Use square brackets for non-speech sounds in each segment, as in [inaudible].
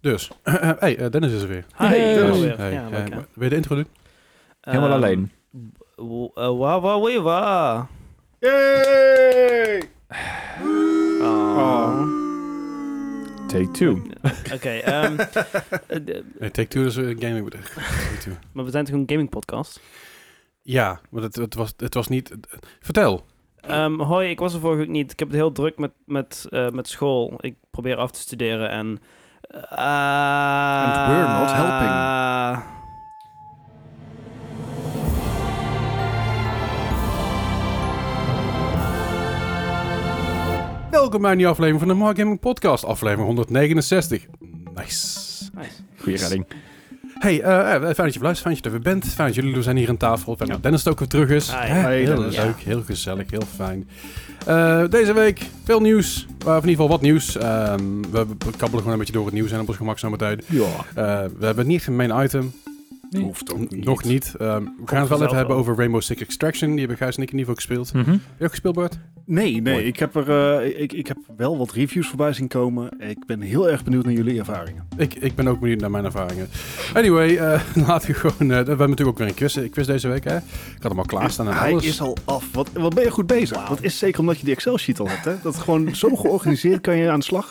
Dus, [clears throat] hey, eh, Dennis is er weer. Hi, Hey, Dennis. Dennis. Hey, Ja, eh, lekker. wil je de intro doen? Ehm, Helemaal alleen. w- eh, Wa wa wee wa. Yay! Oh. Take two. Oké, [laughs] ehm, eh, d- Nee, Take Two is een gaming bedrijf. [laughs] Take Two. maar we zijn toch een gaming podcast? Ja, maar het, het, was, het was niet... vertel. Ehm, hoi, ik was er vorige week niet. Ik heb het heel druk met, met, eh, met school. Ik probeer af te studeren en... eh, And we're not helping. Ah, Welkom bij een nieuwe aflevering van de Mark Gaming Podcast. Aflevering 169. Nice. nice. Goeie redding. Hey, eh, eh, fijn dat je luistert, fijn dat je er weer bent. Fijn dat jullie er zijn hier aan tafel. Fijn dat Dennis er ook weer terug is. Hi. Hè? Hi, heel Dennis. leuk, heel gezellig, heel fijn. Eh, deze week veel nieuws, eh, of in ieder geval wat nieuws. Ehm, we we kabbelen gewoon een beetje door het nieuws en op ons gemak zometeen. Ja. Eh, we hebben niet echt een main item, Hoeft ook niet. nog niet. Ehm, we gaan het wel vanzelf even hebben wel. over Rainbow Six Extraction. Die hebben Gijs en ik in ieder geval gespeeld. Mhm. Hm. Heb je ook gespeeld, Bart? Nee, nee. Mooi. Ik heb, er, eh, ik, ik heb wel wat reviews voorbij zien komen. Ik ben heel erg benieuwd naar jullie ervaringen. Ik, ik ben ook benieuwd naar mijn ervaringen. Anyway, eh, [laughs] laten we gewoon... eh, we hebben natuurlijk ook weer een quiz, eh, quiz deze week, hè? Ik had hem al klaarstaan en Hij Nou, alles. is al af. Wat, wat ben je goed bezig? Dat is zeker omdat je die Excel-sheet al hebt. Hè? Dat is gewoon zo georganiseerd kan je aan de slag.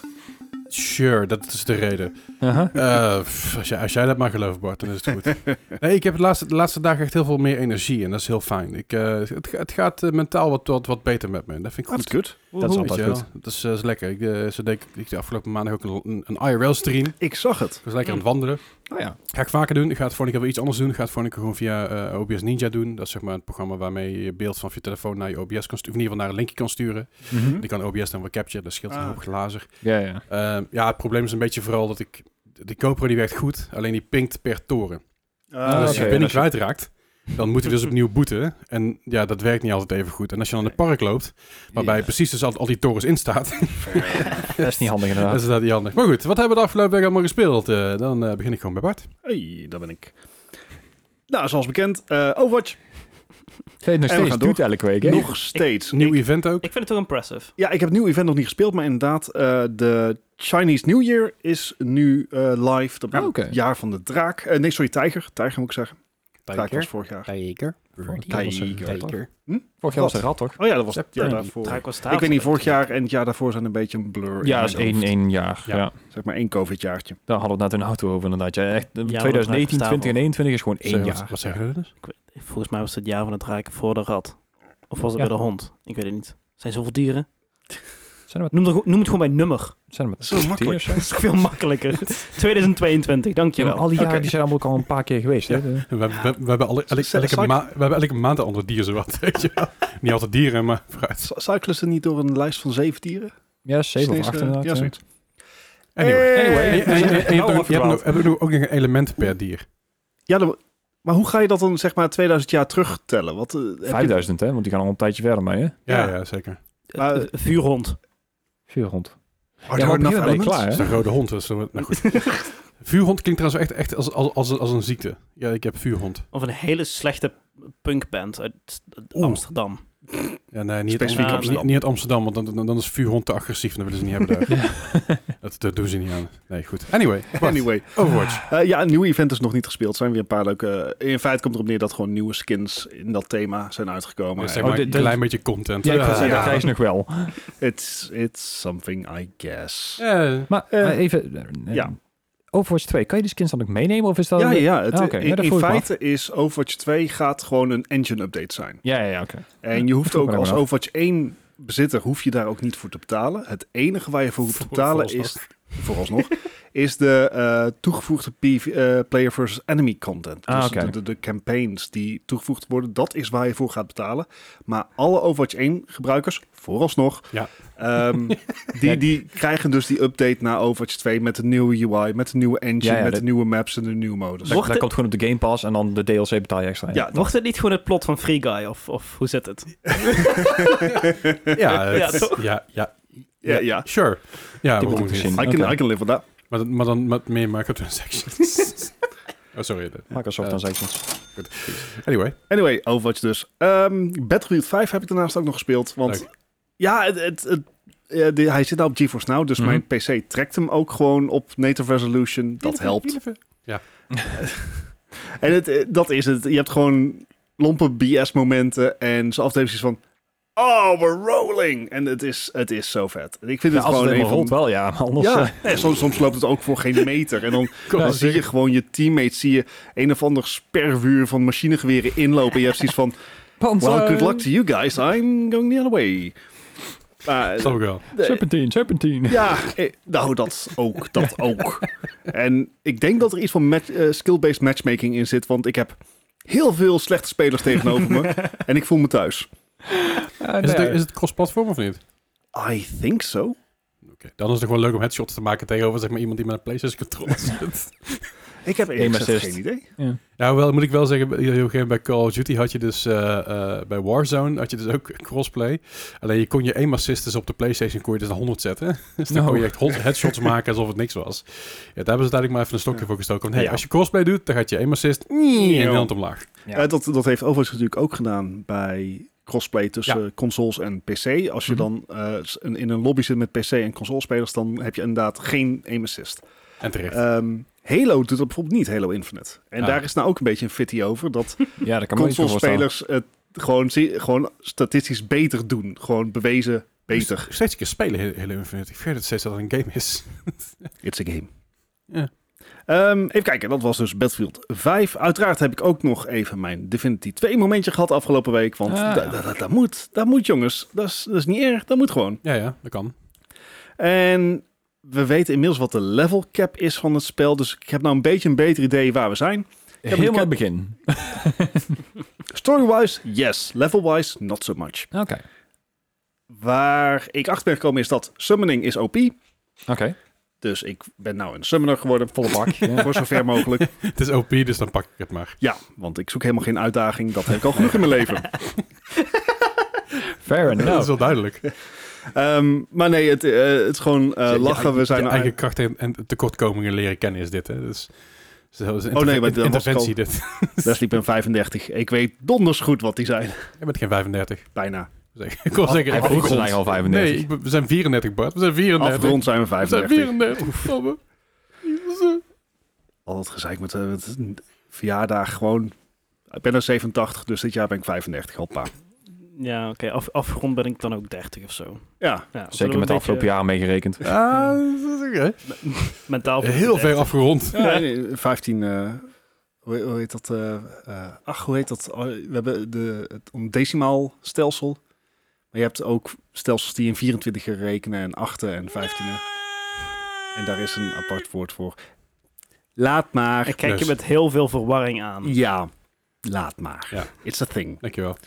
Sure, dat is de reden. Eh, pff, als, jij, als jij dat maar gelooft, Bart, dan is het goed. nee, ik heb de laatste, de laatste dagen echt heel veel meer energie en dat is heel fijn. Ik, eh, het, ga- het gaat eh, mentaal wat, wat, wat beter met me. en Dat vind ik Dat is goed. goed. Dat is Weet altijd je wel? goed. Dat is, eh, is lekker. Ik, eh, zo deed ik, ik deed afgelopen maandag ook een, een, een IRL-stream. Ik Ik zag het. Eh, was lekker aan het wandelen. Nou ja. Ga ik vaker doen. Ik ga het voor een keer wel iets anders doen. Ik ga het voor een keer gewoon via eh, OBS Ninja doen. Dat is zeg maar het programma waarmee je je beeld van je telefoon naar je OBS kan sturen. Of in ieder geval naar een linkje kan sturen. Hm? Mhm. Die kan OBS dan weer capture. Dat scheelt een Ah. hoop glazen. Ja, ja. Ehm, ja, het probleem is een beetje vooral dat ik... De GoPro die werkt goed, alleen die pinkt per toren. Ah, En als je oké. je binnen En als kwijtraakt, dan moeten we dus opnieuw boeten. En ja, dat werkt niet altijd even goed. En als je dan in het park loopt, waarbij precies dus al, al die torens in staat, [laughs] [laughs] Dat is niet handig dan inderdaad. is dat niet handig. Maar goed, wat hebben we de afgelopen week allemaal gespeeld? Eh, dan eh, begin ik gewoon bij Bart. Hey, daar ben ik. Nou, zoals bekend, eh, Overwatch Geef nog En we steeds gaan doet elke week. hè? nog steeds. Nieuw Ik- event ook. Ik vind het toch impressive. ja, ik heb het nieuw event nog niet gespeeld, maar inderdaad, eh, de Chinese New Year is nu eh, live. Dat Oh, oké. het jaar van de draak. Eh, nee, sorry, tijger. Tijger moet ik zeggen. Draak was vorig jaar. Tiger. Vorig jaar was een rat, toch? Oh ja, dat was Ja, het jaar nee, daarvoor. Draak was Ik weet niet, vorig jaar en het jaar daarvoor zijn een beetje een blur. in Ja, dat mijn is hoofd. één, één jaar. Ja. Ja. Zeg maar één COVID-jaartje. Daar hadden we het net een auto over inderdaad. Ja, echt, maar 2019, dat 20 en 21 is gewoon één Wat, jaar. wat zeggen we dus? Volgens mij was het jaar van de draak voor de rat. Of was het Ja. bij de hond? Ik weet het niet. Zijn zoveel dieren? Zijn er Noem, er, noem het gewoon bij nummer. met, zijn er met Zo tien makkelijk. of zo? Dat is toch veel makkelijker. [laughs] 2022, Ja, maar dankjewel. al die jaren Oké. die zijn allemaal ook al een paar keer geweest. Hè? De- We, we, we, hebben alle, elke, Zal elke ik- zal ik- ma- we hebben elke maand een ander dier zowat. [laughs] Weet je wel. niet altijd dieren, maar vooruit. Cy- Cyclus er niet door een lijst van zeven dieren? Ja, zeven of Is het acht ineens, eh, inderdaad. Ja, ja. zoiets. Eh, Anyway. Hey! En je- en je- en je hebt ook- Nou, je hebt afgedwaald. nog- hebben we ook nog een element per dier. Ja, dan- maar hoe ga je dat dan zeg maar 2000 jaar terugtellen? Wat, eh, heb je- 5000, hè? Want die gaan al een tijdje verder mee, hè? Ja, Ja. ja zeker. Maar- Eh, Vuurhond. Vier rond. Are Ja, there maar op een enough gegeven moment ben elements? je klaar, Dat is hè? een rode hond. Dus, nou [laughs] goed. vuurhond klinkt trouwens echt, echt als, als, als, als een ziekte. Ja, ik heb vuurhond. Of een hele slechte punkband uit Oeh. Amsterdam. Ja, nee, niet, Specifiek Amsterdam. Amsterdam. Niet, niet uit Amsterdam, want dan, dan, dan is vuurhond te agressief. En dat willen ze niet hebben daar. [laughs] dat, dat doen ze niet aan. Nee, goed. Anyway, Bart, Anyway, Overwatch. Eh, ja, een nieuw event is nog niet gespeeld. Zijn weer een paar leuke. eh, in feite komt erop neer dat gewoon nieuwe skins in dat thema zijn uitgekomen. Dus zeg Oh, maar dit- een dit- klein beetje content. Ja, ik ga zeggen, ja. dat krijg je nog wel. It's, it's something, I guess. Ja. Maar Eh, maar even... eh, ja. Overwatch 2, kan je die skins dan ook meenemen? Of is dat... Ja, ja, het, Ah, oké. in- Ja, dat in vroeg ik me feite is Overwatch 2 gaat gewoon een engine update zijn. Ja, ja, ja, oké. En je hoeft vroeg ook me als daarvan af. Overwatch 1 bezitter, hoef je daar ook niet voor te betalen. Het enige waar je voor hoeft te Voor- betalen is, vooralsnog. vooralsnog, [laughs] is de eh, toegevoegde PV, eh, player versus enemy content. Ah, dus oké. de, de, de campaigns die toegevoegd worden, dat is waar je voor gaat betalen. Maar alle Overwatch 1 gebruikers, vooralsnog, Ja. [laughs] ehm, die, die krijgen dus die update na Overwatch 2 met de nieuwe UI, met de nieuwe engine, Ja, ja, met dat- de nieuwe maps en de nieuwe modus. Dat, Wordt dat het- komt gewoon op de Game Pass en dan de DLC betaal je extra. eh- Ja, dat, Wordt het niet gewoon het plot van Free Guy? Of, of hoe zit het? Ja, Ja, het- toch? ja, ja, ja, ja. sure. Ja, Die waarom moet ik niet? zien. I can, Oké. I can live with that. Maar, dan- maar dan met meer microtransactions. oh, sorry. Microsoft transactions. Anyway. Anyway, Overwatch dus. Ehm, Battlefield 5 heb ik daarnaast ook nog gespeeld. Want Leuk. ja, het, het, het eh, die- hij zit nou op GeForce Now, dus Mhm. mijn PC trekt hem ook gewoon op native resolution. Dat helpt. [laughs] En het, eh, dat is het. Je hebt gewoon lompe BS-momenten en zo af en toe zoiets van... Oh, we're rolling! En het is, het is zo vet. Ik vind Ja, het als het gewoon een helemaal van... rolt wel, ja. Maar anders... Ja, [laughs] eh, nee, soms, soms loopt het ook voor geen meter. En dan, dan zie je gewoon je teammates, zie je een of ander spervuur van machinegeweren inlopen. En je hebt zoiets van, panzer, well, good luck to you guys, I'm going the other way. Maar, Snap ik wel. eh, Serpentine, serpentine. ja, eh, nou dat ook, dat ook. En ik denk dat er iets van match- eh, skill-based matchmaking in zit, want ik heb heel veel slechte spelers tegenover me en ik voel me thuis. Ja, Is nou het, ja. is het cross-platform of niet? I think so. Oké, Dan is het gewoon leuk om headshots te maken tegenover zeg maar, iemand die met een PlayStation controller [laughs] zit. Ik heb Aim eerlijk gezegd assist. geen idee. nou, wel moet ik wel zeggen, bij- op een gegeven moment bij Call of Duty had je dus eh, eh, bij Warzone had je dus ook [laughs] crossplay. Alleen je kon je aim assist dus op de PlayStation kon je dus naar 100 zetten. [laughs] Dus dan Nou. kon je echt 100 headshots maken alsof het niks was. Ja, daar hebben ze uiteindelijk maar even een stokje voor gestoken. Want hey, Ja. als je crossplay doet, dan gaat je aim assist in de hand omlaag. Ja. Eh, dat, dat heeft Overwatch natuurlijk ook gedaan bij crossplay tussen consoles en PC. Als je Mhm. dan eh, s- in, in een lobby zit met PC en consolespelers, dan heb je inderdaad geen aim assist. En terecht. Ehm, Halo doet dat bijvoorbeeld niet, Halo Infinite. En Ah. daar is nou ook een beetje een fitty over, dat Ja, dat kan me niet voorstellen. consolespelers het gewoon, zie- gewoon statistisch beter doen. Gewoon bewezen beter. Dus Steeds een keer spelen, hele- hele Infinite. Ik vind het steeds dat het een game is. [laughs] It's a game. Ja. Ehm, even kijken, dat was dus Battlefield 5. Uiteraard heb ik ook nog even mijn Divinity 2 momentje gehad afgelopen week. Want Ah. da- da- da- dat moet, dat moet jongens. Dat is, dat is niet erg, dat moet gewoon. Ja, ja, dat kan. [laughs] En we weten inmiddels wat de level cap is van het spel. Dus ik heb nou een beetje een beter idee waar we zijn. Helemaal in het begin. Story-wise, yes. Level-wise, not so much. Oké. Waar ik achter ben gekomen is dat summoning is OP. Oké. Dus ik ben nou een summoner geworden. Volle bak. [laughs] ja. Voor zover mogelijk. Het is OP, dus dan pak ik het maar. Ja, want ik zoek helemaal geen uitdaging. Dat heb ik al genoeg in mijn leven. Fair Dat is enough. wel duidelijk. Eh, Ehm, maar nee, het, eh, het is gewoon eh, Je- lachen. je- We zijn je eigen krachten en, en tekortkomingen leren kennen is dit, hè? Dus, dus dat is een Oh, nee, maar interve- dat was interventie dit. Wesley, ik ben 35. Ik weet donders goed wat die zijn. Je bent geen 35. [laughs] Bijna. Zeg, Ik [laughs] wil zeggen... Hij ik- vroeg ik- zijn eigen al 35. Nee, ik ben- we zijn 34, Bart. We zijn 34. Afgerond zijn we We zijn 35. 34. Verdomme. Al dat gezeik met, eh, met verjaardag gewoon. Ik ben er 87, dus dit jaar ben ik 35. Hoppa. Ja, oké. Af, afgerond ben ik dan ook 30 of zo. Ja, Ja, zullen we Zeker een met de afgelopen beetje jaren meegerekend. Ah, dat is oké. Mentaal voor Heel de ver 30. afgerond. ja nee, 15... eh, hoe, hoe heet dat? eh, eh, ach, hoe heet dat? Oh, We hebben de, het een decimaal stelsel. Maar je hebt ook stelsels die in 24 rekenen en 8 en 15. En daar is een apart woord voor. Laat maar. Ik kijk je Dus. met heel veel verwarring aan. Ja, laat maar. Ja. It's a thing. Dankjewel.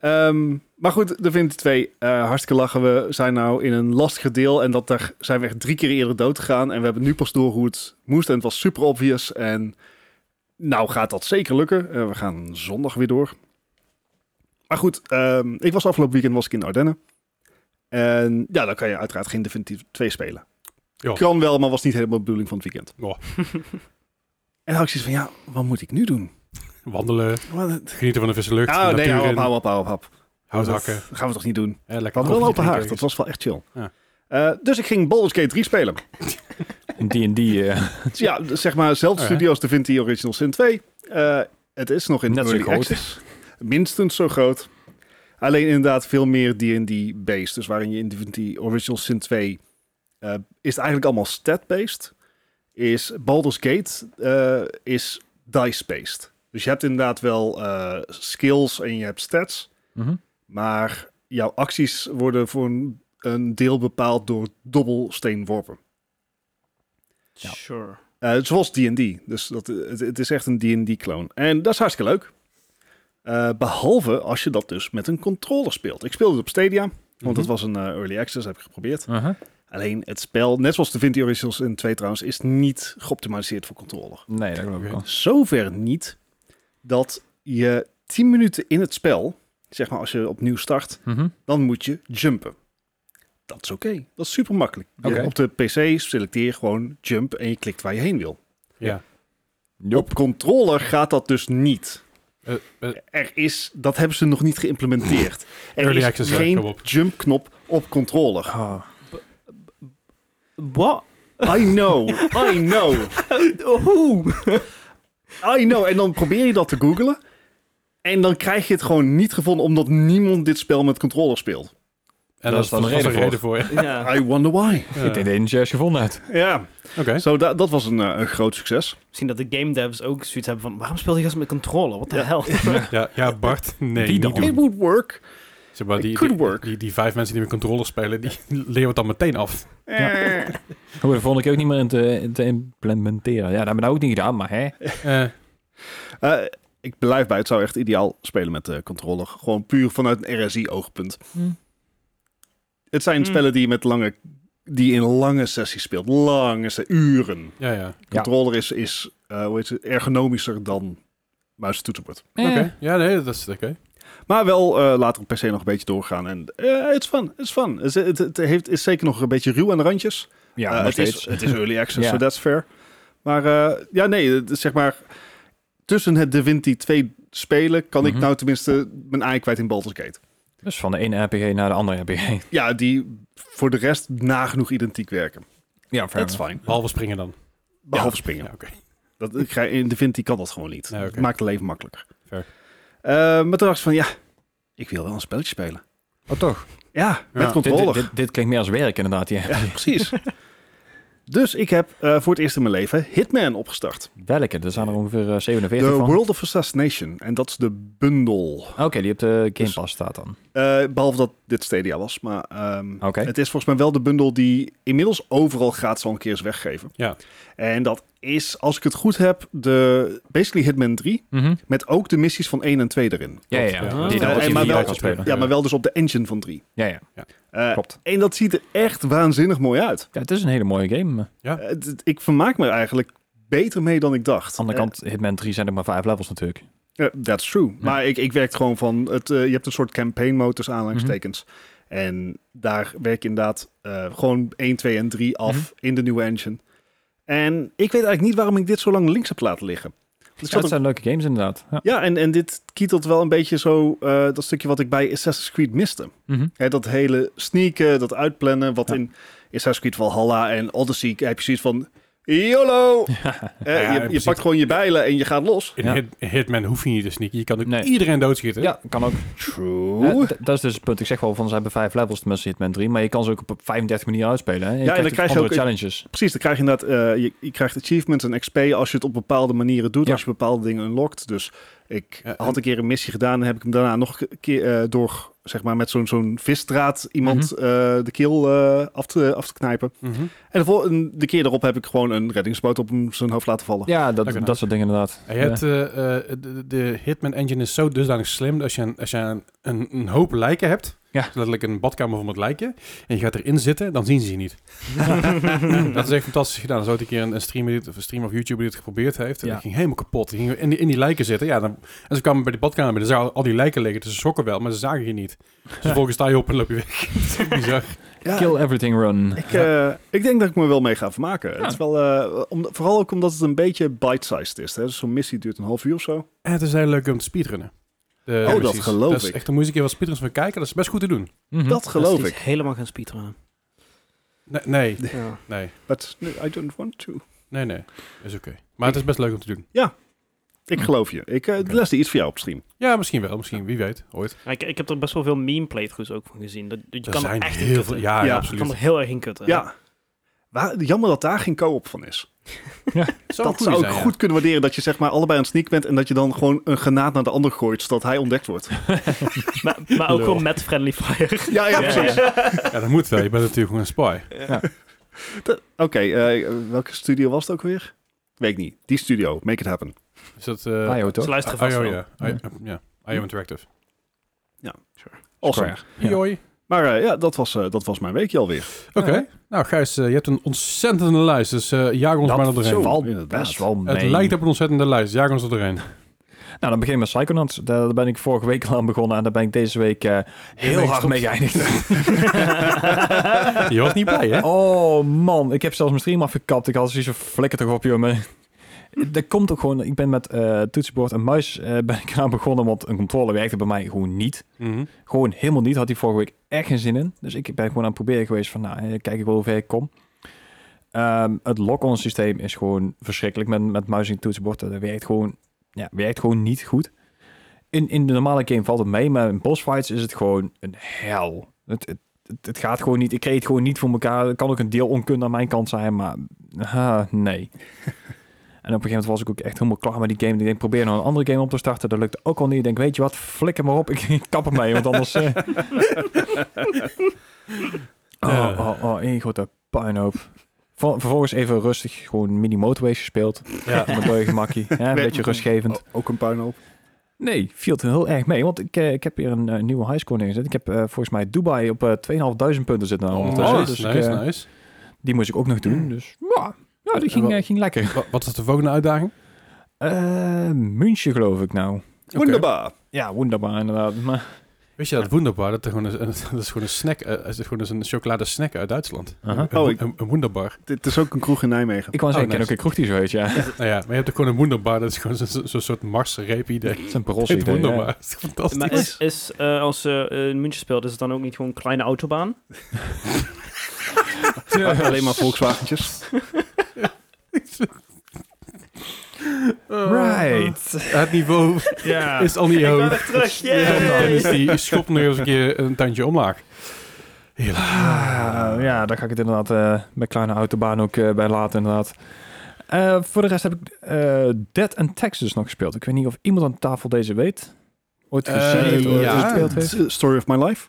Ehm, maar goed, de Vintage 2. eh hartstikke lachen. We zijn nou in een lastig deel. En dat daar zijn we echt drie keer eerder dood gegaan. En we hebben nu pas door hoe het moest. En het was super obvious. En nou gaat dat zeker lukken. Eh, we gaan zondag weer door. Maar goed, ehm, ik was afgelopen weekend was ik in de Ardennen. En ja, dan kan je uiteraard geen Divinity 2 spelen. Ja. Kan wel, maar was niet helemaal de bedoeling van het weekend. [laughs] Ja. En dan had ik zoiets van, ja, wat moet ik nu doen? Wandelen, Wat, genieten van de frisse lucht, Ah, de nee, natuur hou in, op, hou op, hou op, hou op. hout Dat hakken. gaan we toch niet doen? Ja, We lekker hadden wel open koffietje haard, dat drinken. was wel echt chill. Ja. Eh, dus ik ging Baldur's Gate 3 spelen. In D&D, eh, ja, d- zeg maar, zelfde Oh, ja. studio's de Vinti Original Sin 2. Eh, het is nog in Net zo early groot. access. Minstens zo groot. Alleen inderdaad veel meer D&D-based. Dus waarin je in Divinity Original Sin 2... eh, is het eigenlijk allemaal stat-based. Is Baldur's Gate eh, is dice-based. Dus je hebt inderdaad wel eh, skills en je hebt stats. mhm. Maar jouw acties worden voor een, een deel bepaald door dobbelsteenworpen. Sure. Eh zoals D&D. Dus dat, eh, het, het is echt een D&D-kloon. En dat is hartstikke leuk. Eh, behalve als je dat dus met een controller speelt. Ik speelde het op Stadia, want Mhm. dat was een eh, early access, heb ik geprobeerd. Aha. Alleen het spel, net zoals de Vinti Originals in 2 trouwens, is niet geoptimaliseerd voor controller. Nee, dat geloof ik wel. Zover niet dat je 10 minuten in het spel, zeg maar als je opnieuw start, Mhm. dan moet je jumpen. Dat is oké. Dat is super makkelijk. Je- Oké. Op de PC selecteer je gewoon jump en je klikt waar je heen wil. Ja. Joep. Op controller gaat dat dus niet. Eh, eh, Er is, dat hebben ze nog niet geïmplementeerd. Er Early is access, hè, geen kom op. jump knop op controller. Ah. Wat? Eh, oh, I know, I know, Oeh. I know. En dan probeer je dat te googlen. En dan krijg je het gewoon niet gevonden omdat niemand dit spel met controller speelt. En Dat dat is is dan een een reden, reden voor. je. Ja. I wonder why. Ja. [laughs] Ik denk dat je het juist gevonden hebt. Ja, Oké. zo da- dat was een, eh, een groot succes. Misschien dat de game devs ook zoiets hebben van... Waarom speel je gast met controller? What the [laughs] hell? Ja, ja, Bart, nee, Die die dan. niet doen. It would work. Zeg maar, It die, could die, work. Die, die vijf mensen die met controller spelen, die [laughs] leren het dan meteen af. Eh. Oh, dat vond ik ook niet meer in te, in te implementeren. Ja, dat hebben we nou ook niet gedaan, maar hè. Eh, Eh, ik blijf bij, het zou echt ideaal spelen met de controller. Gewoon puur vanuit een RSI-oogpunt. Hmm. Het zijn Hmm. spellen die je met lange, die je in lange sessies speelt. Lange se- uren. ja, ja. Ja. Controller is, is eh, hoe heet het, ergonomischer dan muis en toetsenbord. Oké. Eh. Ja, nee, dat is oké. Maar wel eh, later op PC nog een beetje doorgaan. En eh, it's fun, it's fun. Het, het, het heeft, is zeker nog een beetje ruw aan de randjes. Ja, Eh, nog het, steeds. is, het is [laughs] early access, Ja. so that's fair. Maar eh, ja, nee, het is zeg maar... Tussen het Divinity 2 spelen kan Mhm. ik nou tenminste mijn ei kwijt in Baldur's Gate. Dus van de ene RPG naar de andere RPG. Ja, die voor de rest nagenoeg identiek werken. Ja, fair Dat is enough. fijn. Behalve springen dan. Behalve Ja. springen. Ja, oké. Dat, ik ga, in Divinity kan dat gewoon niet. Ja, oké. Het maakt het leven makkelijker. Fair. Eh, maar toen dacht ik van, ja, ik wil wel een spelletje spelen. Oh, toch? Ja, met Dit- Dit, controller. dit- dit klinkt meer als werk inderdaad, [laughs] ja. Ja, precies. dus ik heb eh, voor het eerst in mijn leven Hitman opgestart. Welke? Er zijn er ongeveer eh, De 47 van. World of Assassination. En dat is de bundel. Oké, die op de Game Dus- Pass staat dan. Eh, behalve dat dit Stadia was. Maar ehm, Oké. het is volgens mij wel de bundel die inmiddels overal gratis al een keer is weggegeven. Ja. En dat is, als ik het goed heb, de basically Hitman 3. Met ook de missies van 1 en 2 erin. Mhm. Ja, Klopt, ja, ja. ja. Die Ja, daar en ook maar in wel- kan spelen. Ja, maar wel dus op de engine van 3. Ja, ja. Eh, Klopt. En dat ziet er echt waanzinnig mooi uit. Ja, het is een hele mooie game. Aan Eh, het- het- ik vermaak me er eigenlijk beter mee dan ik dacht. de andere kant, Hitman 3 zijn er maar vijf levels natuurlijk. Eh, that's true. Maar ik, ik werk gewoon van... Het, eh, je hebt een soort campaign mode tussen aanhalingstekens. Mhm. En daar werk je inderdaad eh, gewoon 1, 2 en 3 af Mhm. in de nieuwe engine. En ik weet eigenlijk niet waarom ik dit zo lang links heb laten liggen. Want ik Ja, zat het er- zijn leuke games inderdaad. Ja. ja, en, en dit kietelt wel een beetje zo eh, dat stukje wat ik bij Assassin's Creed miste. Mhm. Hè, dat hele sneaken, dat uitplannen, wat Ja. in Assassin's Creed Valhalla en Odyssey heb je zoiets van... YOLO! Eh, [laughs] Ja, in je je principe- pakt gewoon je bijlen en je gaat los. In Ja. Hit- Hitman hoef je niet te sneaken. Je kan ook Nee. iedereen doodschieten. Ja, kan ook. True. Eh, d- dat is dus het punt. Ik zeg wel van, ze hebben vijf levels tenminste Hitman 3. Maar je kan ze ook op 35 manieren uitspelen. Hè? Je en dan krijgt krijg je andere ook- challenges. Precies, dan krijg je inderdaad, eh, je, je krijgt achievements en XP als je het op bepaalde manieren doet, Ja. als je bepaalde dingen unlockt. Dus ik Ja, en- had een keer een missie gedaan en heb ik hem daarna nog een keer eh, door, zeg maar, met zo'n zo'n visdraad iemand eh, de keel eh, af, te, af te knijpen. Mhm. En de, vol- en de keer daarop heb ik gewoon een reddingsboot op hem zijn hoofd laten vallen. Ja, dat, Lekker, dat soort dingen inderdaad. En je hebt, eh, eh, de, de Hitman engine is zo dusdanig slim dat als je, een, als je een, een, een hoop lijken hebt, Ja. dus letterlijk een badkamer vol met lijken, en je gaat erin zitten, dan zien ze je [laughs] niet. dat is echt fantastisch gedaan. Zo had ik een keer een, een streamer, die het- of een streamer of YouTuber die het geprobeerd heeft, en Ja. dat ging helemaal kapot. Die ging in die, in die lijken zitten, ja, dan, en ze kwamen bij die badkamer, binnen, dan zagen al die lijken liggen, dus ze schrokken wel, maar ze zagen je niet. Dus vervolgens sta je op en loop je weg. [laughs] Bizar. Ja, Kill everything run. Ik, eh, ik denk dat ik me wel mee ga vermaken. Het is wel, eh, om, vooral ook omdat het een beetje bite-sized is. Hè? Dus zo'n missie duurt een half uur of zo. En het is heel leuk om te speedrunnen. De Oh, dat missies. geloof dat is ik. Echt, dan moet je een keer wat speedruns van kijken, dat is best goed te doen. Mhm. Dat geloof Dat is ik. helemaal gaan speedrunnen. Nee, nee, Ja. nee, But I don't want to. nee, nee. is oké. Maar het is best leuk om te doen. Ik geloof je. Ik eh, Oké. lesde iets voor jou op stream. Ja, misschien wel. Misschien, wie weet, ooit. Ja, Ik, ik heb er best wel veel meme playthroughs ook van gezien. Dat, dat je er kan er zijn echt heel veel. Ja, ja, Je Ja, kan er absoluut. heel erg in kutten. Ja. Waar- jammer dat daar geen co-op van is. Zou dat een goeie zou ik zijn, ja. goed kunnen waarderen dat je zeg maar allebei aan het sneak bent en dat je dan gewoon een granaat naar de ander gooit zodat hij ontdekt [laughs] wordt. Maar, maar ook Lul. gewoon met Friendly Fire. Ja, ja, [laughs] Ja, precies. Ja. dat moet wel. Je bent natuurlijk gewoon een spy. Dat- Oké, eh, welke studio was het ook weer? Weet ik niet. Die studio, make it happen. Is dat... eh, IO Ze toch? luisteren I- vast IO, wel. ja. I- Ja. IO Interactive. Awesome. Square. Ja. Joi. Maar eh, ja, dat was, eh, dat was mijn weekje alweer. Oké. Nou, Gijs, eh, je hebt een ontzettende lijst. Dus eh jaag ons maar er doorheen. zo. valt inderdaad. best wel mee. Het lijkt op een ontzettende lijst. Jaag ons er doorheen. Nou, dan begin ik met Psychonauts. Daar daar ben ik vorige week al aan begonnen en daar ben ik deze week eh, heel mee hard gestopt. mee geëindigd. Je was niet blij, hè? [laughs] Oh man, ik heb zelfs mijn stream afgekapt. Ik had zoiets van, flikker toch op, jongen. dat komt ook gewoon... Ik ben met eh toetsenbord en muis eh, ben ik aan begonnen, want een controller werkte bij mij gewoon niet. Mhm. Gewoon helemaal niet. Had hij vorige week echt geen zin in. Dus ik ben gewoon aan het proberen geweest van, nou, eh, kijk ik wel hoe ver ik kom. Ehm, het lock-on systeem is gewoon verschrikkelijk met, met muis en toetsenbord. Dat werkt gewoon, ja, werkt gewoon niet goed. In, in de normale game valt het mee, maar in boss fights is het gewoon een hel. Het, het, het, het gaat gewoon niet. Ik kreeg het gewoon niet voor elkaar. Het kan ook een deel onkunde aan mijn kant zijn, maar ah, nee. En op een gegeven moment was ik ook echt helemaal klaar met die game. Ik denk, probeer nou een andere game op te starten. Dat lukte ook al niet. Ik denk, weet je wat, flikker maar op. [laughs] Ik, ik kap ermee, want anders... eh. oh, oh, oh, één grote puinhoop. Ver- Vervolgens even rustig, gewoon mini-motorways gespeeld. Ja. Met een mooie [laughs] gemakkie. Ja, een Nee. beetje rustgevend. O- ook een puinhoop. Nee, viel toen heel erg mee. Want ik, eh, ik heb hier een eh, nieuwe highscore neergezet. Ik heb eh, volgens mij Dubai op eh 2.500 punten zitten. Nou, ondertussen. Oh, nice, dus ik, nice, eh, nice. Die moest ik ook nog doen. Dus ja, ja die ging, wat- eh, ging lekker. Wa- Wat is de volgende uitdaging? Eh München geloof ik nou. Oké. Wonderbaar. Ja, wonderbaar inderdaad. Maar, Weet je dat wonderbar? Dat, er gewoon een, [laughs] dat is gewoon een snack, eh, dat is gewoon eens een chocoladesnack uit Duitsland. Aha. Een, Oh, oh, ik- een, een wonderbar. Dit is ook een kroeg in Nijmegen. ik wou Oh, zeggen, ik ken nice. ook een kroeg die [laughs] zo heet, ja. Het nou ja, maar je hebt ook gewoon een wonderbar. Dat is gewoon zo- zo- zo'n soort marsreep idee. is een parosse Het idee. wonderbar. ja. Dat is fantastisch. Maar is, is eh, als ze eh, in München speelt, is het dan ook niet gewoon een kleine autobaan? [laughs] Alleen maar Volkswagentjes. Right. Het niveau [laughs] Ja. is al niet ik ben hoog. weer terug, En dan yay! is die schop nog eens een keer een tandje omlaag. [laughs] Ah, ja, daar ga ik het inderdaad eh, bij kleine autobaan ook eh, bij laten inderdaad. Eh, voor de rest heb ik eh, Dead and Texas nog gespeeld. Ik weet niet of iemand aan tafel deze weet. Ooit Eh, gezien heeft, ooit ja. gespeeld heeft. Story of my life.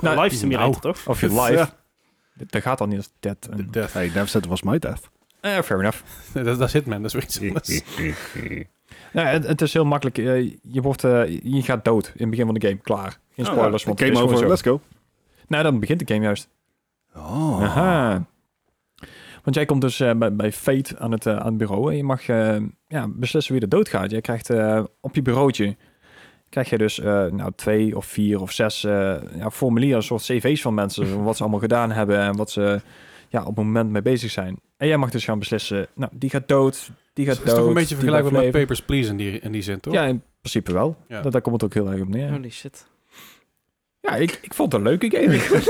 Nou, Live simulator, toch? Of je Ja. live. Dat- Dat gaat dan niet als Dead. and- Death. Hey, never said it was my death. Eh, fair enough. Dat, dat zit men, dat is weer [laughs] iets anders. Nou, het, het is heel makkelijk. Eh, je, wordt, eh, je gaat dood in het begin van de game. Klaar. Geen Oh, spoilers. want het Game is gewoon over, zo. let's go. Nou, dan begint de game juist. Oh. Aha. Want jij komt dus eh, bij, bij Fate aan het, eh, aan het bureau en je mag eh, ja, beslissen wie er doodgaat. Jij krijgt eh, op je bureautje krijg je dus eh, nou, twee of vier of zes eh, ja, formulieren, een soort cv's van [laughs] mensen, van wat ze allemaal gedaan hebben en wat ze ja, op het moment mee bezig zijn. En jij mag dus gaan beslissen, nou, die gaat dood, die Het gaat is dood. toch een beetje die vergelijkbaar met blijft Papers, Please in die, in die zin, toch? leven. Ja, in principe wel. Ja. Dat, daar komt het ook heel erg op neer. Holy shit. [laughs] Ja, ik, ik vond het een leuke [laughs] game. lekker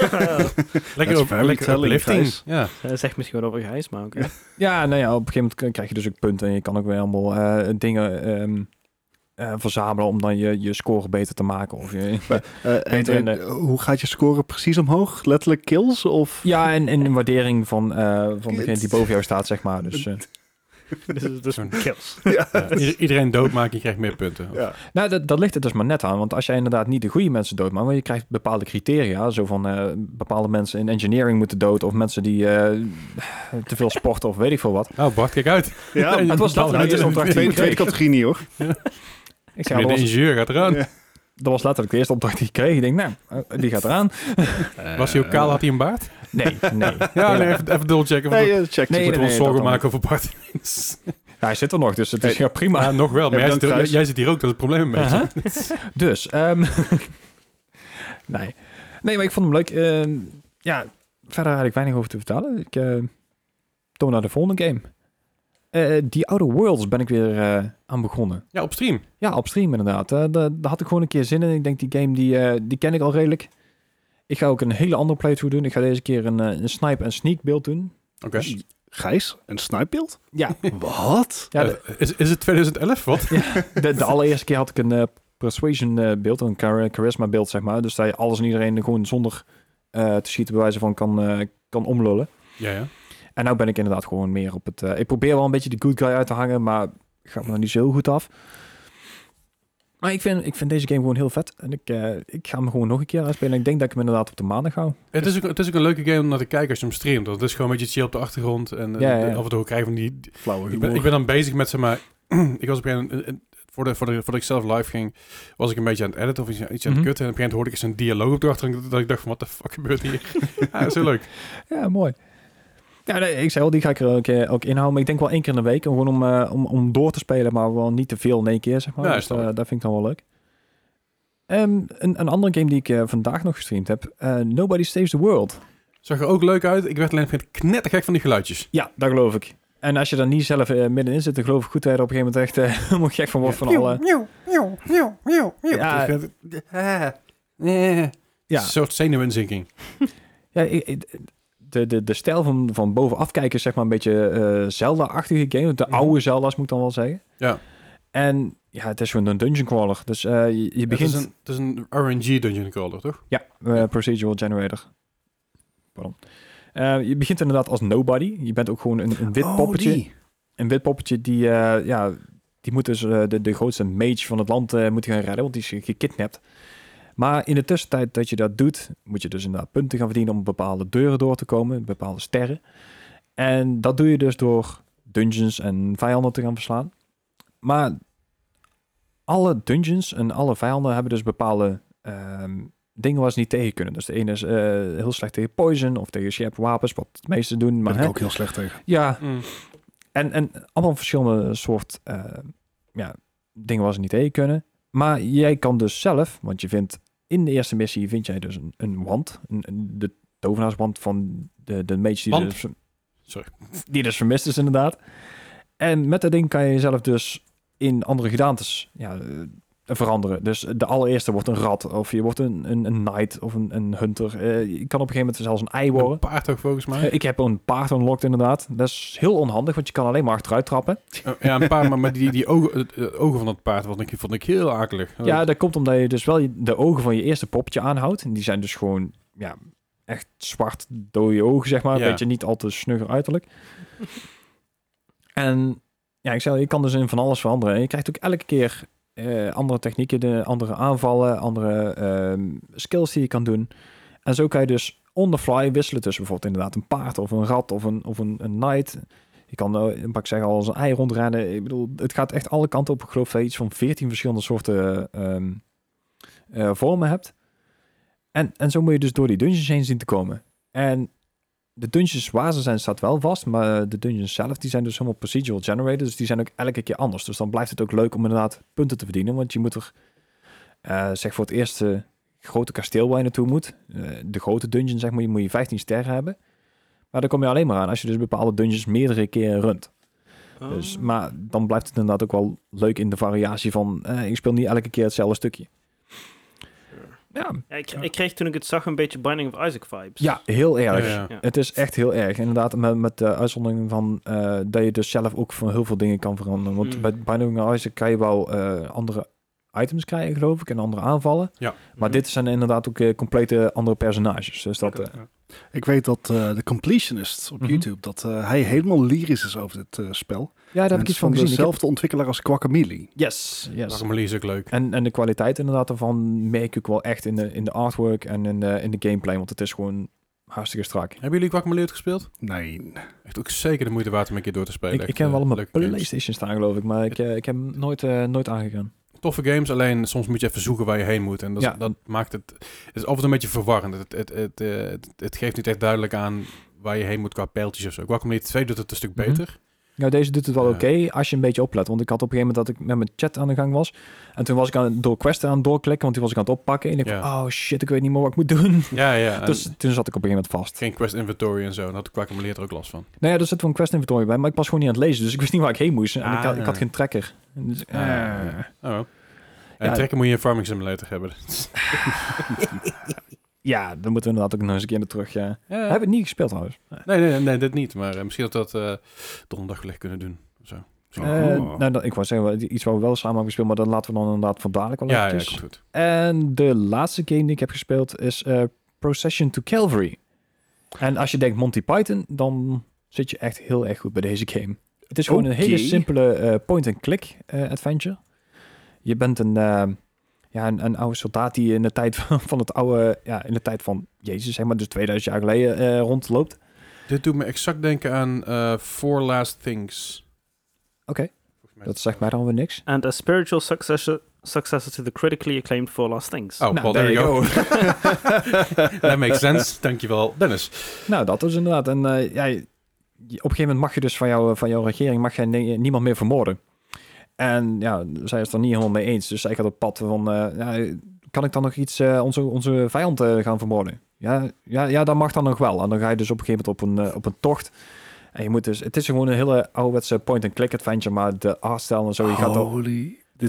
That's op, very lekker telling, uplifting. Gijs. Ja. Zij zegt misschien wel over Gijs, maar oké. Ja, nou ja, op een gegeven moment k- krijg je dus ook punten en je kan ook weer allemaal eh, dingen ehm, eh, verzamelen om dan je, je score beter te maken. [laughs] Of je, Eh, en, Beter in en, hoe gaat je score precies omhoog? Letterlijk kills of... ja, [laughs] en, en een waardering van, eh, van degene die boven jou staat, zeg maar. Dus, eh, Dus het is Zo'n- [laughs] kills. Ja. Ieder- Iedereen doodmaken, je krijgt meer punten. [laughs] Ja. nou, dat, dat ligt er dus maar net aan. Want als jij inderdaad niet de goede mensen doodmaakt, maar je krijgt bepaalde criteria. Zo van eh, bepaalde mensen in engineering moeten dood of mensen die eh, te veel sporten of weet ik veel wat. Nou, Bart, kijk uit. Ja, Ja, Het was dat- dat nou, dit is de opdracht die tweede, ik tweede kreeg. categorie niet hoor. Ik zei, De dat was, ingenieur gaat eraan. Ja. dat was letterlijk de eerste opdracht die ik kreeg. Ik denk, nou, eh, die gaat eraan. Was hij ook kaal? Had hij een baard? Nee, nee. Ja, nee, even, even dubbelchecken. Nee, Nee, eh, check. Nee, check. moeten we ons dat zorgen dan maken over Bart. [laughs] Hij zit er nog, dus het is Hey. ja, prima. Maar nog wel, maar Ja, jij, zit, bedankt, jij, Gijs. jij zit hier ook, dat is het probleem mee. Aha. [laughs] dus, ehm, nee. Nee, maar ik vond hem leuk. Ehm, ja, verder had ik weinig over te vertellen. Ik eh toon naar de volgende game. Eh, die Outer Worlds ben ik weer eh, aan begonnen. Ja, op stream. Ja, op stream inderdaad. Eh, da- daar, had ik gewoon een keer zin in. Ik denk, die game die, eh, die ken ik al redelijk. Ik ga ook een hele andere playthrough doen. Ik ga deze keer een, eh, een snipe en sneak beeld doen. Oké. Gijs, een snipebeeld? Ja, Wat? [laughs] ja de- Eh, is, is het 2011? Wat? De, de allereerste keer had ik een eh, persuasion eh, beeld, een char- charisma beeld, zeg maar. Dus dat je alles en iedereen gewoon zonder eh, te schieten bij wijze van kan, eh, kan omlullen. Ja, ja. En nou ben ik inderdaad gewoon meer op het... eh, ik probeer wel een beetje de good guy uit te hangen, maar gaat me nog niet zo heel goed af. Maar ik vind, ik vind deze game gewoon heel vet. En ik, eh, ik ga hem gewoon nog een keer aanspelen. En ik denk dat ik hem inderdaad op de maandag hou. Het is, ook, het is ook een leuke game om naar te kijken als je hem streamt. Want het is gewoon een beetje chill op de achtergrond. En eh, Ja, ja, ja. af en toe krijgen we die... Flauwe Ik ben, ik ben dan bezig met, zeg maar... [clears throat] ik was op een gegeven moment- eh, eh, voor de, voor de, voordat ik zelf live ging, was ik een beetje aan het editen of iets, iets aan Mhm. het kutten. En op een gegeven moment hoorde ik eens een dialoog op de achtergrond. Dat ik dacht van, wat de fuck [laughs] gebeurt [laughs] hier? ja, dat is heel leuk. Ja, mooi. Ja, nee, ik zei al, die ga ik er ook, eh, ook inhouden. Maar ik denk wel één keer in de week. Gewoon om, eh, om, om door te spelen, maar wel niet te veel in één keer, zeg maar. Ja, dus snap eh, ik. dat vind ik dan wel leuk. Ehm, een, een andere game die ik eh, vandaag nog gestreamd heb. eh, Nobody Saves the World. Zag er ook leuk uit. Ik werd alleen op een gegeven moment knettergek van die geluidjes. Ja, dat geloof ik. En als je daar niet zelf eh, middenin zit, dan geloof ik goed dat je er op een gegeven moment echt eh, [laughs] helemaal gek van wordt van alle... Ja, Ja. ja. eh. Een soort zenuwinzinking. Ja, ik- ik- de, de, de stijl van, van bovenaf kijken is zeg maar een beetje eh, Zelda-achtige game. De oude Zelda's moet ik dan wel zeggen. Mhm. Ja. En ja, het is gewoon een dungeon crawler. Dus eh, je, je begint... Het is een, het is een RNG dungeon crawler, toch? Ja, eh, procedural generator. Pardon. Eh, je begint inderdaad als nobody. Je bent ook gewoon een, een Oh, wit poppetje. Een wit poppetje die, eh, ja, die moet dus eh, de, de grootste mage van het land eh, moet die gaan redden, want die is ge- gekidnapt. Maar in de tussentijd dat je dat doet, moet je dus inderdaad punten gaan verdienen om bepaalde deuren door te komen, bepaalde sterren. En dat doe je dus door dungeons en vijanden te gaan verslaan. Maar alle dungeons en alle vijanden hebben dus bepaalde ehm, dingen waar ze niet tegen kunnen. Dus de ene is eh, heel slecht tegen poison of tegen scherpe wapens, wat de meesten doen. Maar ben ik hè, ook heel slecht tegen. ja, Mm. en, en allemaal verschillende soort eh, ja, dingen waar ze niet heen kunnen. Maar jij kan dus zelf, want je vindt in de eerste missie vind jij dus een, een wand. Een, een- de tovenaarswand van de, de mage die, Wand? dus, Sorry. die dus vermist is inderdaad. En met dat ding kan je jezelf dus in andere gedaantes ja, eh, veranderen. Dus de allereerste wordt een rat, of je wordt een, een, een knight of een, een hunter. Eh, je kan op een gegeven moment zelfs een ei worden. Een paard toch, volgens mij? [laughs] Eh, Ik heb een paard unlocked inderdaad. Dat is heel onhandig, want je kan alleen maar achteruit trappen. Eh, ja, een paard, maar, maar die, die ogen, het- het ogen van dat paard vond ik, vond ik heel akelig. Ja, dat komt omdat je dus wel je- de ogen van je eerste poppetje aanhoudt. En die zijn dus gewoon ja, echt zwart dode ogen, zeg maar. Ja. Beetje niet al te snugger uiterlijk. en ja, ik zei, je kan dus in van alles veranderen. En je krijgt ook elke keer eh, andere technieken, de, andere aanvallen, andere ehm, skills die je kan doen. En zo kan je dus on the fly wisselen tussen bijvoorbeeld inderdaad een paard of een rat of een, of een, een knight. Je kan, eh, wat ik zeg, al als een ei rondrennen. Ik bedoel, het gaat echt alle kanten op. Ik geloof dat je iets van 14 verschillende soorten ehm, eh, vormen hebt. En, en zo moet je dus door die dungeons heen zien te komen. En de dungeons waar ze zijn staat wel vast, maar de dungeons zelf die zijn dus helemaal procedural generated. Dus die zijn ook elke keer anders. Dus dan blijft het ook leuk om inderdaad punten te verdienen. Want je moet er, eh, zeg voor het eerste grote kasteel waar je naartoe moet. eh, de grote dungeon zeg maar, je moet je 15 sterren hebben. Maar daar kom je alleen maar aan als je dus bepaalde dungeons meerdere keren runt. Dus, Oh. maar dan blijft het inderdaad ook wel leuk in de variatie van... eh, ik speel niet elke keer hetzelfde stukje. Ja, Ja, ik, ik kreeg toen ik het zag een beetje Binding of Isaac vibes. ja heel Ja, erg. ja. Ja. Het is echt heel erg. Inderdaad, met, met de uitzondering van eh, dat je dus zelf ook van heel veel dingen kan veranderen. Want Hmm. Mm. bij Binding of Isaac kan je wel eh, andere items krijgen, geloof ik, en andere aanvallen. Ja. Mhm. Maar dit zijn inderdaad ook eh, complete andere personages. Dus dat... eh, Ik weet dat eh, de completionist op Mhm. YouTube, dat eh, hij helemaal lyrisch is over dit eh, spel. ja, daar heb En ik het is iets van gezien. Ik heb- dezelfde ontwikkelaar als Quackamalee. Yes, yes. Waarom is ook leuk. En, en de kwaliteit inderdaad daarvan merk ik wel echt in de, in de artwork en in de, in de gameplay. Want het is gewoon hartstikke strak. Hebben jullie Quackmaleer gespeeld? Nee. Echt ook zeker de moeite waard om een keer door te spelen. Ik, Echt, ik heb eh, wel op mijn leuke games. Playstation staan geloof ik, maar ik, eh, ik heb hem nooit, eh, nooit aangegaan. Toffe games, alleen soms moet je even zoeken waar je heen moet. En dat, is- Ja. dat maakt het... Het is altijd een beetje verwarrend. Het, het, het, eh, het, het geeft niet echt duidelijk aan waar je heen moet qua pijltjes of zo. Quackmaleer 2 doet het een stuk Mhm. beter. Nou, deze doet het wel Ja. oké als je een beetje oplet. Want ik had op een gegeven moment dat ik met mijn chat aan de gang was. En toen was ik aan, door questen aan het doorklikken, want die was ik aan het oppakken. En ik Ja. dacht, oh shit, ik weet niet meer wat ik moet doen. Ja, ja. en Dus toen zat ik op een gegeven moment vast. Geen quest inventory en zo. En daar had Quackmaleer er ook last van. Nou ja, er zit wel een quest inventory bij, maar ik was gewoon niet aan het lezen. Dus ik wist niet waar ik heen moest. En ik, had, Ah. ik had geen tracker. En Dus, eh. Ah. Oh. En Ja. trekken moet je een farming simulator hebben. Ja, dan moeten we inderdaad ook nog eens een keer naar terug. Ja. Ja. Heb ik niet gespeeld trouwens. Nee, nee, nee, nee, dit niet. Maar eh, misschien dat we dat eh donderdag wellicht kunnen doen. of Zo. Oh. Eh, nou, dan, ik wou zeggen, wel, iets waar we wel samen hebben gespeeld, maar dat laten we dan inderdaad voor dadelijk wel Ja, ja, komt eventjes. goed. En de laatste game die ik heb gespeeld is eh, Procession to Calvary. En als je denkt Monty Python, dan zit je echt heel erg goed bij deze game. Het is gewoon Oké. een hele simpele eh, point-and-click eh, adventure. Je bent een, eh, ja, een, een oude soldaat die in de tijd [laughs] van, van het oude, ja, in de tijd van Jezus, zeg maar, dus 2000 jaar geleden eh, rondloopt. Dit doet me exact denken aan eh Four Last Things. Oké. Volgens mij- Dat zegt mij dan weer niks. And a spiritual successor, successor to the critically acclaimed Four Last Things. Oh, well, there you go. [laughs] That makes sense. Dankjewel, Dennis. Nou, dat is inderdaad. En eh, ja, je- op een gegeven moment mag je dus van, jou, van jouw regering mag jij ni- niemand meer vermoorden. En ja, zij is het er niet helemaal mee eens. Dus zij gaat op pad van, eh, ja, kan ik dan nog iets, eh, onze, onze vijand eh, gaan vermoorden? Ja, ja, ja, dat mag dan nog wel. En dan ga je dus op een gegeven moment op een, eh, op een tocht. En je moet dus, het is gewoon een hele ouderwetse point-and-click adventure, maar de artstijl en zo, je gaat door, Holy, door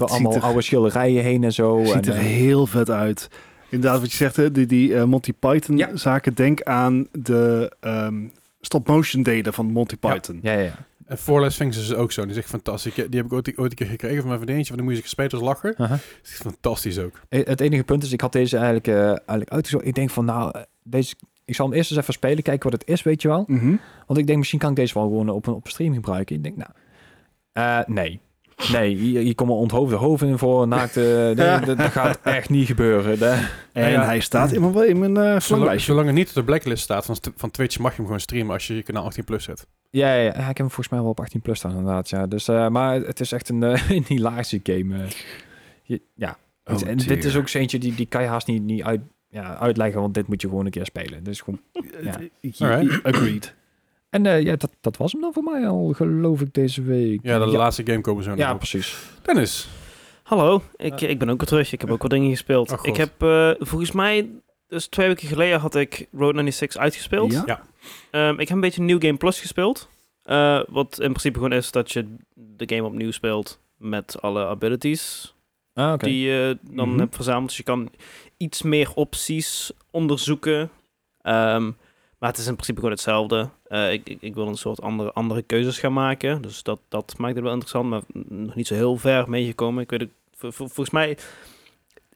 Oh, dit ziet allemaal er, oude schilderijen heen en zo. ziet en, er eh, heel vet uit. Inderdaad, wat je zegt, hè, die, die eh, Monty Python Ja. zaken. Denk aan de ehm, stop-motion delen van Monty Ja. Python. ja, ja, ja. En Forless Sphinx is dus ook zo. Die is echt fantastisch. Ik- Die heb ik ooit, ooit een keer gekregen van mijn vriendinnetje. Van de muziek gespeeld als lachen. Aha. Dat is fantastisch ook. Eh, Het enige punt is, ik had deze eigenlijk, eh eigenlijk uitgezocht. Ik denk van, nou, eh, deze, ik zal hem eerst eens even spelen, kijken wat het is, weet je wel. Mhm. Want ik denk, misschien kan ik deze wel gewoon op een, op een stream gebruiken. Ik denk, nou, eh, nee. Nee, hier, hier komen onthoofde hoofden in [laughs] voor, naakte... nee, dat, dat gaat echt niet gebeuren. Daar- En Ja. hij staat in mijn, in mijn eh, Zolang, verlanglijstje. zolang het niet op de blacklist staat van, st- van Twitch, mag je hem gewoon streamen als je je kanaal 18 plus zet. Ja, ja, ja, ik heb hem volgens mij wel op 18 plus staan, inderdaad. Ja. Dus, eh, maar het is echt een, eh, [laughs] een hilarische game. eh. Je- ja. Oh, en dit is dear. ook zo eentje, die, die kan je haast niet, niet uit, ja, uitleggen, want dit moet je gewoon een keer spelen. Dus gewoon... Eh, ja. Alright. [clears throat] Agreed. En eh, ja, dat, dat was hem dan voor mij al, geloof ik, deze week. Ja, de laatste game komen zo ja naar precies. Dennis. Hallo, ik, ik ben ook weer terug. Ik heb ook wat dingen gespeeld. Eh. Oh, God. ik heb eh, volgens mij, dus twee weken geleden had ik Road 96 uitgespeeld. Ja? Ehm, ik heb een beetje New Game Plus gespeeld. Eh, wat in principe gewoon is dat je de game opnieuw speelt met alle abilities Ah, oké. die je dan Mhm. hebt verzameld. Dus je kan iets meer opties onderzoeken. Ehm, maar het is in principe gewoon hetzelfde. Eh, ik, ik, ik wil een soort andere, andere keuzes gaan maken. Dus dat, dat maakt het wel interessant. Maar nog niet zo heel ver meegekomen. Ik weet het, vol- vol- volgens mij...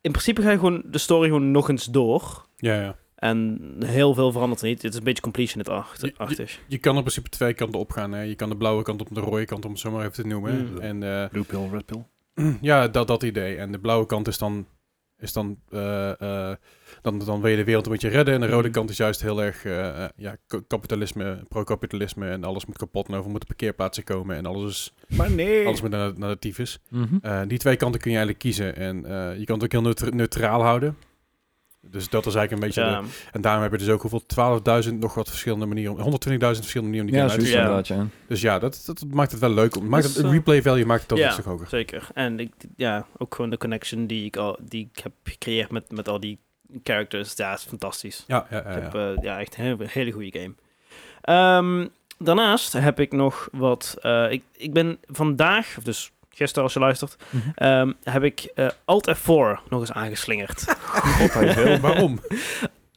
In principe ga je gewoon de story gewoon nog eens door. Ja, ja. En heel veel verandert er niet. Het is een beetje completionist-achtig. Je- Je kan in principe twee kanten opgaan. Hè. Je kan de blauwe kant op en de rode kant, om het zo maar even te noemen. Mm. En eh, Blue pill, red pill. Mm, ja, dat, dat idee. En de blauwe kant is dan... Is dan, eh, eh, dan, dan wil je de wereld een beetje redden. En de rode Mm. kant is juist heel erg eh, eh, ja, k- kapitalisme, pro-kapitalisme. En alles moet kapot en over moeten parkeerplaatsen komen. En alles, is, Maar nee. alles moet naar, de- naar de tyfus. Mhm. Eh, die twee kanten kun je eigenlijk kiezen. En eh, je kan het ook heel neutra- neutraal houden. Dus dat is eigenlijk een beetje... de- Ja, en daarom heb je dus ook hoeveel? 12.000 nog wat verschillende manieren. om- 120.000 verschillende manieren om die Ja, game uit te zoiets Ja. inderdaad, ja. Dus ja, dat, dat maakt het wel leuk. Maakt Dus, het, eh, replay value maakt het dan ja. een stuk hoger. zeker. En ik, ja, ook gewoon de connection die ik, al, die ik heb gecreëerd met, met al die characters. Ja, is fantastisch. Ja, ja, ja. Ik ja. heb eh, ja, echt een hele, hele goede game. Ehm, daarnaast heb ik nog wat. eh, ik, ik ben vandaag, of dus gisteren als je luistert, Mhm. ehm, heb ik eh, Alt F4 nog eens [laughs] aangeslingerd. God, hij is eh, heel- Waarom?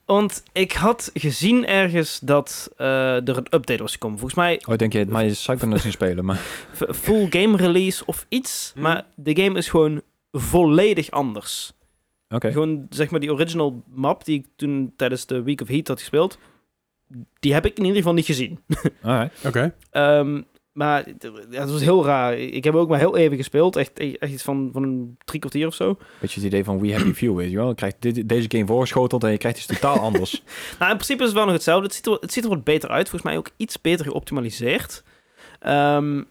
Want ik had gezien ergens dat eh, er een update was gekomen. Volgens mij [laughs] Oh, ik denk je, maar je zou kunnen zien spelen, maar... v- full game release of iets. Hmm. Maar de game is gewoon volledig anders. [laughs] Oké. Gewoon zeg maar die original map die ik toen tijdens de Week of Heat had gespeeld. Die heb ik in ieder geval niet gezien. Alright. Oké. Ehm, maar het- ja, het was heel raar. Ik heb ook maar heel even gespeeld. Echt, e-, echt iets van, van een drie kwartier of zo. Beetje het idee van We Happy Few, weet je wel. Je krijgt dit, deze game voorgeschoteld en je krijgt iets totaal anders. Nou, in principe is het wel nog hetzelfde. Het ziet er, het ziet er wat beter uit. Volgens mij ook iets beter geoptimaliseerd. Ehm,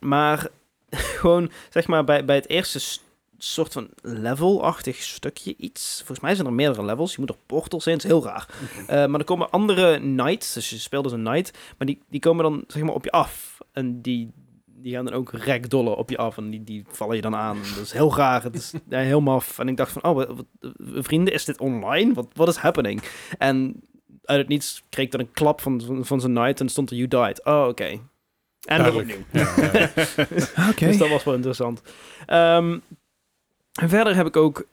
maar [laughs] gewoon, zeg maar, bij, bij het eerste s- soort van levelachtig stukje iets. Volgens mij zijn er meerdere levels. Je moet er portals in. Het is heel raar. Eh, maar er komen andere knights. Dus je speelt als een knight. Maar die, die komen dan, zeg maar, op je af. En die, die gaan dan ook rekdollen op je af. En die, die vallen je dan aan. En Dat is heel raar. Het is ja, heel maf. En ik dacht van, oh, wat- wat- vrienden, is dit online? Wat, wat is happening? En uit het niets kreeg ik dan een klap van, van, van zijn knight. En stond er, you died. Oh, oké. En weer Duidelijk. opnieuw. Ja, ja, ja. [laughs] [laughs] Oké. Dus dat was wel interessant. Ehm, en verder heb ik ook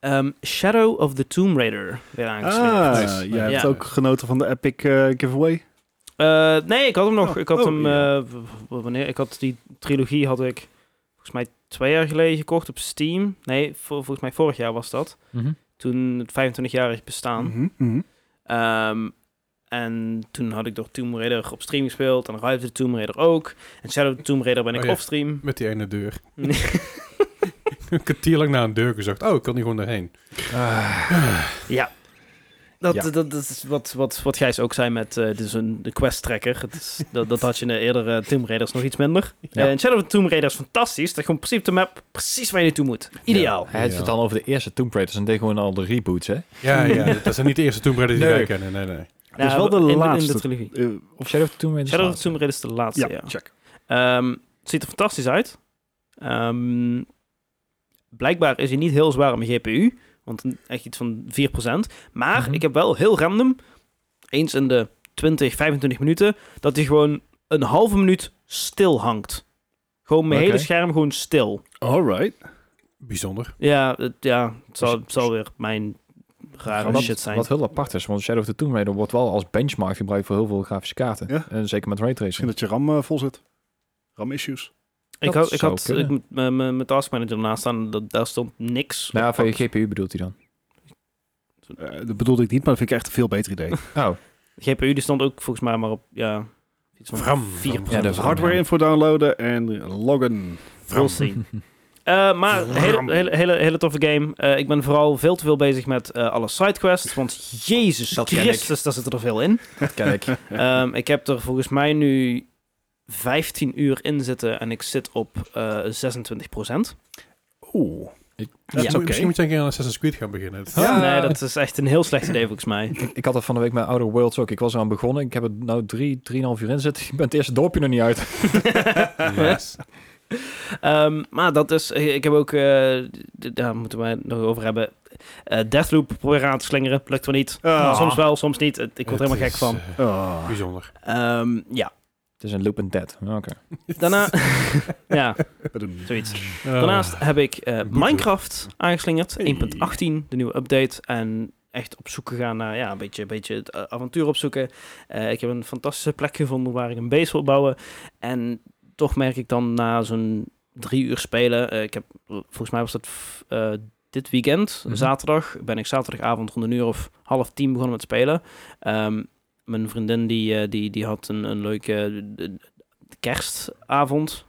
ehm, Shadow of the Tomb Raider weer aangesmeerd. Ah, Nice. jij hebt Ja. ook genoten van de Epic eh, giveaway. Eh, nee, ik had hem nog. Oh, ik had oh, hem. ja. eh, w- w- wanneer? Ik had die trilogie had ik volgens mij twee jaar geleden gekocht op Steam. Nee, vo- volgens mij vorig jaar was dat. Mhm. Toen het 25-jarig bestaan. Mhm, mhm. Ehm, en toen had ik door Tomb Raider op stream gespeeld. En Rise of the Tomb Raider ook. En Shadow of the Tomb Raider ben ik Oh, ja. off stream. [laughs] Met die ene deur. [laughs] een kwartier lang naar een deur gezocht. Oh, ik kan hier gewoon doorheen. Ah, Dat, Ja. dat, dat is wat, wat, wat Gijs ook zei met eh, dit is een, de quest-tracker. Het is- [laughs] dat, dat had je in de eerdere Tomb Raiders nog iets minder. Eh, Ja. en Shadow of the Tomb Raider is fantastisch. Dat je gewoon precies op de map precies waar je naartoe moet. Ideaal. Hij heeft het Ja. dan over de eerste Tomb Raiders en deed gewoon al de reboots, hè? Ja, [laughs] ja. dat zijn niet de eerste Tomb Raider die Nee. wij kennen. Nee, nee. Dat is wel de in- in laatste. trilogie. Eh, Of Shadow of the Tomb Raider? Shadow of is the laatste. Tomb Raider is de laatste, ja, ja. check. Ehm, het ziet er fantastisch uit. Ehm, blijkbaar is hij niet heel zwaar op mijn GPU. Want een- echt iets van 4%. Maar Mhm. ik heb wel heel random, eens in de 20, 25 minuten, dat hij gewoon een halve minuut stil hangt. Gewoon mijn Oké. hele scherm gewoon stil. Alright. Bijzonder. Ja, het, ja, het zal, het zal weer mijn rare Dus- wat, shit zijn. Wat heel apart is, want Shadow of the Tomb Raider wordt wel als benchmark gebruikt voor heel veel grafische kaarten. Ja. En zeker met raytracing. Misschien dat je RAM eh, vol zit. RAM-issues. ik dat had, ik zou had kunnen. ik, moet- mijn- mijn mijn taskmanager ernaast staan, dat, daar stond niks. Nou, op. van je GPU bedoelt hij dan? Eh, dat bedoelde ik niet, maar dat vind ik echt een veel beter [laughs] idee. Oh, De GPU die stond ook volgens mij maar op, ja, iets van Vram. 4 Vram. Ja, dat is Vram. Dus Hardware info downloaden en loggen. We'll see. Eh, maar hele, hele, hele, hele toffe game. Eh, ik ben vooral veel te veel bezig met eh, alle sidequests. Want Jezus Dat ken ik. Christus, daar zit er veel in. dat ken ik. [laughs] Ehm, ik heb er volgens mij nu 15 uur in zitten en ik zit op eh 26 Oeh. Ja, Dat is moet- oké. Misschien moet je een keer aan Assassin's Creed gaan [laughs] beginnen. Ja. Nee, dat is echt een heel slecht idee volgens mij. Ik- Ik had dat van de week met Outer Worlds ook. Ik was eraan begonnen. Ik heb het nou drie, drieënhalf uur in zitten. [laughs] Ik ben het eerste dorpje nog niet uit. [laughs] Nice. Ehm, maar dat is, ik heb ook, eh, d- daar moeten we het nog over hebben. Eh Deathloop proberen aan te slingeren, lukt wel niet. Ah. Soms wel, soms niet. Het- Ik word er Het helemaal gek is, van. eh, Ah. bijzonder. Ehm, ja, Het is een loop and dead. Oké. [laughs] daarna, [laughs] ja, Oh. Badum. zoiets. Eh, Daarnaast heb ik eh, boete. Minecraft aangeslingerd, Hey. 1.18, de nieuwe update. En echt op zoek gegaan naar ja, een beetje, een beetje het eh, avontuur opzoeken. Eh, ik heb een fantastische plek gevonden waar ik een base wil bouwen. En toch merk ik dan na zo'n drie uur spelen, eh, ik heb, volgens mij was dat f- eh, dit weekend, Mhm. zaterdag, ben ik zaterdagavond rond een uur of half tien begonnen met spelen. Ehm, mijn vriendin die, eh, die, die had een, een leuke eh, kerstavond.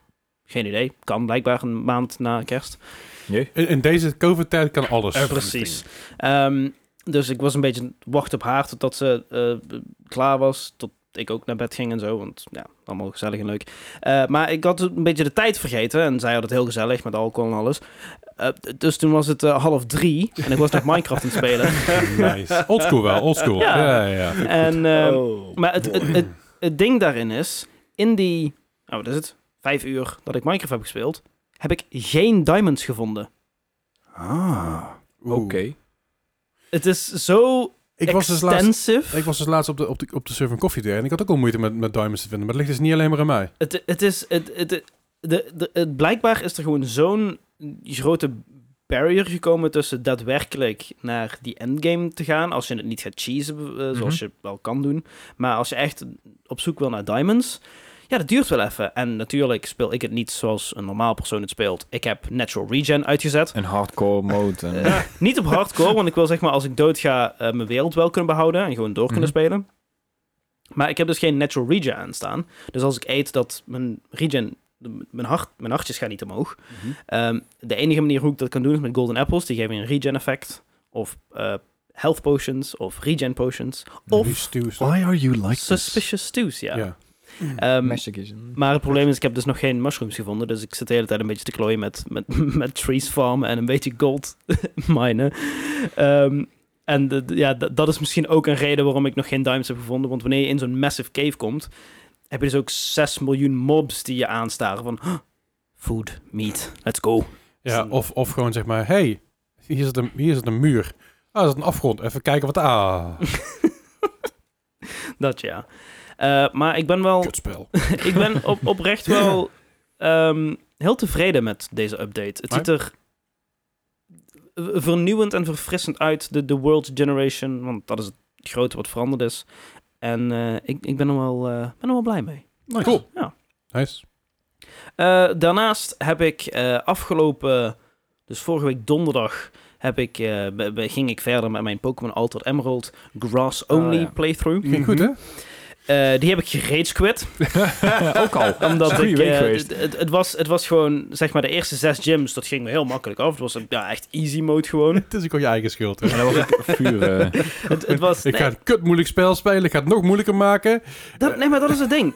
Geen idee. Kan blijkbaar een maand na kerst. Jee. In, in deze COVID-tijd kan alles. Eh, Precies. Ehm, dus ik was een beetje wacht op haar totdat ze eh, klaar was. Tot ik ook naar bed ging en zo. Want ja, allemaal gezellig en leuk. Eh, maar ik had een beetje de tijd vergeten. En zij had het heel gezellig met alcohol en alles. Eh, d- dus toen was het eh, half drie. En ik was nog Minecraft aan het spelen. [laughs] Nice. Oldschool wel, oldschool. Ja. Ja, ja, ja. En, ehm, Oh. Maar het, het, het, het ding daarin is, in die, oh, wat is het, vijf uur dat ik Minecraft heb gespeeld, heb ik geen diamonds gevonden. Ah. Oeh. Het is zo Ik was dus laatst... extensive. Ik was dus laatst op de, op de, op de server van Coffee Day en ik had ook al moeite met, met diamonds te vinden. Maar het ligt dus niet alleen maar aan mij. Het, het is, het, het, de, de- het- blijkbaar is er gewoon zo'n grote barrier gekomen tussen daadwerkelijk naar die endgame te gaan, als je het niet gaat cheesen, eh, zoals Mhm. je wel kan doen. Maar als je echt op zoek wil naar diamonds, ja, dat duurt wel even. En natuurlijk speel ik het niet zoals een normaal persoon het speelt. Ik heb natural regen uitgezet. En hardcore mode. En, Eh, niet op hardcore, want ik wil zeg maar als ik dood ga eh, mijn wereld wel kunnen behouden en gewoon door kunnen Mhm. spelen. Maar ik heb dus geen natural regen aan staan. Dus als ik eet, dat mijn regen, de- mijn, hart, mijn hartjes gaan niet omhoog. Mhm. Ehm, de enige manier hoe ik dat kan doen is met golden apples. Die geven je een regen effect. Of eh, health potions, of regen potions. Of Die stew is- Why are you like this? suspicious stews, ja. Oh, ja. [laughs] Ehm, Magic [laughs] is een- maar het probleem is, ik heb dus nog geen mushrooms gevonden. Dus ik zit de hele tijd een beetje te klooien met, met, [laughs] met trees farmen en een beetje gold [laughs] minen. Ehm, en de- de- ja, d- dat is misschien ook een reden waarom ik nog geen diamonds heb gevonden. Want wanneer je in zo'n massive cave komt, heb je dus ook 6 miljoen mobs die je aanstaren. Van, "Huh, food, meat, let's go. [laughs] ja of, of gewoon zeg maar, hey, hier zit een, hier zit een muur. Ah, dat is een afgrond. Even kijken wat... Ah, Dat ja. Eh, maar ik ben wel, kutspel. ik ben op, [laughs] oprecht wel ehm, heel tevreden met deze update. Het Maar? ziet er v- vernieuwend en verfrissend uit. De, de World Generation, want dat is het grote wat veranderd is. En eh, ik, ik ben, er wel, eh, ben er wel blij mee. Nice. Cool. Ja. Nice. Eh, daarnaast heb ik eh, afgelopen, dus vorige week donderdag, heb ik, eh, be- be- ging ik verder met mijn Pokémon Altered Emerald Grass Only Ah, ja. playthrough. Ging [laughs] goed, hè? Eh, die heb ik gerage quit. ook al. Omdat Goeie ik, week eh, geweest. d- het, het, was, het was gewoon, zeg maar, de eerste zes gyms, dat ging me heel makkelijk af. Het was een- ja, echt easy mode [laughs] gewoon. Het is ook al je eigen schuld, hè? En dan was ik vuur. eh, het, het was, Ik nee, ga een kut moeilijk spel spelen. Ik ga het nog moeilijker maken. dat, nee, maar dat is het ding.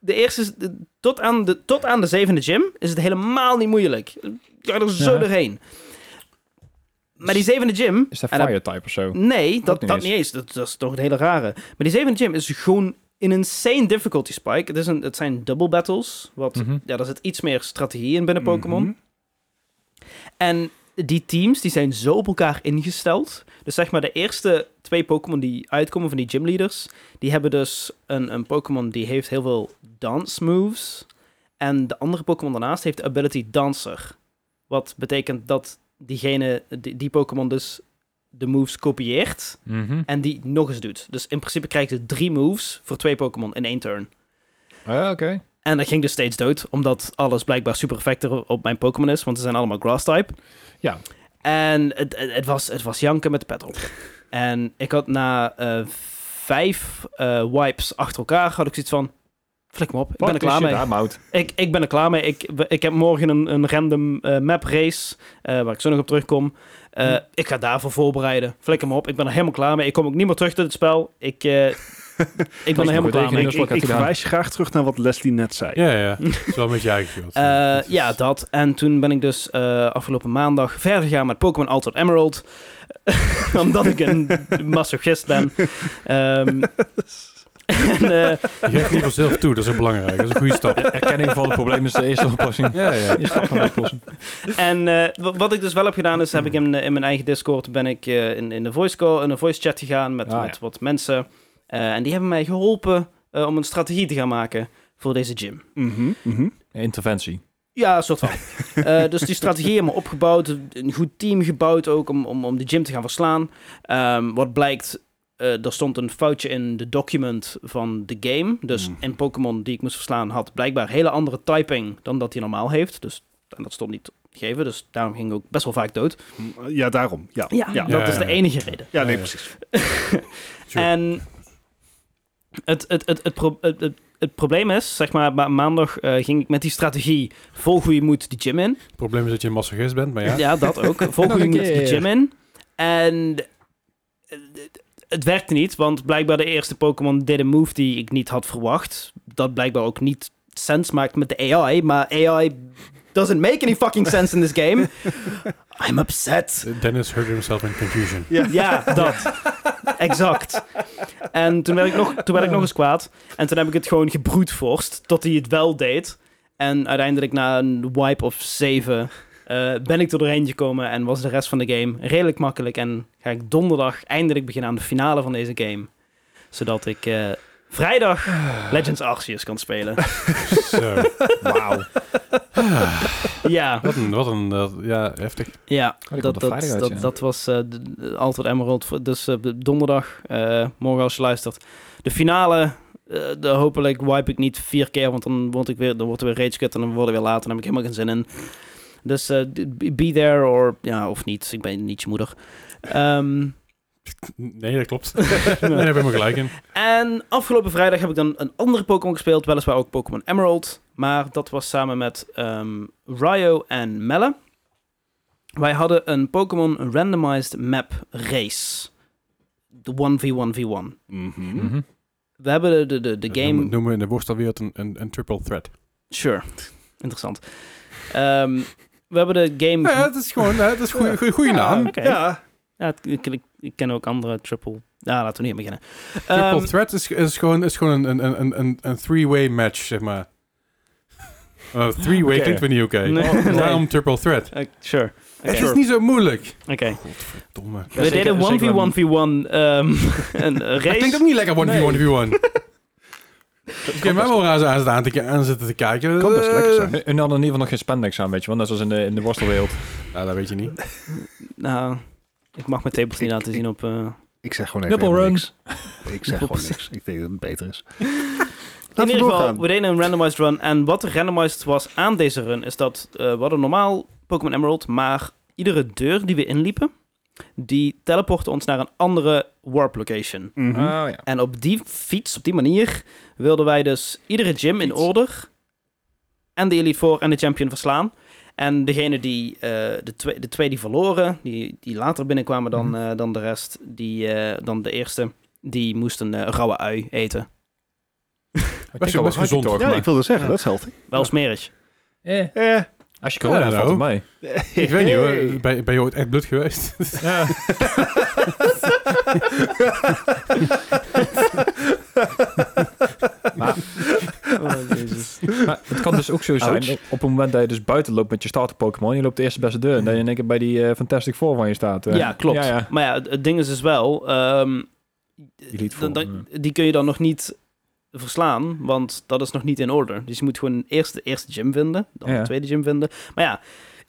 De eerste, de- tot aan de, tot aan de zevende gym is het helemaal niet moeilijk. Ik ga er zo Ja. doorheen. Maar die zevende gym... is dat en dat- fire type of zo? Nee, dat, niet dat eens. niet eens. Dat, dat is toch een hele rare. Maar die zevende gym is gewoon een insane difficulty spike. Het, is een, het zijn double battles. Wat, Mhm. Mhm. ja, daar zit iets meer strategie in binnen Pokémon. En die teams die zijn zo op elkaar ingesteld. Dus zeg maar de eerste twee Pokémon die uitkomen van die gymleaders, die hebben dus een, een Pokémon die heeft heel veel dance moves. En de andere Pokémon daarnaast heeft de ability Dancer. Wat betekent dat diegene, die, die Pokémon dus de moves kopieert mhm. en die nog eens doet. Dus in principe krijg je drie moves voor twee Pokémon in één turn. Ah, Oké. En dat ging dus steeds dood, omdat alles blijkbaar super effecter op mijn Pokémon is, want ze zijn allemaal Grass-type. Ja. En het, het, het was, het was janken met de pet op. en ik had na eh, vijf eh, wipes achter elkaar, had ik zoiets van, flik me op, ik ben er klaar mee. Ik, ik ben er klaar mee. Ik, we- ik heb morgen een, een random eh, map race, eh, waar ik zo nog op terugkom. Eh, Hm. Ik ga daarvoor voorbereiden. Flik hem op. Ik ben er helemaal klaar mee. Ik kom ook niet meer terug tot het spel. Ik, [laughs] eh, ik ben er helemaal goed klaar mee. Ik, tekening. dat is ik, wat ik ik had gedaan. verwijs je graag terug naar wat Leslie net zei. Ja, [laughs] ja. Het is wel met je eigen schuld. Eh, Dat is- ja, dat. En toen ben ik dus eh, afgelopen maandag verder gegaan met Pokémon Altered Emerald. [laughs] Omdat ik een masochist ben. Ehm, en, eh, Je geeft niet vanzelf toe, dat is ook belangrijk. Dat is een goede stap. Erkenning van het probleem is de eerste [laughs] oplossing. Ja, ja. Eerste stap van de oplossing. En eh, wa- wat ik dus wel heb gedaan, is heb ik in, in mijn eigen Discord ben ik eh, in, in de voice call, in de voice chat gegaan met, Ah, ja. met wat mensen. Eh, en die hebben mij geholpen eh, om een strategie te gaan maken voor deze gym. Mhm, mhm. Interventie. Ja, een soort van. [laughs] Eh, dus die strategie hebben we opgebouwd. Een goed team gebouwd ook om, om, om de gym te gaan verslaan. Ehm, wat blijkt, eh, er stond een foutje in de document van de game. Dus Hmm. een Pokémon die ik moest verslaan had blijkbaar hele andere typing dan dat hij normaal heeft. Dus en dat stond niet gegeven. Dus daarom ging ik ook best wel vaak dood. Mhm. Ja, daarom. Ja, Ja, ja. dat Ja, is ja, de ja. enige reden. Ja, nee, Ja, ja. precies. [laughs] Sure. En het, het, het, het, pro- het, het, het probleem is, zeg maar, ma- maandag eh, ging ik met die strategie vol goede moed de gym in. Het probleem is dat je een massagist bent, maar Ja, ja. dat [laughs] ook. Vol goede Nog moed een de keer. gym in. En eh, het- het werkte niet, want blijkbaar de eerste Pokémon deed een move die ik niet had verwacht. Dat blijkbaar ook niet sens maakt met de AI, maar AI doesn't make any fucking sense in this [laughs] game. I'm upset. Dennis hurt himself in [laughs] confusion. Ja, dat. exact. En toen werd, ik nog, toen werd ik nog eens kwaad. En toen heb ik het gewoon gebroedvorst tot hij het wel deed. En uiteindelijk na een wipe of zeven eh, ben ik er doorheen gekomen en was de rest van de game redelijk makkelijk. En ga ik donderdag eindelijk beginnen aan de finale van deze game. Zodat ik eh, vrijdag Legends Arceus kan spelen. Zo. Wauw. ja, Wat een, wat een eh, ja, heftig. ja. Oh, komt Dat, op dat, vrijdag uit, dat, ja. dat was eh, de- de- altijd Emerald. voor- Dus eh, de- donderdag, eh, morgen als je luistert. De finale, eh, de, hopelijk wipe ik niet vier keer, want dan, word ik weer, dan wordt er weer rage cut en dan worden we weer later. Dan heb ik helemaal geen zin in. Dus eh, d- be there or, ja, of niet. Ik ben niet je moeder. Ehm, Nee, dat [laughs] klopt. nee, daar heb je me gelijk in. en afgelopen vrijdag heb ik dan een andere Pokémon gespeeld. Weliswaar ook Pokémon Emerald. Maar dat was samen met ehm Ryo en Melle. Wij hadden een Pokémon Randomized Map Race. De 1v1v1. Mhm. We hebben de, de, de, de game... Noemen, noemen in de worstelwereld een, een, een triple threat. Sure. Interessant. Ehm, we hebben de game... Ja, het is gewoon eh, het is goede goede goede naam. Oké. Ja, Ja, het- ik, ik, ik ken ook andere triple... Ja, laten we niet aan beginnen. Triple Ehm, threat is, is gewoon, is gewoon een, een, een, een, een three-way match, zeg maar. Oh, three-way Oké. klinkt weer niet oké. Nee. Oh, Nee. Daarom triple threat. eh, sure. Oké. Het is niet zo moeilijk. Oké. Godverdomme. We zeker- deden zeker wel- 1v1v1 ehm [laughs] een eh, Dat klinkt race. ook niet lekker 1v1v1. Ik kan mij wel raar aan zitten aan te- aan zitten te kijken. Eh, Kan best lekker zijn. Mhm. En dan in ieder geval nog geen spandex aan, weet je. Want dat is als in de, in de worstelwereld. Nou, dat weet je niet. Nou, ik mag mijn tables niet laten zien op... eh, ik zeg gewoon even Nipple helemaal runs. niks. Ik zeg gewoon niks. Ik denk dat het beter is. In Laten we ieder geval, doorgaan. we deden een randomized run. En wat er randomized was aan deze run, is dat eh, we hadden normaal Pokémon Emerald, maar iedere deur die we inliepen, die teleportte ons naar een andere warp location. Mhm. Ah, ja. En op die fiets, op die manier, wilden wij dus iedere gym in order en de Elite Four en de Champion verslaan. En degene die, eh, de, twee, de twee die verloren, die, die later binnenkwamen dan, eh, dan de rest, die, eh, dan de eerste, die moest een eh, rauwe ui eten. best gezond. toch? ja, maar- ik wilde zeggen, Ja. dat is healthy. Wel smerig. Eh, Eh. Als je corona hebt, valt het mee. Ik weet niet hoor. Ben, ben je ooit echt bloed geweest? [laughs] Ja. [laughs] maar, Maar het kan dus ook zo zijn, dat op het moment dat je dus buiten loopt met je starter Pokémon, je loopt de eerste beste deur en dat je in één keer bij die eh, Fantastic Four van je staat. eh. ja, klopt. Ja, ja. [laughs] Maar ja, het, het ding is dus wel... ehm, Elite dan- Four, dan- die kun je dan nog niet verslaan, want dat is nog niet in orde. Dus je moet gewoon eerst de eerste gym vinden, dan Ja. de tweede gym vinden. Maar ja,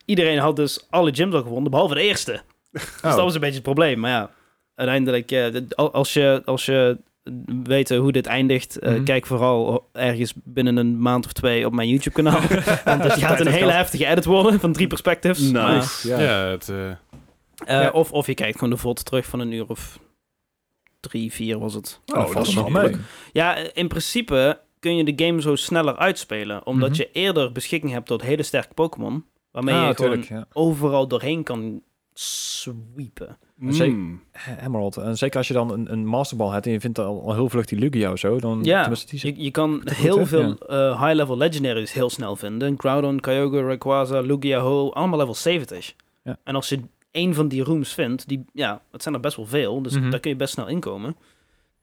iedereen had dus alle gyms al gewonnen, behalve de eerste. [laughs] Dus Oh. dat was een beetje het probleem. Maar ja, uiteindelijk, eh, dit- al- als, je, als je weet hoe dit eindigt, eh, Mhm. kijk vooral ergens binnen een maand of twee op mijn Nou, YouTube-kanaal. [laughs] want het gaat een dat hele kan. heftige edit worden van drie perspectives. Nice. Maar, Ja. Ja, het, eh, eh, Ja. of, of je kijkt gewoon de vod terug van een uur of drie, vier was het. Oh, dat valt nog wel mee. Ja, in principe kun je de game zo sneller uitspelen. Omdat Mhm. je eerder beschikking hebt tot hele sterke Pokémon. Waarmee Ah, je gewoon tuurlijk, ja. overal doorheen kan sweepen. Zeker. Mm. Emerald. En zeker als je dan een, een masterbal hebt en je vindt al, al heel vlug die Lugia of zo, dan... Ja, tenminste, die zit- Je, je kan goed, heel hè? veel Ja. eh, high-level legendaries heel snel vinden. Groudon, Kyogre, Rayquaza, Lugia, Ho, allemaal level 70. Ja. En als je één van die rooms vindt, die, ja, het zijn er best wel veel, dus Mhm. daar kun je best snel inkomen.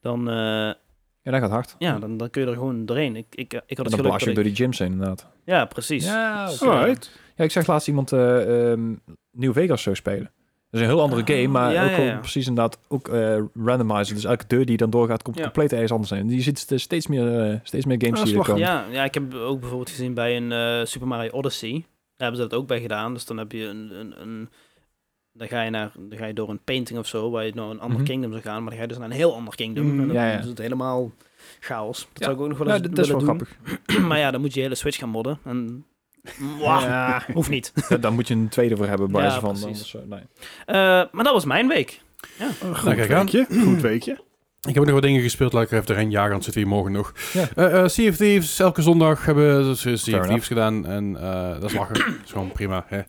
Dan, eh, ja, dat gaat hard. ja, dan, dan kun je er gewoon doorheen. Ik, ik, ik had Hmm. het En dan geluk blaas dat je ook ik... door die gyms heen, inderdaad. Ja, precies. Ja, oké. Alright. Ja, ik zag laatst iemand eh ehm New Vegas zo spelen. Dat is een heel andere Ah, game, maar ja, ook ja, gewoon ja. precies inderdaad ook eh randomizer. Dus elke deur die dan doorgaat, komt Ja. compleet ergens anders heen. Je ziet st- steeds meer, eh, steeds meer games Ah, die er slag. komen. Ja, ja, ik heb ook bijvoorbeeld gezien bij een eh, Super Mario Odyssey. Daar hebben ze dat ook bij gedaan. Dus dan heb je een. een, een dan ga, je naar, dan ga je door een painting of zo, waar je naar een ander Mhm. kingdom zou gaan, maar dan ga je dus naar een heel ander kingdom. Mm, en dan ja, ja. is het helemaal chaos. Dat Ja. zou ik ook nog wel Ja, eens dat dat is willen wel doen. [clears throat] grappig. maar ja, dan moet je je hele Switch gaan modden. En... Mwah, Ja. Hoeft niet. Ja, Daar moet je een tweede voor hebben, bij Ja, wijze van. precies. Anders, eh, nee. Eh, maar dat was mijn week. Goed Nou, kijk aan. weekje. Goed weekje. Ik heb ook nog wat dingen gespeeld, laat ik er even doorheen jagen, anders zitten we hier morgen nog. Ja. Eh eh, sea of Thieves, elke zondag hebben we dus, eh, Sea of enough. Thieves gedaan en eh, dat is [clears throat] lachen. dat is gewoon prima, hè.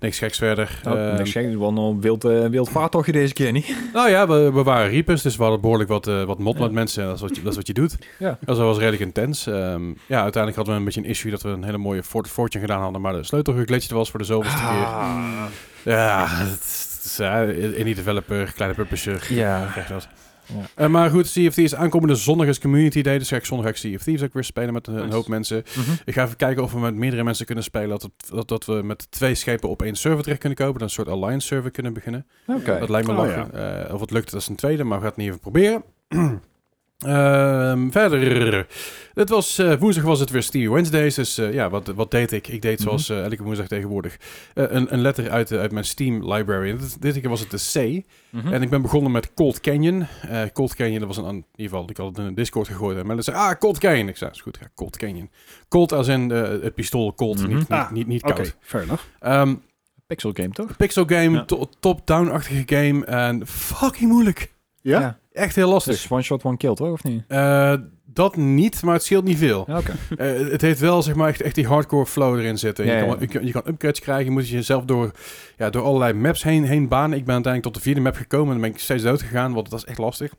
Niks geks verder. Nou, Ehm, niks gek, het is wel een wild, eh, wild vaartochtje deze keer, niet? nou ja, we, we waren reapers, dus we hadden behoorlijk wat, eh, wat mod Ja. met mensen. Dat is wat je, dat is wat je doet. Ja. Dat was redelijk intens. Ehm, ja, uiteindelijk hadden we een beetje een issue dat we een hele mooie Fort Fortune gedaan hadden, maar de sleutel geglitcht was voor de zoveelste keer. Ah, Ja, het is, eh, indie developer, kleine publisher, ja. Krijg je dat. Ja. Eh, maar goed, Sea of Thieves. Aankomende zondag is Community Day. Dus ga ik zondag ga ik Sea of Thieves ook weer spelen met een, een Nice. hoop mensen. Mhm. Ik ga even kijken of we met meerdere mensen kunnen spelen. Dat, het- dat, dat we met twee schepen op één server terecht kunnen komen. Dan een soort alliance server kunnen beginnen. Oké. Dat lijkt me Oh, lachen. Eh, of het lukt, dat is een tweede. Maar we gaan het niet even proberen. [clears throat] Ehm, verder. Het was, eh, woensdag was het weer Stevie Wednesdays. Dus eh, ja, wat, wat deed ik? Ik deed zoals Mhm. eh, elke woensdag tegenwoordig. eh, een, een letter uit, eh, uit mijn Steam library. Dit, dit keer was het de C. Mhm. En ik ben begonnen met Cold Canyon. Eh, Cold Canyon, dat was een, in ieder geval, ik had het in een Discord gegooid. En mensen zei, ah, Cold Canyon. Ik zei, is goed, ja, Cold Canyon. Cold als in eh, het pistool, cold, Mhm. niet, niet, Ah, niet, niet Oké, koud. fair enough. Ehm, Pixel game, toch? pixel game, Ja. to- top-down-achtige game. En fucking moeilijk. Ja? Echt heel lastig. Dus one shot, one kill, toch? Of niet? Eh, dat niet, maar het scheelt niet veel. Ja, Oké. Eh, het heeft wel zeg maar echt, echt die hardcore flow erin zitten. Ja, je, kan, ja. wel- je kan- je kan upgrades krijgen, je moet dus jezelf door, ja, door allerlei maps heen, heen banen. Ik ben uiteindelijk tot de vierde map gekomen en dan ben ik steeds dood gegaan, want dat is echt lastig.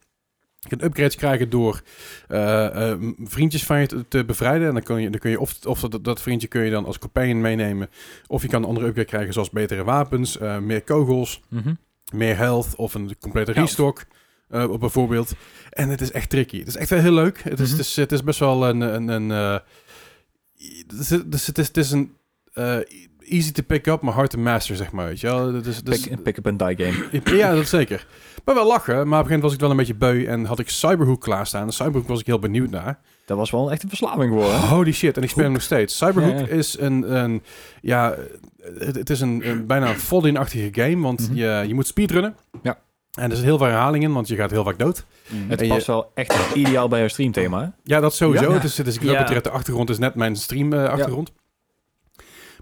Je kunt upgrades krijgen door eh, eh, vriendjes van je te, te bevrijden. En dan kun je, dan kun je of, of dat, dat vriendje kun je dan als companion meenemen. Of je kan een andere upgrade krijgen, zoals betere wapens, eh, meer kogels, Mhm. meer health of een complete Ja. restock. eh, bijvoorbeeld. En het is echt tricky. Het is echt wel heel leuk. Het is, Mhm. het is, het is best wel een. een, een eh, dus het dus het is, het is een. eh, easy to pick up, maar hard to master, zeg maar. Weet je wel? Het is, het is- Pick- Pick-up and die game. ja, dat zeker. Maar wel lachen. Maar op een gegeven moment was ik wel een beetje beu en had ik Cyberhook klaarstaan. En Cyberhook was ik heel benieuwd naar. Dat was wel echt een verslaving geworden. [laughs] hè? Holy shit, en ik speel hem nog steeds. Cyberhook Ja, ja. is een, een ja, het, het is een, een bijna een Fallout-achtige game, want Mhm. je, je moet speedrunnen. Ja. En er zit heel veel herhaling in, want je gaat heel vaak dood. Het En je- past wel echt ideaal bij jouw streamthema. hè? Ja, dat sowieso. Ja. Het is, het is, ik Ja. de achtergrond is net mijn stream-achtergrond.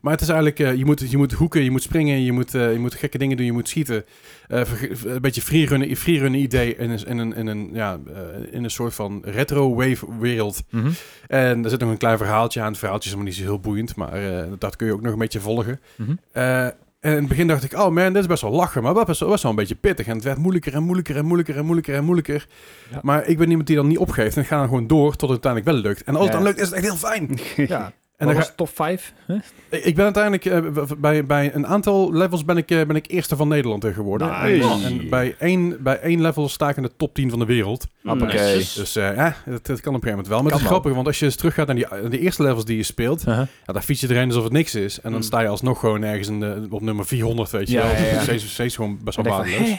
Maar het is eigenlijk, eh, je, moet, je moet hoeken, je moet springen, je moet, eh, je moet gekke dingen doen, je moet schieten. Eh, verge- een beetje freerunnen, freerunnen idee in een, in, een, in, een, ja, eh, in een soort van retro-wave-wereld. [laughs] Mhm. En er zit nog een klein verhaaltje aan. Het verhaaltje is helemaal niet zo heel boeiend, maar eh, dat kun je ook nog een beetje volgen. Mhm. Eh, en in het begin dacht ik, oh man, dit is best wel lachen, maar dat was, was wel een beetje pittig. En het werd moeilijker en moeilijker en moeilijker en moeilijker en moeilijker. Ja. Maar ik ben iemand die dan niet opgeeft en ik ga dan gewoon door tot het uiteindelijk wel lukt. En als het Ja. [laughs] dan lukt, is het echt heel fijn. Ja. En dan dan ga- was het top 5. [laughs] Ik ik ben uiteindelijk eh, w- w- bij, bij een aantal levels ben ik, eh, ben ik eerste van Nederland eh, geworden. Nice. En bij één, bij één level sta ik in de top 10 van de wereld. Hoppakee. Netjes. Dus eh, ja, dat, dat kan op een gegeven moment wel. Maar Kan het is wel. grappig, want als je eens teruggaat naar die, naar die eerste levels die je speelt, ja, daar fiets je erin alsof het niks is. En dan Mm. sta je alsnog gewoon ergens in de, op nummer 400, weet je Ja, wel. ja, Dus [laughs] ja. Steeds, steeds gewoon best wel waardeloos.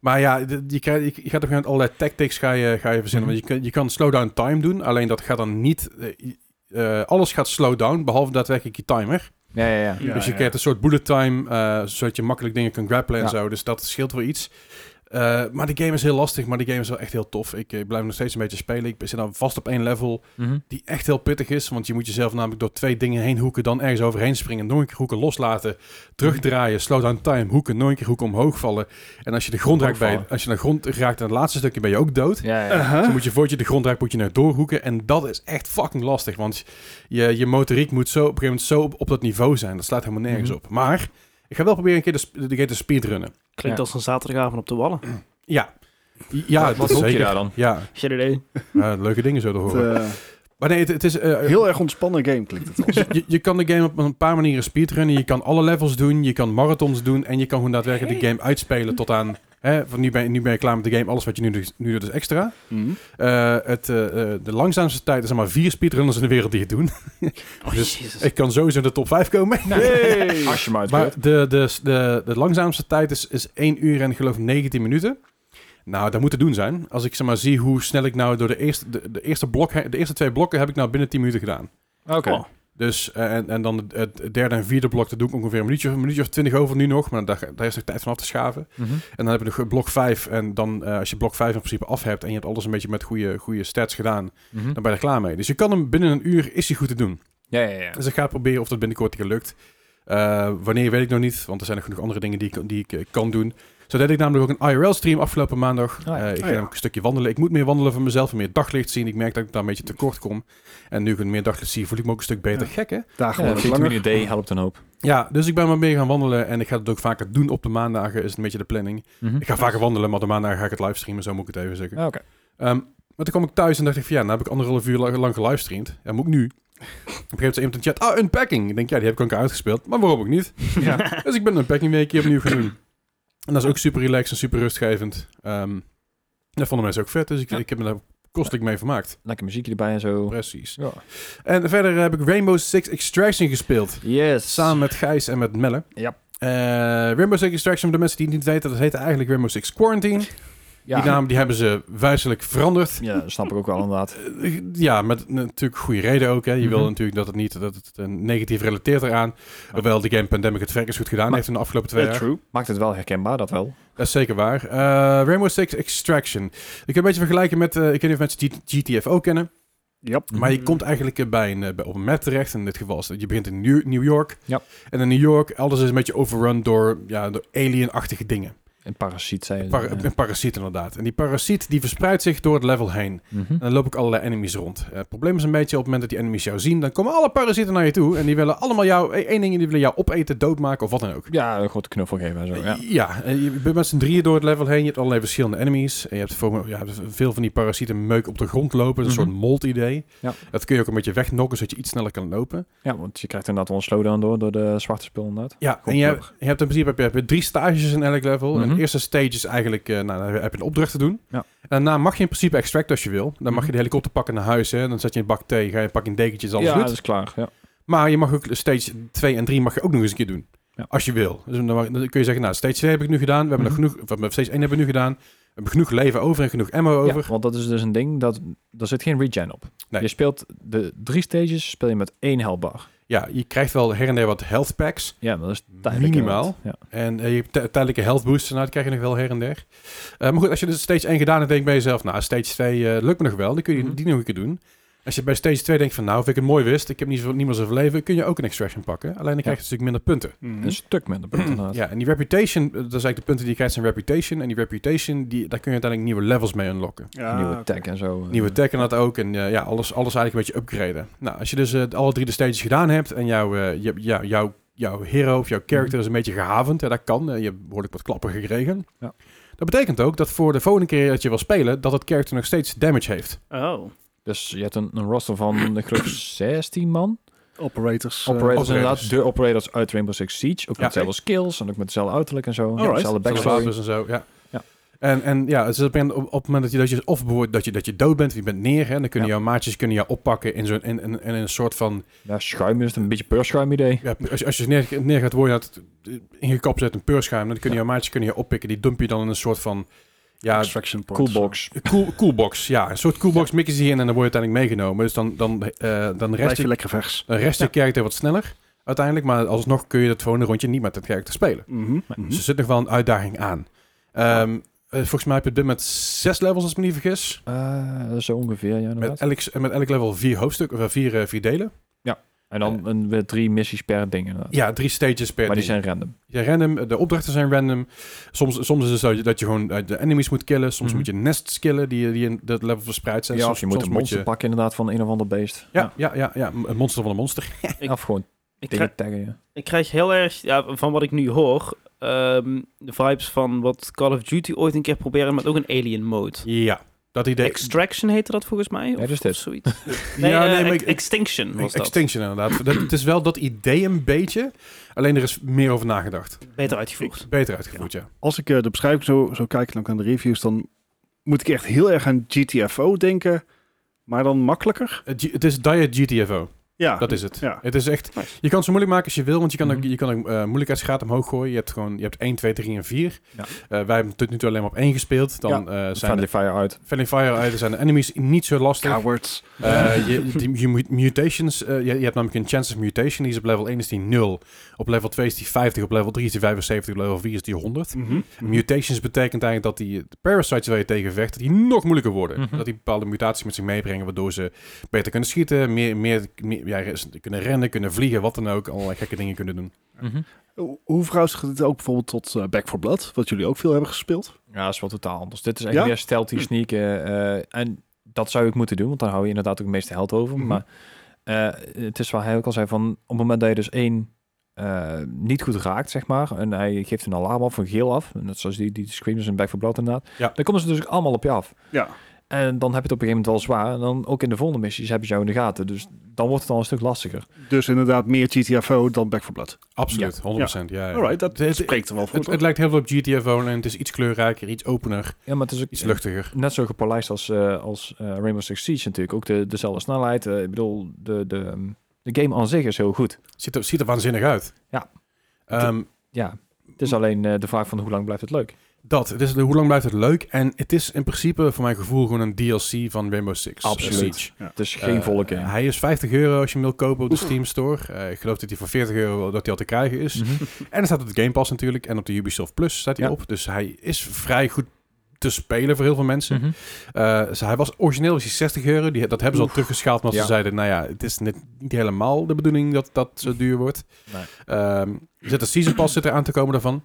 Maar ja, de- je, krijgt, je gaat op een gegeven moment allerlei tactics ga je, ga je verzinnen. Mhm. Want je, kan- je kan slowdown time doen, alleen dat gaat dan niet... eh, eh, alles gaat slowdown, behalve daadwerkelijk je timer. Ja, ja, ja. Ja, dus je ja. krijgt een soort bullet time, eh, zodat je makkelijk dingen kan grappelen en Ja. zo. Dus dat scheelt wel iets. Eh, maar de game is heel lastig, maar de game is wel echt heel tof. Ik, eh, blijf nog steeds een beetje spelen. Ik zit dan vast op één level Mhm. die echt heel pittig is. Want je moet jezelf namelijk door twee dingen heen hoeken, dan ergens overheen springen, nog een keer hoeken loslaten, terugdraaien, slowdown time, hoeken, nog een keer hoeken omhoog vallen. En als je de grond raakt, bij, Omhoogvallen. als je de grond raakt aan het laatste stukje, ben je ook dood. Ja, ja. Uh-huh. Dan moet je voordat je de grond raakt, moet je naar doorhoeken. En dat is echt fucking lastig. Want je, je motoriek moet zo op een gegeven moment zo op, op dat niveau zijn. Dat slaat helemaal nergens Mhm. op. Maar ik ga wel proberen een keer de, sp- de, de, te speedrunnen. Klinkt Ja. als een zaterdagavond op de wallen. Ja. Eh, Ja, Wat dat zoek je zeker. daar dan? Ja, Geen idee. eh, leuke dingen zo te Het, horen. [laughs] eh, maar nee, het, het is... eh, heel erg ontspannen game klinkt het als. Dus je, je kan de game op een paar manieren speedrunnen. Je kan alle levels doen, je kan marathons doen en je kan gewoon daadwerkelijk de game uitspelen tot aan... Hè, van nu, ben, je- nu ben je klaar met de game, alles wat je nu, doet- nu doet is extra. Mhm. Eh, het, eh, eh, de langzaamste tijd er zijn maar vier speedrunners in de wereld die het doen. [laughs] Oh, Dus jezus. Ik kan sowieso in de top 5 komen. Nou, Hey. [laughs] Als je maar het Maar de, de, de, de langzaamste tijd is, is 1 uur en geloof ik 19 minuten. Nou, dat moet te doen zijn. Als ik zeg maar zie hoe snel ik nou door de eerste, de, de eerste, blok, heen- de eerste twee blokken heb ik nou binnen 10 minuten gedaan. Oké. Oh. Dus, eh, en, en dan het derde en vierde blok, dat doe ik ongeveer een minuutje, een minuutje of twintig over nu nog. Maar daar, daar is nog tijd van af te schaven. Mhm. En dan heb je nog blok 5. En dan, eh, als je blok 5 in principe af hebt en je hebt alles een beetje met goede, goede stats gedaan, Mhm. dan ben je er klaar mee. Dus je kan hem binnen een uur, is hij goed te doen. Ja, ja, ja. Dus ik ga proberen of dat binnenkort gelukt. Eh, wanneer weet ik nog niet, want er zijn nog genoeg andere dingen die ik, die ik eh, kan doen. Zo deed ik namelijk ook een IRL-stream afgelopen maandag. ja. Eh, ik Oh, ga ja. namelijk een stukje wandelen. Ik moet meer wandelen voor mezelf en meer daglicht zien. Ik merk dat ik daar een beetje tekort kom. En nu ik meer daglicht zie, voel ik me ook een stuk beter. Gek, hè? Dagen Ja, worden langer. vitamine D helpt een hoop. Ja, dus ik ben maar meer gaan wandelen. En ik ga het ook vaker doen op de maandagen, is een beetje de planning. Mhm. Ik ga vaker wandelen, maar de maandag ga ik het livestreamen, zo moet ik het even zeggen. Ah, Oké. Ehm, maar toen kwam ik thuis en dacht ik van ja, nou heb ik anderhalf uur lang, lang gelivestreamd. Ja, moet ik nu? Op een gegeven moment zei iemand in de chat, ah, unpacking. Ik denk, ja, die heb ik al een keer uitgespeeld, maar waarom ook niet? Ja. Dus ik ben unpacking weer een keer opnieuw gaan doen. En dat is ook super relaxed en super rustgevend. Ehm, dat vonden mensen ook vet, dus ik, ik heb me daar kostelijk mee vermaakt. Lekker muziekje erbij en zo. Precies. Ja. En verder heb ik Rainbow Six Extraction gespeeld. Yes. Samen met Gijs en met Melle. Ja. Eh, Rainbow Six Extraction, voor de mensen die het niet weten, dat heette eigenlijk Rainbow Six Quarantine. Die naam die hebben ze wijzelijk veranderd. Ja, dat snap ik ook wel inderdaad. Eh, Ja, met natuurlijk goede reden ook. Hè. Je wil Mhm. natuurlijk dat het niet dat het eh, negatief relateert eraan. Hoewel de game Pandemic het verkens goed gedaan Maar- heeft in de afgelopen twee jaar. true. Maakt het wel herkenbaar, dat wel. Dat is zeker waar. Eh, Rainbow Six Extraction. Ik kan een beetje vergelijken met... eh, ik weet niet of mensen G- GTFO kennen. Yep. Maar je Mhm. komt eigenlijk eh, bij een, eh, bij- op een map terecht. In dit geval is dat je begint in New, New York. Ja. En in New York, alles is een beetje overrun door, ja, door alien-achtige dingen. Een parasiet zijn. Par- [laughs] Een parasiet inderdaad. En die parasiet die verspreidt zich door het level heen. Mhm. En dan loop ik allerlei enemies rond. Eh, het probleem is een beetje op het moment dat die enemies jou zien, dan komen alle parasieten naar je toe. En die willen allemaal jou, eh, één ding, die willen jou opeten, doodmaken of wat dan ook. Ja, een grote knuffel geven en zo. Ja. Ja, eh, je bent met z'n drieën door het level heen. Je hebt allerlei verschillende enemies. En je hebt voor- ja, veel van die parasieten meuk op de grond lopen. Dat is Mhm. Een soort mold idee. Ja. Dat kun je ook een beetje wegnokken, zodat je iets sneller kan lopen. ja, want je krijgt inderdaad wel een slowdown door, door de zwarte spul inderdaad. Ja, Goed en je, nodig. hebt- je hebt in principe heb je, heb je drie stages in elk level. En Mhm. de eerste stage is eigenlijk, eh, nou, dan heb je een opdracht te doen. Ja. En daarna mag je in principe extract als je wil. Dan mag je Mhm. de helikopter pakken naar huis. Hè. Dan zet je een bak thee, ga je pakken een dekentje, is alles ja, goed. dat is klaar. Ja. Maar je mag ook stage 2 en 3 mag je ook nog eens een keer doen. Ja. Als je wil. Dus dan, mag- dan kun je zeggen, nou, stage 2 heb ik nu gedaan. We hebben Mhm. nog genoeg, of, eh, stage 1 hebben we nu gedaan. We hebben genoeg leven over en genoeg ammo over. Ja, want dat is dus een ding, dat, daar zit geen regen op. Nee. Je speelt de drie stages speel je met één healthbar. Ja, je krijgt wel her en der wat health packs. Ja, maar dat is tijdelijk Minimaal. inderdaad. Ja. En eh, je hebt ti- tijdelijke health boosts. Nou, dat krijg je nog wel her en der. Eh, maar goed, als je dus stage 1 gedaan hebt, denk je bij jezelf, nou, stage 2 eh, lukt me nog wel. Dan kun je Mhm. die nog een keer doen. Als je bij stage 2 denkt van, nou, vind ik het mooi wist. Ik heb niet, zo, niet meer zoveel leven. Kun je ook een extraction pakken. Alleen dan krijg je natuurlijk minder punten. Een stuk minder punten inderdaad. Hm? Ja, en die reputation, eh, dat is eigenlijk de punten die je krijgt zijn reputation. En die reputation, die, daar kun je uiteindelijk nieuwe levels mee unlocken. Ja, Nieuwe oké. tech en zo. eh. Nieuwe tech en dat ook. En eh, ja, alles, alles eigenlijk een beetje upgraden. Nou, als je dus eh, alle drie de stages gedaan hebt en jouw, eh, je- jou- jouw, jouw hero of jouw Mhm. character is een beetje gehavend. Ja, dat kan. Eh, je hebt behoorlijk wat klappen gekregen. Ja. Dat betekent ook dat voor de volgende keer dat je wil spelen, dat het character nog steeds damage heeft. Oh. [clears throat] Dus je hebt een, een roster van, ik geloof, 16 man. Operators. eh, Operators, operators. inderdaad. De operators uit Rainbow Six Siege. Ook Ja. met dezelfde skills en ook met dezelfde uiterlijk en zo. Alright. Dezelfde Zoals backstory. wapens en zo, ja. Ja. En, en ja, het is op, een- op op het moment dat je, dat je of bijvoorbeeld dat je, dat je dood bent, of je bent neer, hè, dan kunnen Ja. jouw maatjes kunnen jou oppakken in, zo'n, in, in, in een soort van... Ja, schuim is het een beetje peurschuim idee. Ja, als, je- als je neer, neer gaat worden, dat, ingekapt uit een peurschuim, dan kunnen jouw maatjes kunnen jou oppikken. Die dump je dan in een soort van... Ja, extraction ports. Coolbox. cool, coolbox, ja. Een soort coolbox mikken ze hierin en dan word je uiteindelijk meegenomen. Dus dan, dan, eh, dan Blijf rest je je, lekker vers. dan rest je character wat sneller uiteindelijk. Maar alsnog kun je dat gewoon een rondje niet met dat character spelen. Mhm. Dus er zit nog wel een uitdaging aan. Ehm, eh, volgens mij heb je op dit moment zes levels, als ik me niet vergis. Eh, zo ongeveer, ja, inderdaad. Met elk, met elk level vier hoofdstukken, of eh, vier, eh, vier delen. En dan een, weer drie missies per ding inderdaad. Ja, drie stages per maar die ding. zijn random. Ja, random, de opdrachten zijn random. Soms, soms is het zo dat je gewoon eh, de enemies moet killen. Soms Mhm. moet je nests killen die, die in dat level verspreid zijn. ja, soms, Dus of je moet soms een monster pakken inderdaad van een of ander beest. Ja, ja, ja, ja, een monster van een monster. Ik- Of gewoon Ik, krijg, dingen taggen, ja. ik krijg heel erg, ja, van wat ik nu hoor, ehm, de vibes van wat Call of Duty ooit een keer proberen met ook een alien mode. Ja, dat idee. Extraction heette dat volgens mij? Of, Ja, dat is dit. of zoiets. Nee, ja, eh, nee, maar ex- ik- Extinction was dat. Extinction inderdaad. Dat, het is wel dat idee een beetje. Alleen er is meer over nagedacht. Beter uitgevoerd. Beter uitgevoerd, ja. Als ik eh, de beschrijving zo, zo kijk en ook aan de reviews, dan moet ik echt heel erg aan GTFO denken. Maar dan makkelijker. Het G- Het is Diet GTFO. Ja, Dat is het. Ja. Het is echt... Nice. Je kan het zo moeilijk maken als je wil, want je kan ook, Mhm. je kan ook eh, moeilijkheidsgraad omhoog gooien. Je hebt gewoon je hebt 1, 2, 3 en 4. Ja. Eh, wij hebben tot nu toe alleen maar op 1 gespeeld. Dan eh, zijn Friendly de Fire uit. Friendly Fire uit, zijn de enemies niet zo lastig. Cowards. Eh, je, die, je mu- mutations, eh, je, je hebt namelijk een chance of mutation, die is op level 1 is die 0. Op level 2 is die 50, op level 3 is die 75, op level 4 is die 100. Mhm. Mutations betekent eigenlijk dat die de parasites waar je tegen vecht, dat die nog moeilijker worden. Mhm. Dat die bepaalde mutaties met zich meebrengen, waardoor ze beter kunnen schieten, meer, meer, meer ja, res- kunnen rennen, kunnen vliegen, wat dan ook. Allerlei gekke dingen kunnen doen. Mhm. Hoe- Hoe verhoudt zich dit ook bijvoorbeeld tot eh, Back for Blood, wat jullie ook veel hebben gespeeld? Ja, dat is wel totaal anders. Dit is echt Ja? meer stealthy sneaken. eh, en dat zou ik moeten doen, want dan hou je inderdaad ook de meeste held over. Mhm. Maar eh, het is waar hij ook al zei, van op het moment dat je dus één eh, niet goed raakt, zeg maar, en hij geeft een alarm af, een geel af, net zoals die, die screamers in Back for Blood inderdaad, Ja. dan komen ze dus ook allemaal op je af. Ja. En dan heb je het op een gegeven moment wel zwaar. En dan ook in de volgende missies heb je jou in de gaten. Dus dan wordt het al een stuk lastiger. Dus inderdaad meer GTFO dan Back for Blood. Absoluut, 100%. Ja. ja. Alright, dat het, het, spreekt er wel voor. het, toch? het lijkt heel veel op GTFO en het is iets kleurrijker, iets opener, Ja, maar het is ook iets luchtiger. net zo gepolijst als, eh, als eh, Rainbow Six Siege natuurlijk. Ook de, dezelfde snelheid. eh, ik bedoel, de, de, ehm, de game aan zich is heel goed. Ziet er, ziet er waanzinnig uit. Ja. Ehm, Ja, het is alleen eh, de vraag van hoe lang blijft het leuk. dat, het is, hoe lang blijft het leuk? En het is in principe, voor mijn gevoel, gewoon een DLC van Rainbow Six. eh, Absoluut. Siege. Het is geen Eh, volle game. Hij is 50 euro als je hem wil kopen op de Steam Store. Eh, ik geloof dat hij voor 40 euro dat hij al te krijgen is. [laughs] Mhm. En hij staat op de Game Pass natuurlijk. En op de Ubisoft Plus staat hij Ja. op. Dus hij is vrij goed te spelen voor heel veel mensen. Mhm. Eh, dus hij was origineel was hij 60 euro. Die, dat hebben ze al Oef. teruggeschaald. Maar Ja. ze zeiden, nou ja, het is net, niet helemaal de bedoeling dat dat zo duur wordt. Nee. Ehm, er zit een Season Pass zit er aan te komen daarvan.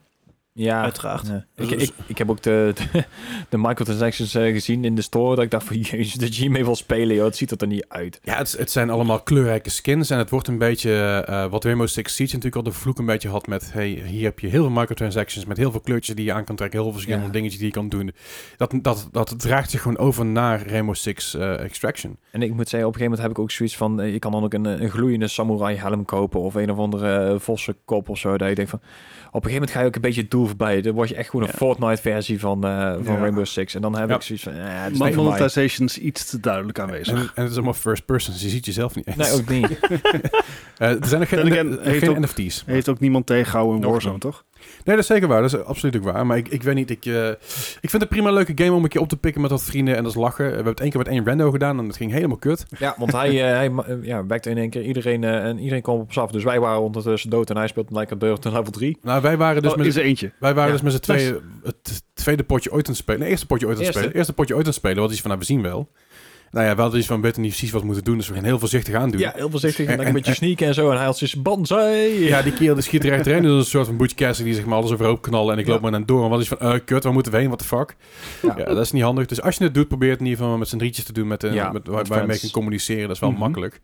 Ja, Uiteraard. ja. Dus- Ik, ik, ik heb ook de, de, de microtransactions eh, gezien in de store. Dat ik dacht van, [laughs] jezus, dat je mee wil spelen, joh. Het ziet er er niet uit. Ja, het, het zijn allemaal kleurrijke skins. En het wordt een beetje, eh, wat Rainbow Six Siege natuurlijk al de vloek een beetje had met... Hey, hier heb je heel veel microtransactions met heel veel kleurtjes die je aan kan trekken. Heel veel verschillende Ja. dingetjes die je kan doen. Dat, dat, dat draagt zich gewoon over naar Rainbow Six eh, Extraction. En ik moet zeggen, op een gegeven moment heb ik ook zoiets van... eh, Je kan dan ook een, eh, een gloeiende samurai helm kopen of een of andere eh, vossenkop of zo. Dat je denkt van... Op een gegeven moment ga je ook een beetje het doel voorbij. Dan word je echt gewoon een Ja. Fortnite versie van, eh, van Ja. Rainbow Six. En dan heb Ja. ik zoiets van... Eh, het is Maar niet voor mij. monetization is iets te duidelijk aanwezig. En, en het is allemaal first person, dus je ziet jezelf niet eens. Nee, ook niet. Eh, er zijn nog geen, Then again, eh, heeft geen ook- NFT's. Heeft ook niemand tegengehouden in Nog Warzone, niet. toch? Nee, dat is zeker waar. Dat is absoluut ook waar. Maar ik, ik weet niet, ik, eh, ik vind het prima een leuke game om een keer op te pikken met wat vrienden en dat is lachen. We hebben het één keer met één rando gedaan en dat ging helemaal kut. Ja, want hij, eh, hij ma- eh, ja, wekte in één keer iedereen... eh, en iedereen kwam op ons af. Dus wij waren ondertussen dood en hij speelt lekker deur tot level 3. Nou, wij waren dus Oh, met is er eentje. Wij waren dus Ja, met z'n tweeën het tweede potje ooit aan het spelen. Nee, eerste potje ooit aan het Eerste. spelen. Eerste potje ooit aan het spelen. Wat is van, nou, we zien wel. Nou ja, we hadden iets van, we weten niet precies wat we moeten doen. Dus we gaan heel voorzichtig aandoen. Ja, heel voorzichtig. En En- dan [laughs] een beetje sneaken en zo. En hij had zijn banzai. Ja, die kerel die schiet er echt erin. Dus een soort van Butch Cassidy die zeg maar alles overhoop knallen. En ik loop Ja. maar naar door. En wat is van, eh, kut, waar moeten we heen? What the fuck? Ja. Ja. dat is niet handig. Dus als je het doet, probeer het in ieder geval met z'n drietjes te doen. Met, eh, Ja, met, met waar, waar je mee fans. kan communiceren. Dat is wel Mhm. makkelijk.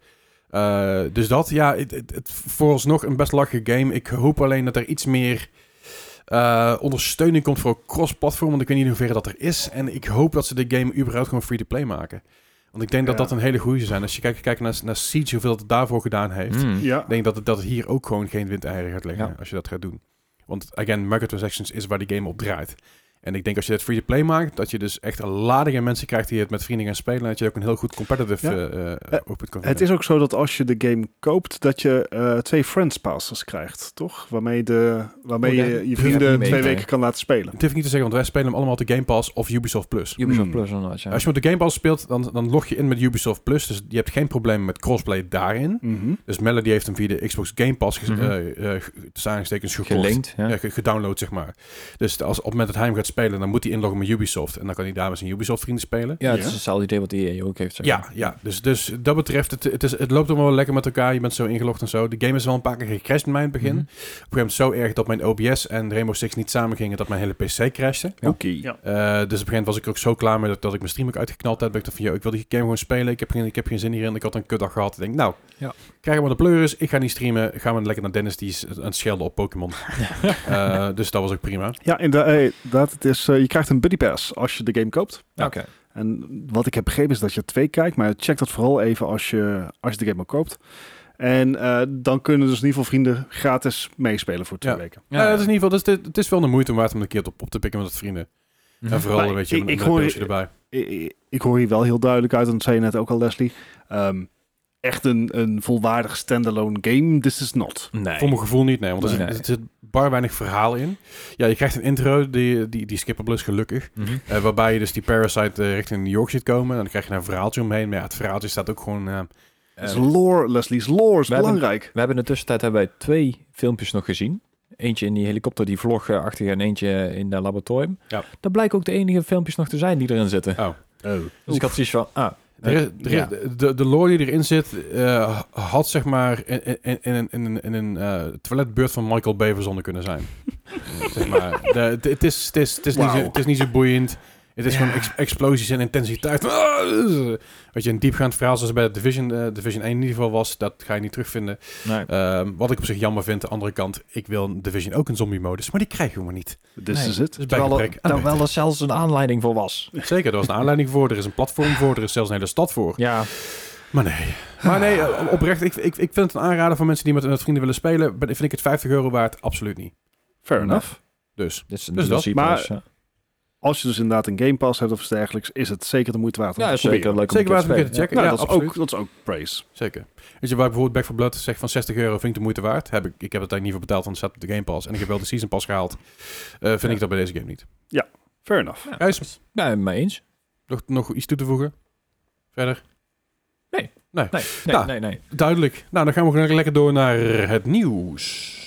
Eh, dus dat, ja, het, het, het vooralsnog een best lachige game. Ik hoop alleen dat er iets meer eh, ondersteuning komt voor cross-platform. Want ik weet niet in hoeverre dat er is. En ik hoop dat ze de game überhaupt gewoon free-to-play maken. Want ik denk dat Ja. dat een hele goede zijn. Als je kijkt, kijkt naar, naar Siege, hoeveel het daarvoor gedaan heeft. Mm. Ja. Ik denk dat het, dat het hier ook gewoon geen windeieren gaat leggen Ja. als je dat gaat doen. Want again, microtransactions is waar die game op draait. En ik denk als je dat free-to-play maakt, dat je dus echt een lading aan mensen krijgt die het met vrienden gaan spelen. En dat je ook een heel goed competitive Ja. eh, eh, Eh, output kan Het vinden. is ook zo dat als je de game koopt, dat je eh, twee friends passes krijgt, toch? Waarmee, de, waarmee Oh, daar- je je die heb ik vrienden niet twee mee. weken kan laten spelen. Het hoeft niet te zeggen, want wij spelen hem allemaal op de Game Pass of Ubisoft Plus. Ubisoft Mm. Plus inderdaad, ja. Als je met de Game Pass speelt, dan, dan log je in met Ubisoft Plus. Dus je hebt geen probleem met crossplay daarin. Mhm. Dus Melody heeft hem via de Xbox Game Pass ges- Mhm. eh, eh, ge- tussen aanhalingstekens gekocht. Gelinkt, ja. Ja, Eh, ge- gedownload, zeg maar. Dus als op het moment dat hij hem gaat spelen, dan moet hij inloggen met Ubisoft. En dan kan hij daar met zijn Ubisoft-vrienden spelen. Ja, het Ja. is hetzelfde idee wat EA ook heeft. zeg Ja, maar. ja. Dus, dus dat betreft, het, het, is, het loopt allemaal wel lekker met elkaar. Je bent zo ingelogd en zo. De game is wel een paar keer gecrashed in mijn begin. Mhm. Op een gegeven moment zo erg dat mijn OBS en Rainbow Six niet samen gingen dat mijn hele PC crashte. Ja. Oké. Ja. Eh, dus op een gegeven moment was ik er ook zo klaar mee dat, dat ik mijn stream ook uitgeknald had. Ben ik dacht van, joh, ik wil die game gewoon spelen. Ik heb geen, ik heb geen zin hierin. Ik had een kutdag gehad. Ik denk, nou, Ja. krijg hem maar de pleuris. Ik ga niet streamen. Gaan we lekker naar Dennis, die is aan het schelden op [laughs] Pokémon. Eh, dus dat was ook prima. Ja, inda- eh, inderdaad. Het is, eh, je krijgt een buddy pass als je de game koopt. Ja, Oké. En wat ik heb begrepen is dat je twee kijkt, maar check dat vooral even als je, als je de game al koopt. En eh, dan kunnen dus in ieder geval vrienden gratis meespelen voor twee Ja. weken. Ja, het is in ieder geval, dus dit- het is wel de moeite waard om een keer op, op te pikken met het vrienden. Mhm. En vooral, Maar weet je, ik- met, ik met een hoor- pilsje erbij. I- I- ik hoor hier wel heel duidelijk uit, en dat zei je net ook al, Leslie. Ehm, echt een, een volwaardig standalone game, this is not. Nee. Voor mijn gevoel niet, nee. Want er zit, Nee. er zit bar weinig verhaal in. Ja, je krijgt een intro, die, die, die skippable is gelukkig. Mhm. Eh, waarbij je dus die Parasite eh, richting New York ziet komen. En dan krijg je daar een verhaaltje omheen. Maar ja, het verhaaltje staat ook gewoon... eh, Het is lore, Leslie's lore is we hebben- belangrijk. We hebben in de tussentijd hebben wij twee filmpjes nog gezien. Eentje in die helikopter, die vlog eh, achter en eentje in dat laboratorium. Ja. Dat blijken ook de enige filmpjes nog te zijn die erin zitten. oh. Dus ik had zoiets van, ah, Er is- er is- Ja. de, de lore die erin zit, eh, had zeg maar in, in, in, in, in- in een eh, toiletbeurt van Michael Bay verzonnen kunnen [laughs] zijn. zeg maar. De- het- Het is- het is- het is niet zo- Wauw. het is niet zo boeiend. Het is Ja. gewoon ex- explosies en intensiteit. Ah, Weet je, een diepgaand verhaal zoals bij Division, eh, Division 1 in ieder geval was, dat ga je niet terugvinden. nee. Ehm, wat ik op zich jammer vind, aan de andere kant, ik wil Division ook een zombie-modus, maar die krijgen we maar niet. This Nee. is it. Dus bij terwijl, gebrek er, aan terwijl er zelfs een aanleiding voor was. beter. Zeker, er was een aanleiding voor, er is een platform voor, er is zelfs een hele stad voor. Ja, dus Maar nee. Maar nee, eh, oprecht. Ik, ik, ik vind het een aanrader voor mensen die met, met vrienden willen spelen. Ben, vind ik het 50 euro waard? Absoluut niet. Fair enough. Dus. dit is een Dus dat, DLC maar- plus, ja. Als je dus inderdaad een Game Pass hebt of iets dergelijks, is het zeker de moeite waard om Ja, te is zeker proberen. leuk om Zeker een waard keer om een te keer te spelen. checken. Ja, Nou, Ja, dat, is absoluut. ook, dat is ook praise. Zeker. Weet je, waar bijvoorbeeld Back for Blood zegt van 60 euro vind ik de moeite waard. Heb ik, ik heb het eigenlijk niet voor betaald, want het staat op de Game Pass. En ik heb wel de Season Pass gehaald. Eh, vind ik dat bij deze game niet. Fair enough. Ja. Gijs, Ja, nee, mee eens. nog, nog iets toe te voegen? Verder? Nee, nee, Ja. nee. nee. Duidelijk. Nou, dan gaan we gewoon lekker door naar het nieuws.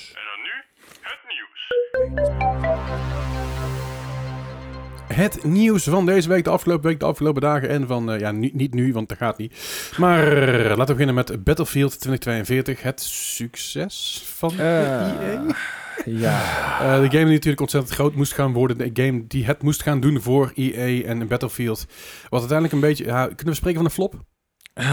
Het nieuws van deze week, de afgelopen week, de afgelopen dagen en van, eh, ja, nu- niet nu, want dat gaat niet. Maar eh, laten we beginnen met Battlefield 2042, het succes van EA. ja. Eh, de game die natuurlijk ontzettend groot moest gaan worden, de game die het moest gaan doen voor EA en Battlefield. Wat uiteindelijk een beetje, ja, kunnen we spreken van een flop? Eh,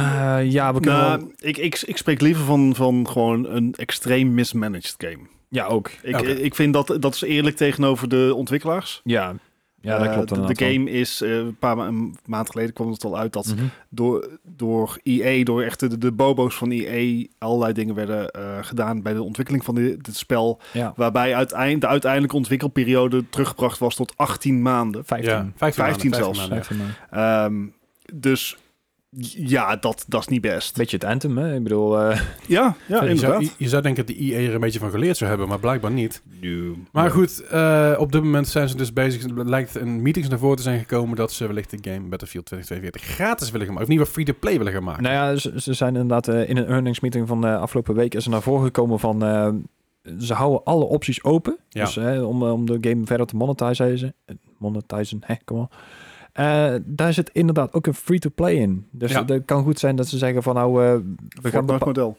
ja, we kunnen wel- Nou, ik, ik, ik spreek liever van, van gewoon een extreem mismanaged game. Ja, ook. Ik, Oké. ik vind dat, dat is eerlijk tegenover de ontwikkelaars. Ja, ja dat Eh, klopt de- inderdaad de wel. game is, eh, een paar ma- een maand geleden kwam het al uit dat Mhm. door, door EA, door echt de, de bobo's van EA, allerlei dingen werden eh, gedaan bij de ontwikkeling van di- dit spel. Ja, Waarbij uiteind, de uiteindelijke ontwikkelperiode teruggebracht was tot 18 maanden. 15. Ja, 15, maanden, 15 zelfs. maanden, ja. 15 maanden. Ehm, dus ja, dat, dat is niet best. Beetje het anthem, hè? Ik bedoel, eh, Ja, ja je, zou, inderdaad. je- je zou denken dat de EA er een beetje van geleerd zou hebben, maar blijkbaar niet. Nu. Maar goed, eh, op dit moment zijn ze dus bezig. Er lijkt een meetings naar voren te zijn gekomen dat ze wellicht de game Battlefield 2042 gratis willen gaan maken. Of niet ieder geval free-to-play willen gaan maken. nou ja, ze, ze zijn inderdaad eh, in een earnings meeting van de afgelopen week is er naar voren gekomen van eh, ze houden alle opties open. Ja. Dus hè, om, eh, om de game verder te monetizen. eh, Monetizen, hè, kom op. Eh, daar zit inderdaad ook een free-to-play in. Dus Ja. het kan goed zijn dat ze zeggen van nou, eh, we gaan bepa- model.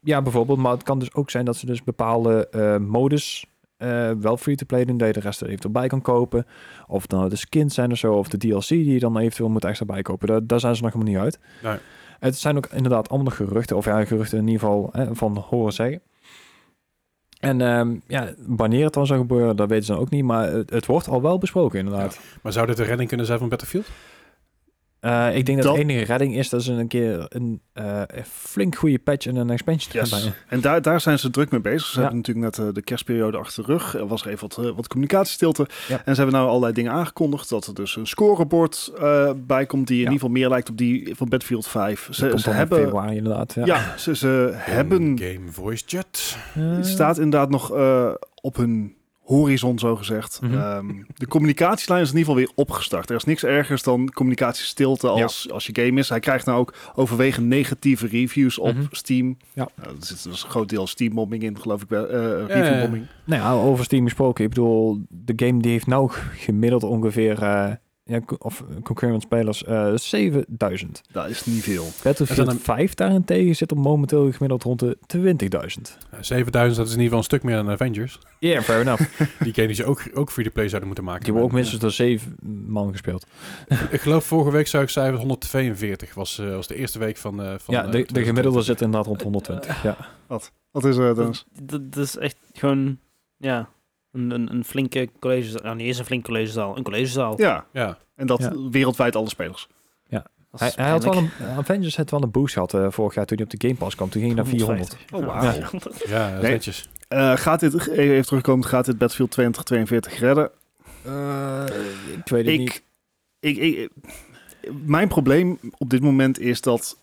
Ja, bijvoorbeeld. Maar het kan dus ook zijn dat ze dus bepaalde eh, modus eh, wel free-to-play doen, dat je de rest er eventueel bij kan kopen. Of dan de skins zijn of zo, of de DLC die je dan eventueel moet extra bijkopen. Daar, daar zijn ze nog helemaal niet uit. Nee. Het zijn ook inderdaad allemaal nog geruchten, of ja, geruchten in ieder geval hè, van horen zeggen. En ehm, ja, wanneer het dan zou gebeuren, dat weten ze dan ook niet. Maar het, het wordt al wel besproken, inderdaad. Maar zou dit de redding kunnen zijn van Battlefield? Eh, ik denk dat, Dat- de enige redding is dat ze een keer een eh, een flink goede patch en een expansion Yes. gaan brengen. En daar, daar zijn ze druk mee bezig. Ze Ja. hebben natuurlijk net eh, de kerstperiode achter de rug. Er was er even wat, eh, wat communicatiestilte. Ja. En ze hebben nou allerlei dingen aangekondigd. Dat er dus een scorebord eh, bij komt die in Ja. ieder geval meer lijkt op die van Battlefield 5. Dat Ze, komt ze dan in hebben... februari inderdaad. Ja. Ehm, Ja, ze, ze hebben... Game voice chat. Eh, Het staat inderdaad nog eh, op hun horizon, zo gezegd. Ehm, Mhm. de communicatielijn is in ieder geval weer opgestart. Er is niks ergers dan communicatiestilte Ja. als, als je game is. Hij krijgt nou ook overwegend negatieve reviews op Mhm. Steam. Steam. Ja. Nou, er zit dus een groot deel Steam-bombing in, geloof ik. bij- eh ja, ja. Review-bombing. Nou ja, over Steam gesproken. Ik bedoel, de game die heeft nou gemiddeld ongeveer, eh, ja, co- of concurrent spelers, eh 7000. Dat is niet veel. Battlefield een- 5 daarentegen zit op momenteel gemiddeld rond de 20.000. 7000, Eh, dat is in ieder geval een stuk meer dan Avengers. Ja, fair enough. Die games je ook, ook free to play zouden moeten maken. [laughs] eh, Die hebben ook minstens door 7 man gespeeld. Ik geloof vorige week zou ik cijfers 142 was, eh, was de eerste week van. eh, van ja, eh, de, de 2020. gemiddelde zit inderdaad rond 120. Ja. Wat is er dan? Dat, dat, dat is echt gewoon, ja, een, een, een flinke collegezaal. Nou, niet eens een flink collegezaal, een collegezaal. Ja, Ja, en dat Ja. wereldwijd alle spelers. Dat Hij, is hij had wel pijnlijk. een, Avengers had wel een boost gehad eh, vorig jaar toen hij op de Game Pass kwam. Toen ging hij naar 400. 150. Oh, wauw. Ja. ja dat is Nee. netjes. Eh, gaat dit, even even terugkomen, gaat dit Battlefield 2042 redden? Eh, ik weet het niet. ik, ik, ik- mijn probleem op dit moment is dat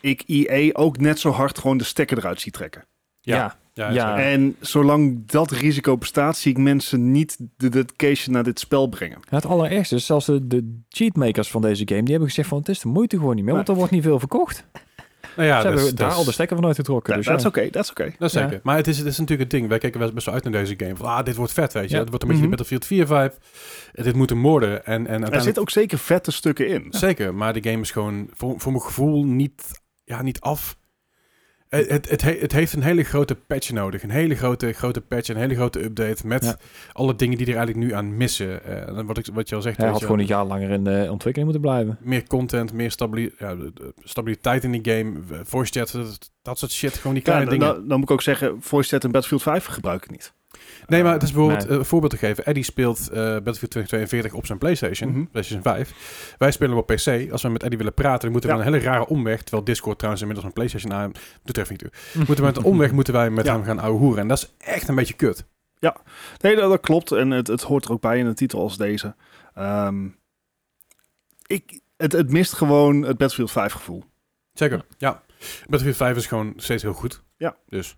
ik EA ook net zo hard gewoon de stekker eruit zie trekken. Ja. ja. Ja, Ja. zeker. En zolang dat risico bestaat, zie ik mensen niet de dedication naar dit spel brengen. Ja, Het allerergste is, zelfs de, de cheatmakers van deze game, die hebben gezegd van het is de moeite gewoon niet meer, want er wordt niet veel verkocht. Nou ja, Ze dat hebben is- dat daar is- al de stekker van uitgetrokken. Dat dus is ja. oké, dat is oké. Dat is Ja. zeker. Maar het is, het is natuurlijk het ding. Wij kijken wel best wel uit naar deze game. Van, ah, dit wordt vet, weet je. Ja. Het wordt een beetje Mhm. de Battlefield 4-vibe. Dit moet hem worden. En, en Er uiteindelijk... zitten ook zeker vette stukken in. Zeker, maar de game is gewoon voor, voor mijn gevoel niet, ja, niet af. Het, het, het, he- het heeft een hele grote patch nodig. Een hele grote, grote patch, een hele grote update met Ja. alle dingen die er eigenlijk nu aan missen. Eh, en wat, ik, wat je al zegt, Hij weet had je gewoon wel, een jaar langer in de ontwikkeling moeten blijven. meer content, meer stabili- ja, de- de stabiliteit in die game, eh, voice chat, dat, dat soort shit, gewoon die Ja, kleine dan, dingen. dan- dan moet ik ook zeggen, voice chat en Battlefield 5 gebruik ik niet. Nee, maar het is bijvoorbeeld Nee. eh, een voorbeeld te geven. Eddie speelt eh, Battlefield 2042 op zijn PlayStation, Mhm. PlayStation 5. Wij spelen hem op PC. Als we met Eddie willen praten, dan moeten we Ja. een hele rare omweg. Terwijl Discord trouwens inmiddels een PlayStation aan doet er even niet toe. [laughs] Moeten we met een [laughs] omweg moeten wij met Ja. hem gaan ouwe hoeren. En dat is echt een beetje kut. Nee, dat, dat klopt. En het, het hoort er ook bij in een titel als deze. Ehm, ik, het, het mist gewoon het Battlefield 5 gevoel. Zeker. Ja. Battlefield 5 is gewoon steeds heel goed. Ja. Dus.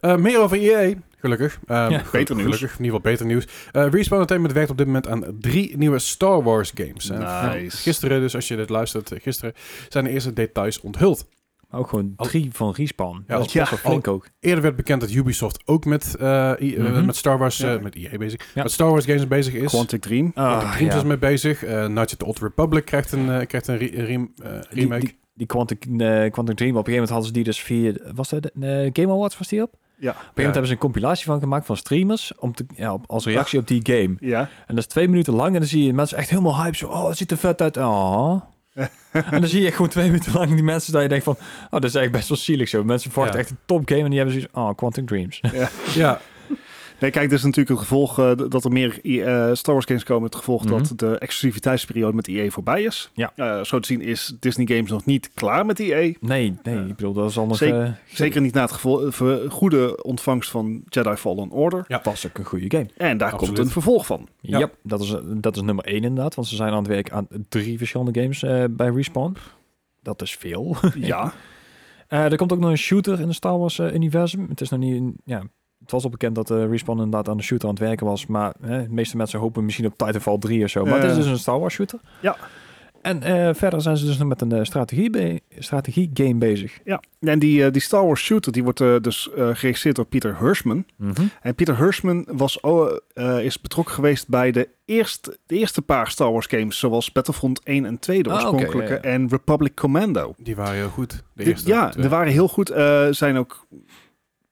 Eh, meer over EA, gelukkig. Eh, Ja. gelu- Beter nieuws. Gelukkig, in ieder geval beter nieuws. Eh Respawn Entertainment werkt op dit moment aan drie nieuwe Star Wars games. En Nice. Gisteren, dus als je dit luistert, eh, gisteren zijn de eerste details onthuld. Maar [laughs] ook gewoon Al- drie van Respawn. dat is ja, best wel flink ook. Eerder werd bekend dat Ubisoft ook met, eh, I- eh, Mhm. met Star Wars, eh, Ja. met EA bezig, Ja. Ah, met Star Wars games bezig is. Quantic Dream. Quantum Dreams is mee bezig. Eh Knights of the Old Republic krijgt een, eh, krijgt een re- een rem- eh, Die, remake. die, die Quantic, eh, Quantic Dream, op een gegeven moment hadden ze die dus via... Was dat de eh, Game Awards was die op? Op een Ja. gegeven moment hebben ze een compilatie van gemaakt van streamers om te, ja, op- als reactie op die game. Ja. En dat is twee minuten lang en dan zie je mensen echt helemaal hype. Zo, oh, het ziet er vet uit. [laughs] Oh. en dan zie je gewoon twee minuten lang die mensen dat je denkt van... Oh, dat is eigenlijk best wel zielig zo. Mensen verwachten Ja. echt een topgame en die hebben zoiets Oh, Quantum Dreams. [laughs] Ja, Nee, kijk, dit is natuurlijk het gevolg eh, dat er meer eh, Star Wars games komen. Het gevolg Mhm. dat de exclusiviteitsperiode met EA voorbij is. Ja. Eh, zo te zien is Disney Games nog niet klaar met EA. Nee, nee, Ja. ik bedoel, dat is anders... Zeker- eh, Zeker niet na het gevo- eh, ver- goede ontvangst van Jedi Fallen Order. was ook een goede game. En daar Absoluut. komt een vervolg van. Ja. Ja, dat, is, eh, dat is nummer één inderdaad. Want ze zijn aan het werk aan drie verschillende games eh, bij Respawn. Dat is veel. Ja. Eh, er komt ook nog een shooter in het Star Wars eh, universum. Het is nog niet. een- Ja, het was al bekend dat eh, Respawn inderdaad aan de shooter aan het werken was. Maar eh, de meeste mensen hopen misschien op Titanfall 3 of zo. Maar het is Ja. dus een Star Wars shooter. Ja. En eh, verder zijn ze dus nog met een eh, strategie, be- strategie game bezig. ja. En die, eh, die Star Wars shooter die wordt eh, dus eh, geregisseerd door Peter Hirschman. Mhm, En Peter Hirschman was, oh, eh, is betrokken geweest bij de eerste, de eerste paar Star Wars games. Zoals Battlefront 1 en 2, de Ah, oké, oorspronkelijke. ja, ja. En Republic Commando. die waren heel goed. De Dit- eerste ja, twee. er waren heel goed. eh, zijn ook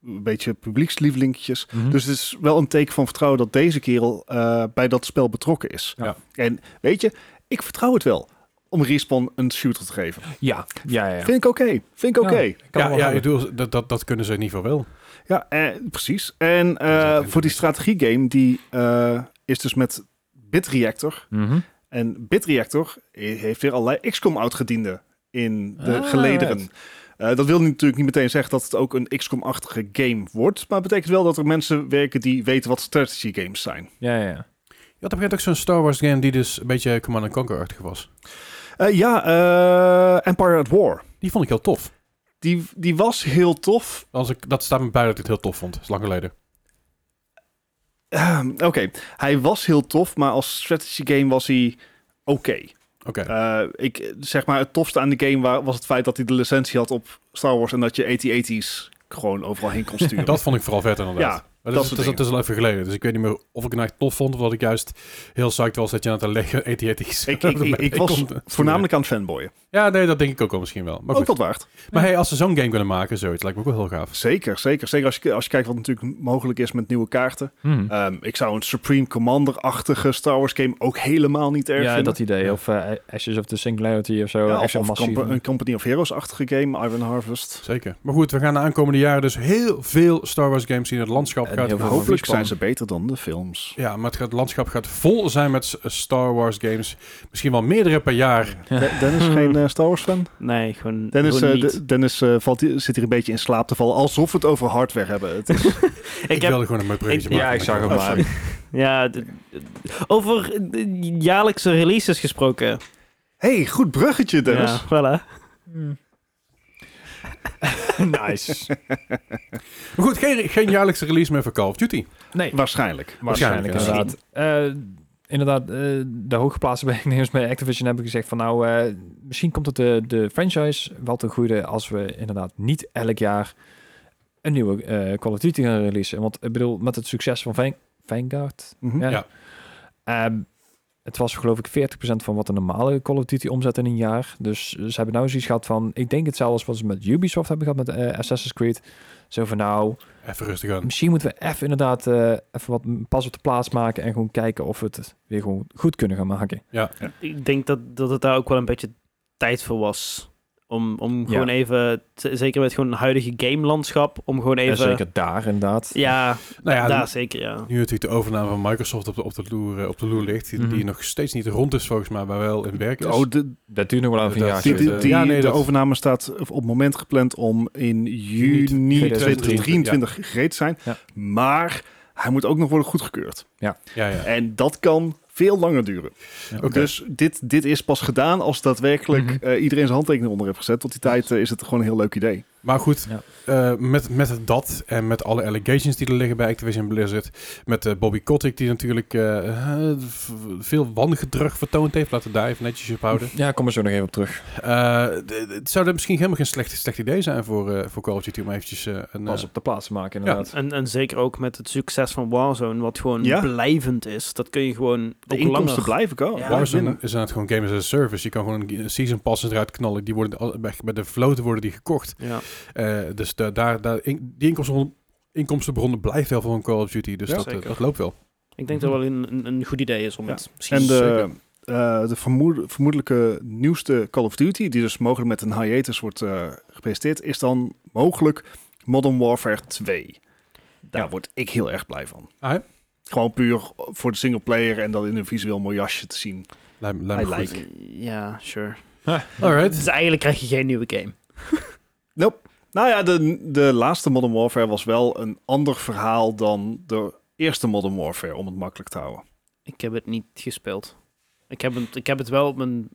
een beetje publiekslievelingetjes. mhm. Hm. Dus het is wel een teken van vertrouwen dat deze kerel eh, bij dat spel betrokken is. Ja. En weet je, ik vertrouw het wel om Respawn een shooter te geven. ja, ja, ja. ja. Vind ik oké, vind ik Ja. oké. Kan ja, wel ja hebben. ik bedoel, dat, dat, dat kunnen ze in ieder geval wel. Ja, eh, precies. En eh, Ja, dat- voor die strategiegame, die eh, is dus met Bitreactor. Mhm. En En Bitreactor he- heeft weer allerlei XCOM-oudgedienden in de Ah, gelederen. right. Eh, dat wil natuurlijk niet meteen zeggen dat het ook een XCOM-achtige game wordt. Maar het betekent wel dat er mensen werken die weten wat strategy games zijn. Ja, ja, ja. Je had op een gegeven moment ook zo'n Star Wars game die dus een beetje Command and Conquer-achtig was. Eh, ja, eh, Empire at War. Die vond ik heel tof. Die, die was heel tof. Als ik, dat staat me bij dat ik het heel tof vond. Dat is lang geleden. Ehm, Oké, hij was heel tof, maar als strategy game was hij oké. Oké. Eh, ik, zeg maar, het tofste aan de game wa- was het feit dat hij de licentie had op Star Wars en dat je AT-AT's gewoon overal heen kon sturen. [laughs] dat vond ik vooral vet ja, inderdaad. Maar Dat dat, soort is, dat, dingen. is al even geleden. Dus ik weet niet meer of ik het nou echt tof vond. Of dat ik juist heel psyched was dat je aan het leggen [laughs] E ETT's. ik, [laughs] ik, ik, ik was voornamelijk aan het fanboyen. Ja, nee, dat denk ik ook wel misschien wel. Maar, Ook goed. wat waard. maar hey, als ze zo'n game kunnen maken, zoiets lijkt me ook wel heel gaaf. Zeker, zeker. Zeker als je, als je kijkt wat natuurlijk mogelijk is met nieuwe kaarten. Hm. Ehm, ik zou een Supreme Commander-achtige Star Wars game ook helemaal niet erg ja, vinden. dat idee. Of eh, Ashes of the Singularity of zo. Ja, Echt of zo'n of massieve- Compa- een Company of Heroes-achtige game, Iron Harvest. Zeker. Maar goed, we gaan de aankomende jaren dus heel veel Star Wars games zien. Het landschap En gaat... heel veel vol- Hopelijk zijn Respawn. ze beter dan de films. Ja, maar het, gaat- het landschap gaat vol zijn met s- Star Wars games. Misschien wel meerdere per jaar. De- [laughs] Dennis geen eh, Star Wars fan? [laughs] Nee, gewoon, Dennis, gewoon eh, niet. de- Dennis eh, valt, hier- zit hier een beetje in slaap te vallen, alsof we het over hardware hebben. Het is- Ik, ik heb, wilde gewoon een mooi bruggetje ik- maken. Ja, ik zag hem Oh, maar. sorry. ja, de- de- over de jaarlijkse releases gesproken. hey, goed bruggetje, Dennis. Ja, voilà. [laughs] [laughs] nice. Maar goed, geen, geen jaarlijkse release meer voor Call of Duty. Nee, Waarschijnlijk. waarschijnlijk waarschijnlijk, inderdaad. Eh, inderdaad, eh, de hooggeplaatste [laughs] werknemers bij Activision hebben gezegd van nou, eh, misschien komt het de, de franchise wel ten goede als we inderdaad niet elk jaar een nieuwe eh, Call of Duty gaan releasen. Want ik bedoel, met het succes van Vang- Vanguard, Mhm. Ja. Ja. Ehm, het was geloof ik 40% van wat de normale Call of Duty omzet in een jaar. Dus eh, ze hebben nou zoiets gehad van... Ik denk hetzelfde als wat ze met Ubisoft hebben gehad met eh, Assassin's Creed. Zo van nou, Even rustig aan. misschien moeten we even inderdaad eh, even wat pas op de plaats maken... en gewoon kijken of we het weer gewoon goed kunnen gaan maken. Ik denk dat, dat het daar ook wel een beetje tijd voor was. Om, om Ja. gewoon even, z- zeker met gewoon het huidige gamelandschap, om gewoon En even... zeker daar inderdaad. Ja, Nou ja, daar zeker, ja. Nu natuurlijk de overname van Microsoft op de, op de, loer, eh, op de loer ligt, die, Mhm. die nog steeds niet rond is volgens mij, maar wel in werk is. Oh, de, Dat duurt nog wel even Dat- een jaar. die, shit, die, eh, die- ja, nee, de dat- overname staat op het moment gepland om in juni 2023, 2023, gereed te zijn. Ja. Maar hij moet ook nog worden goedgekeurd. ja, ja. En dat kan veel langer duren. Oké. Dus dit, dit is pas gedaan als daadwerkelijk Mhm. eh, iedereen zijn handtekening onder heeft gezet. Tot die tijd eh, is het gewoon een heel leuk idee. Maar goed, Ja. eh, met, met dat en met alle allegations die er liggen bij Activision Blizzard, met eh, Bobby Kotick die natuurlijk eh, eh, v- veel wangedrag vertoond heeft, laten we daar even netjes op houden. Ja, kom er zo nog even op terug. Eh, d- d- het zou dat misschien helemaal geen slecht, slecht idee zijn voor, eh, voor Call of Duty om eventjes eh, een... Pas eh, op de plaats maken inderdaad. En, en zeker ook met het succes van Warzone, wat gewoon Ja. blijvend is. Dat kun je gewoon De ook inkomsten langer... blijven komen. Ja. blijven eh, Warzone binnen. is aan het gewoon Games as a Service. Je kan gewoon een season passes eruit knallen. Die worden al- bij bij de vloten worden die gekocht. Ja. Eh, dus da- daar, daar, in- die inkomstenbron, inkomstenbronnen blijft wel van Call of Duty. Dus Ja, dat, eh, zeker. dat loopt wel. Ik denk dat wel een, een, een goed idee is om Ja. het misschien... En de, eh, de vermoed- vermoedelijke nieuwste Call of Duty, die dus mogelijk met een hiatus wordt eh, gepresenteerd, is dan mogelijk Modern Warfare 2. Daar Ja. word ik heel erg blij van. Ah, hè? Gewoon puur voor de singleplayer en dan in een visueel mooi jasje te zien. Lijkt, me- lijkt me I goed. like. Ja, sure. Alright. Dus eigenlijk krijg je geen nieuwe game. Nou ja, de, de laatste Modern Warfare was wel een ander verhaal dan de eerste Modern Warfare, om het makkelijk te houden. Ik heb het niet gespeeld. Ik heb het, ik heb het wel op mijn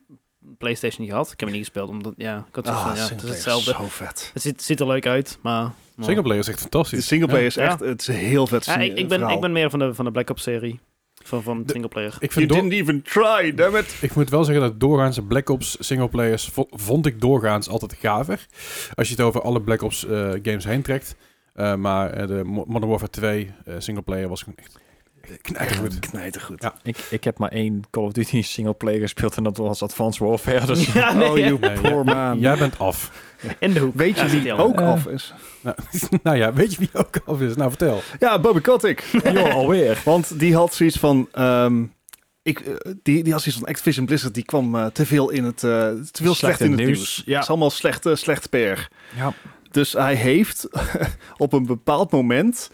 PlayStation gehad. Ik heb het niet gespeeld, omdat... Ja, ik had Ah, zoiets van, ja, het Ah, is singleplayer hetzelfde. Zo vet. Het ziet, ziet er leuk uit, maar... maar- Singleplayer is echt De fantastisch. singleplayer is Ja. echt, het is een heel vet Ja, ik, ik, ben, verhaal. ik ben meer van de, van de Black Ops serie. Van, van De- Oh, singleplayer. Ik, You vind door- didn't even try, damn it. ik moet wel zeggen dat doorgaans de Black Ops singleplayers vo- vond ik doorgaans altijd gaver. Als je het over alle Black Ops eh, games heen trekt. Eh, maar eh, de Mo- Modern Warfare 2 eh, singleplayer was gewoon echt, echt knijtergoed. Knijtergoed. Ja. Ik, ik heb maar één Call of Duty singleplayer gespeeld... en dat was Advanced Warfare. Dus Ja, nee, Oh, you Nee, poor man. Jij bent af. [laughs] [laughs] in de hoek. Weet je Ja, zit wie hij al. ook Eh. af is? Nou, nou ja, weet je wie ook af is? Nou, vertel. Ja, Bobby [laughs] Kotick. joh, alweer. Want die had zoiets van... ehm, ik, eh, die, die had zoiets van Activision Blizzard. Die kwam eh, te veel in het... eh, te veel Slechte slecht in het nieuws. nieuws, ja. Het is allemaal slecht, eh, slecht PR. Ja. Dus hij heeft [laughs] op een bepaald moment...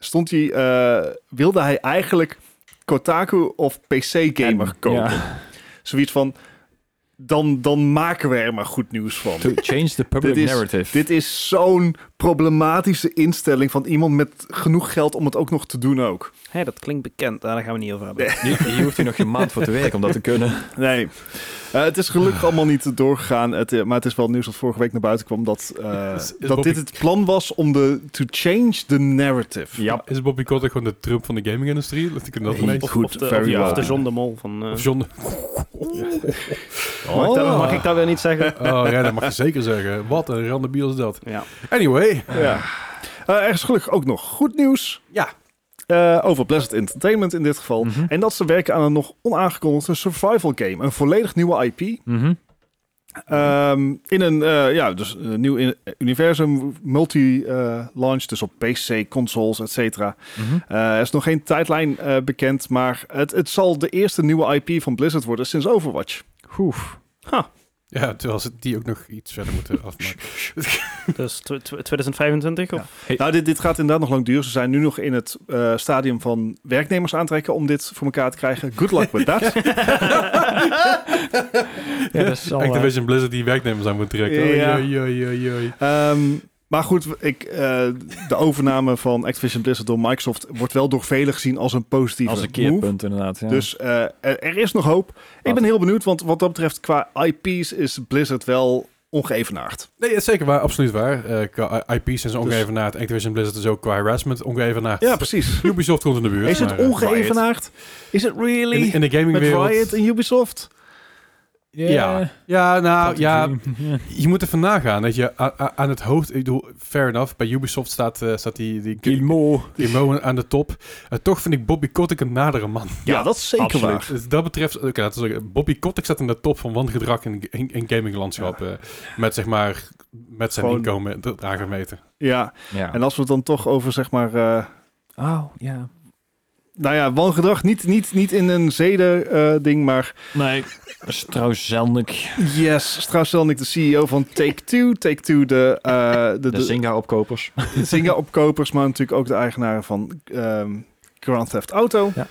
Stond hij, eh, wilde hij eigenlijk Kotaku of PC Gamer kopen. Ja. zoiets van, dan, dan maken we er maar goed nieuws van. To change the public Dit is- narrative. Dit is zo'n problematische instelling van iemand met genoeg geld om het ook nog te doen ook. Hé, dat klinkt bekend. Ah, daar gaan we niet over hebben. Hier, hier hoeft u nog geen maand voor te werken om dat te kunnen. [laughs] Nee, Eh, het is gelukkig allemaal niet doorgegaan. Het, eh, maar het is wel nieuws dat vorige week naar buiten kwam dat, eh, Is- is dat Bobby- dit het plan was om de to change the narrative. Ja. Is Bobby Kotick gewoon de Trump van de gaming-industrie? Dat kunnen dat Nee. ineens. Of, Goed, of de, very of, de- of well. de John de Mol van... eh, Of John... Oh. mag, ik dat, mag ik dat weer niet [laughs] zeggen? Oh ja, dat mag je zeker zeggen. Wat een randebiel is dat. Ja. Anyway. Ja. Eh, er is gelukkig ook nog goed nieuws. Ja. Eh, over Pleasant Entertainment in dit geval. Mhm. En dat ze werken aan een nog onaangekondigde survival game. Een volledig nieuwe IP. Mhm. Ehm, in een eh, ja, dus, een nieuw in- universum, multi-launch, dus op PC, consoles, et cetera. Mhm. Eh, er is nog geen tijdlijn eh, bekend, maar het, het zal de eerste nieuwe IP van Blizzard worden sinds Overwatch. Oef. Ja, terwijl ze die ook nog iets verder moeten afmaken. Dus tw- tw- 2025? Of? Nou, dit, dit gaat inderdaad nog lang duren. Ze zijn nu nog in het eh, stadium van werknemers aantrekken om dit voor elkaar te krijgen. Good luck with [laughs] that. Ja, dat is al, eh, Activision Blizzard die werknemers aan moet trekken. Oei, Ja. oei, oei, oei, oei. Ehm, maar goed, ik, eh, de overname van Activision Blizzard door Microsoft wordt wel door velen gezien als een positieve als een move. keerpunt inderdaad. Ja. Dus eh, er, er is nog hoop. Ik ben heel benieuwd, want wat dat betreft qua IP's is Blizzard wel ongeëvenaard. Nee, dat is zeker waar. Absoluut waar. Eh, qua IP's zijn ze ongeëvenaard. Activision Blizzard is ook qua harassment ongeëvenaard. Ja, precies. Ubisoft komt in de buurt. Is het maar, eh, ongeëvenaard? Is het really? in, in de Met gamingwereld... Riot en Ubisoft? Ja. Ja, nou ja, ja. je moet even nagaan dat je a- a- aan het hoofd, ik bedoel, fair enough, bij Ubisoft staat, eh, staat die, die Guillemot. Guillemot aan de top. En toch vind ik Bobby Kotick een nadere man. Ja, dat is zeker absoluut. waar. Dus dat betreft, oké, laten we zeggen, Bobby Kotick staat in de top van wangedrag in, in, in gaminglandschap. eh, met zeg maar, met zijn Gewoon- inkomen d- aangemeten. Ja, Ja. en als we het dan toch over zeg maar... eh, oh, ja. nou ja, wangedrag, niet, niet, niet in een zeden eh, ding, maar Nee, dat is trouwens zeldig. yes, Strauss-Zelnick, de CEO van Take-Two. Take-Two, de, eh, de, De de, Zynga-opkopers. Zynga-opkopers, maar natuurlijk ook de eigenaren van ehm, Grand Theft Auto. Ja.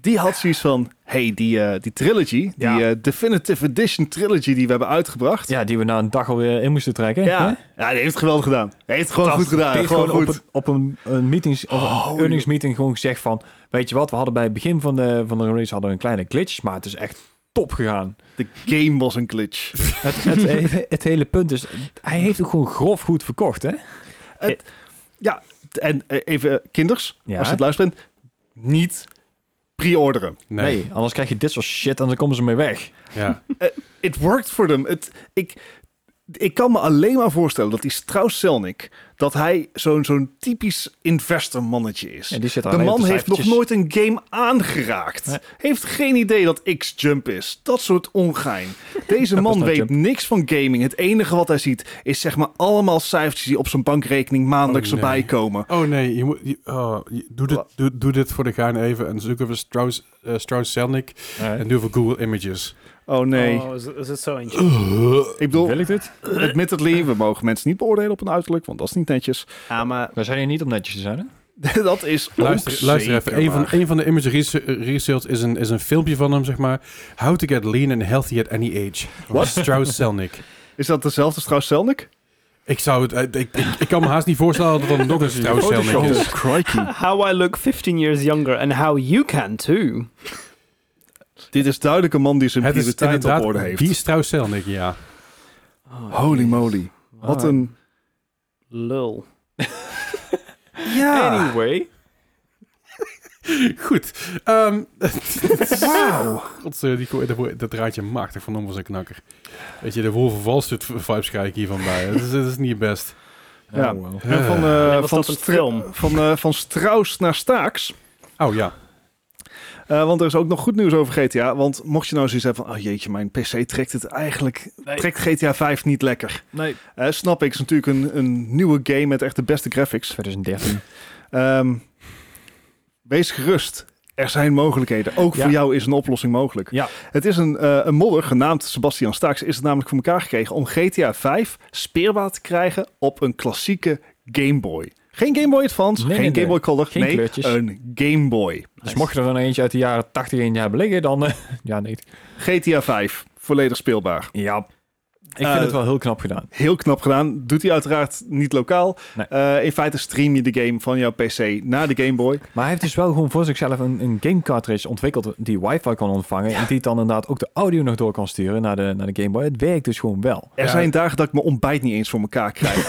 Die had zoiets van, hey, die, eh, die trilogy, Ja. die eh, Definitive Edition trilogy die we hebben uitgebracht. Ja, die we na een dag alweer in moesten trekken. hè? ja. ja, die heeft het geweldig gedaan. Hij heeft het gewoon goed gedaan. Die heeft Gewoon gewoon goed. op, een, op een, een meetings, of Oh, een earnings meeting gewoon gezegd van... Weet je wat, we hadden bij het begin van de, van de release hadden we een kleine glitch, maar het is echt top gegaan. De game was een glitch. Het, [laughs] het, het, hele punt is, hij heeft ook gewoon grof goed verkocht, hè? En eh, even, eh, kinders, Ja. als je het luistert bent, niet pre-orderen. Nee. anders krijg je dit soort shit en dan komen ze mee weg. Ja. It worked for them. Het, ik, ik kan me alleen maar voorstellen dat die Strauss-Zelnick, dat hij zo'n zo'n typisch investormannetje is. En die zit De alleen op man heeft nog cijfertjes. nooit een game aangeraakt. Nee. Heeft geen idee dat X-Jump is. Dat soort ongein. [laughs] Deze Dat is man no nou weet jump. niks van gaming. Het enige wat hij ziet is zeg maar allemaal cijfertjes die op zijn bankrekening maandelijks Oh, nee. erbij komen. Oh nee, je moet, je- oh, je- doe, dit, doe, doe dit voor de gaan even en zoek even Strauss, eh, Strauss-Zelnick Nee. en doe even Google Images. Oh nee. Oh, is, is het zo eentje? Ik bedoel, Wil ik dit? admittedly, we mogen mensen niet beoordelen op een uiterlijk, want dat is niet netjes. [laughs] Ja, maar We zijn hier niet om netjes te zijn, hè? dat is ook Luister, luister zeker even. Een van, waar. een van de image rese- research is een, is een filmpje van hem, zeg maar. How to get lean and healthy at any age. Wat? Wat? Strauss Zelnick. Is dat dezelfde Strauss-Zelnick? Ik zou het... eh, Ik, ik, ik kan me haast niet voorstellen dat er nog een Strauss Oh, Zelnick is. crikey. how I look 15 years younger and how you can too. Dit is duidelijk een man die zijn Het is prioriteiten op inderdaad orde heeft. die Strauss Zelnick, ja. [laughs] Holy moly. Wat Ah. een... lul. Ah. Ja. Anyway. Goed. Ehm Wauw. God, eh, die, ko- dat, wo- dat draadje machtig van ons een knakker. Weet je, de Wolf of Wall Street vibes krijg ik hiervan bij. Dat is, dat is niet best. Ja. Oh, well. En van, eh, Nee, was van, dat een Stra- film? Van, eh, van Strauss naar Staaks. Oh ja. Eh, want er is ook nog goed nieuws over GTA. Want mocht je nou zoiets hebben van... Oh jeetje, mijn PC trekt het eigenlijk... Trekt GTA 5 niet lekker. Nee. Eh, snap ik, het is natuurlijk een, een nieuwe game met echt de beste graphics. 2013. Ehm, wees gerust. Er zijn mogelijkheden. Ook Ja. voor jou is een oplossing mogelijk. Ja. Het is een, eh, een modder genaamd Sebastian Staaks. Is het namelijk voor elkaar gekregen om GTA 5 speelbaar te krijgen op een klassieke Game Boy. Geen Game Boy Advance, Nee, geen nee, Game Boy Color, Geen nee, kleurtjes. een Game Boy. Dus mocht je er dan eentje uit de jaren 80 in je hebben liggen, dan... eh, [laughs] ja, nee. GTA 5, volledig speelbaar. Ja. Ik Eh, vind het wel heel knap gedaan. Heel knap gedaan. Doet hij uiteraard niet lokaal. Nee. Eh, in feite stream je de game van jouw PC naar de Game Boy. Maar hij heeft dus wel gewoon voor zichzelf een, een game cartridge ontwikkeld die wifi kan ontvangen. En die dan inderdaad ook de audio nog door kan sturen naar de, naar de Game Boy. Het werkt dus gewoon wel. Er Ja. zijn dagen dat ik mijn ontbijt niet eens voor elkaar krijg.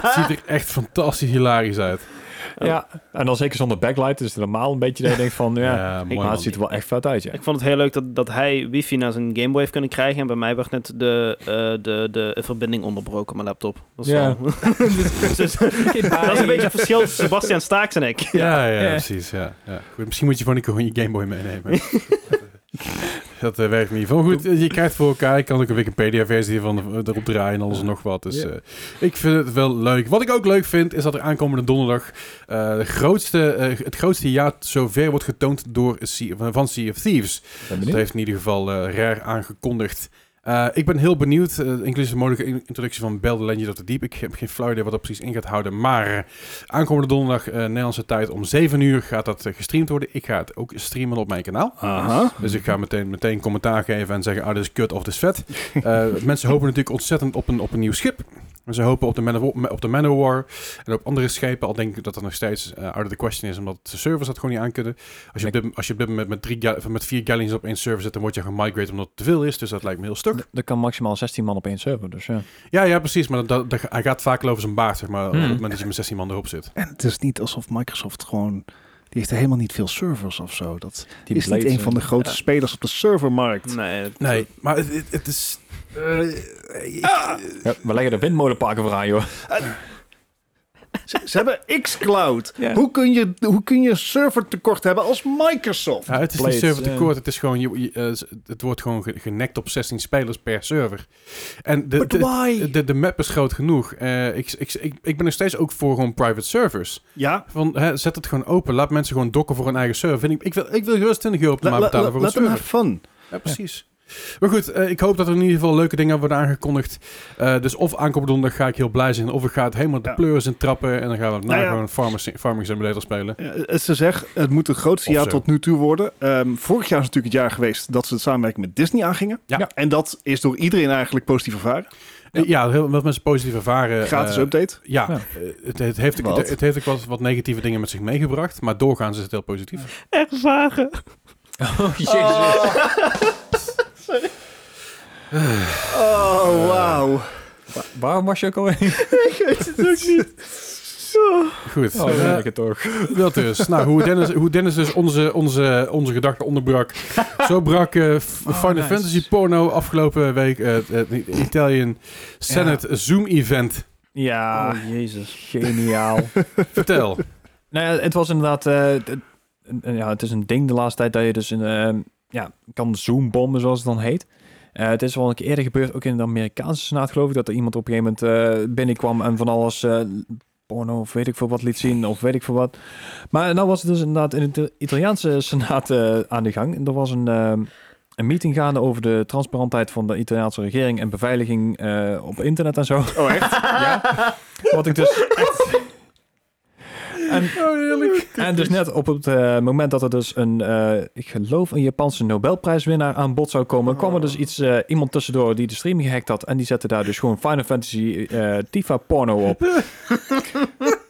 Het ziet er echt fantastisch hilarisch uit. Oh. Ja. En dan zeker zonder backlight. Dus normaal een beetje dat je denkt van, [laughs] ja, Eh, mooi maar man. het ziet er wel echt vet uit, ja. Ik vond het heel leuk dat, dat hij wifi naar zijn Game Boy heeft kunnen krijgen. En bij mij werd net de, eh, de, de verbinding onderbroken op mijn laptop. Dat is Ja. wel- [laughs] Dus- dus- [laughs] dat is een beetje het verschil tussen Sebastian Staaks en [laughs] ik. Ja, ja, Ja. precies. Ja, ja. Goed, misschien moet je gewoon een keer gewoon je Game Boy meenemen. [laughs] dat eh, werkt niet. Van goed, eh, je krijgt voor elkaar. Ik kan ook een Wikipedia-versie van eh, erop draaien en alles en nog wat. Dus Ja. eh, ik vind het wel leuk. Wat ik ook leuk vind, is dat er aankomende donderdag eh, de grootste, eh, het grootste jaar zover wordt getoond door sea, van Sea of Thieves. Ben Dat benieuwd. heeft in ieder geval eh Rare aangekondigd. Eh, ik ben heel benieuwd, eh, inclusief de mogelijke in- introductie van Bell the Legend of the Deep. Ik heb geen flauw idee wat dat precies in gaat houden. Maar eh, aankomende donderdag, eh, Nederlandse tijd, om 7 uur gaat dat eh, gestreamd worden. Ik ga het ook streamen op mijn kanaal. Aha. Dus ik ga meteen, meteen commentaar geven en zeggen, ah, dit is kut of dit is vet. [laughs] Eh, mensen hopen natuurlijk ontzettend op een, op een nieuw schip. Ze hopen op de, Manowar, op de Manowar en op andere schepen. Al denk ik dat dat nog steeds eh, out of the question is, omdat de servers dat gewoon niet aankunnen. Als je op dit, als je op dit moment met, drie ga- of met vier galleons op één server zit, dan word je gemaigreerd omdat het te veel is. Dus dat lijkt me heel stuk. Er- Er kan maximaal 16 man op één server, dus ja. Ja, ja, precies. Maar dat, dat- hij gaat vaak wel over zijn baard, zeg maar, op Hmm. het moment dat je met 16 man erop zit. En het is niet alsof Microsoft gewoon... Die heeft er helemaal niet veel servers of zo. Dat Die is niet blades, een van de eh, grote Ja. spelers op de servermarkt. Nee, het- Nee, maar het, het- het is... eh, ik- ja, we leggen de windmolenparken voor aan, joh. Ze, ze hebben xCloud. Ja. Hoe, kun je, hoe kun je servertekort hebben als Microsoft? Ja, het is Blades, niet server ja. tekort. Het is gewoon, je, je, eh, het wordt gewoon ge- genekt op 16 spelers per server. En de, But de, why? de, de map is groot genoeg. Eh, ik, ik, ik, ik ben nog steeds ook voor gewoon private servers. ja, Van, hè, zet het gewoon open. Laat mensen gewoon dokken voor hun eigen server. Vind ik, ik, wil, ik wil gerust 20 euro per la, maand la, betalen la, voor een laat hem server. have fun. Ja, precies. Maar goed, eh, ik hoop dat er in ieder geval leuke dingen worden aangekondigd. Eh, dus of aankomende donderdag ga ik heel blij zijn. Of ik ga het helemaal de Ja. pleurs in trappen. En dan gaan we daarna Nou ja. gewoon farming, farming simulator spelen. Ja, het- Eh, ze zeggen, het moet het grootste Of jaar zo. tot nu toe worden. Ehm, vorig jaar is natuurlijk het jaar geweest dat ze het samenwerking met Disney aangingen. Ja. Ja. En dat is door iedereen eigenlijk positief ervaren. Ja, heel veel mensen positief ervaren. Gratis eh, update. Ja, Ja. eh, Het, het heeft, Wat? het, het heeft ook wat, wat negatieve dingen met zich meegebracht, maar doorgaans is het heel positief. ervaren. Oh, jezus. eh, Oh, wauw. Wa- [laughs] Waarom was je ook alweer? Goed, Oh, eh, het toch. dat dus. Nou, hoe Dennis, hoe Dennis dus onze, onze, onze gedachten onderbrak, zo brak eh, F- Oh, Final nice. Fantasy Porno afgelopen week eh, het, het Italian Senate Zoom Event. Ja, Oh, jezus. [laughs] geniaal. Vertel. nou ja, het was inderdaad... eh, het- een- een- ja, het is een ding de laatste tijd dat je dus een, ehm, ja, kan zoombommen, zoals het dan heet. Eh, het is wel een keer eerder gebeurd, ook in de Amerikaanse Senaat geloof ik, dat er iemand op een gegeven moment eh, binnenkwam en van alles eh, porno of weet ik veel wat liet zien of weet ik veel wat. Maar nou was het dus inderdaad in de Italiaanse Senaat eh, aan de gang. En er was een, ehm, een meeting gaande over de transparantheid van de Italiaanse regering en beveiliging eh, op internet en zo. Oh, [laughs] echt? Ja. [laughs] Wat ik dus echt- En, Oh, en dus net op het eh, moment dat er dus een, eh, ik geloof een Japanse Nobelprijswinnaar aan bod zou komen, kwam er Oh. dus iets, eh, iemand tussendoor die de stream gehackt had en die zette daar dus gewoon Final Fantasy eh Tifa porno op.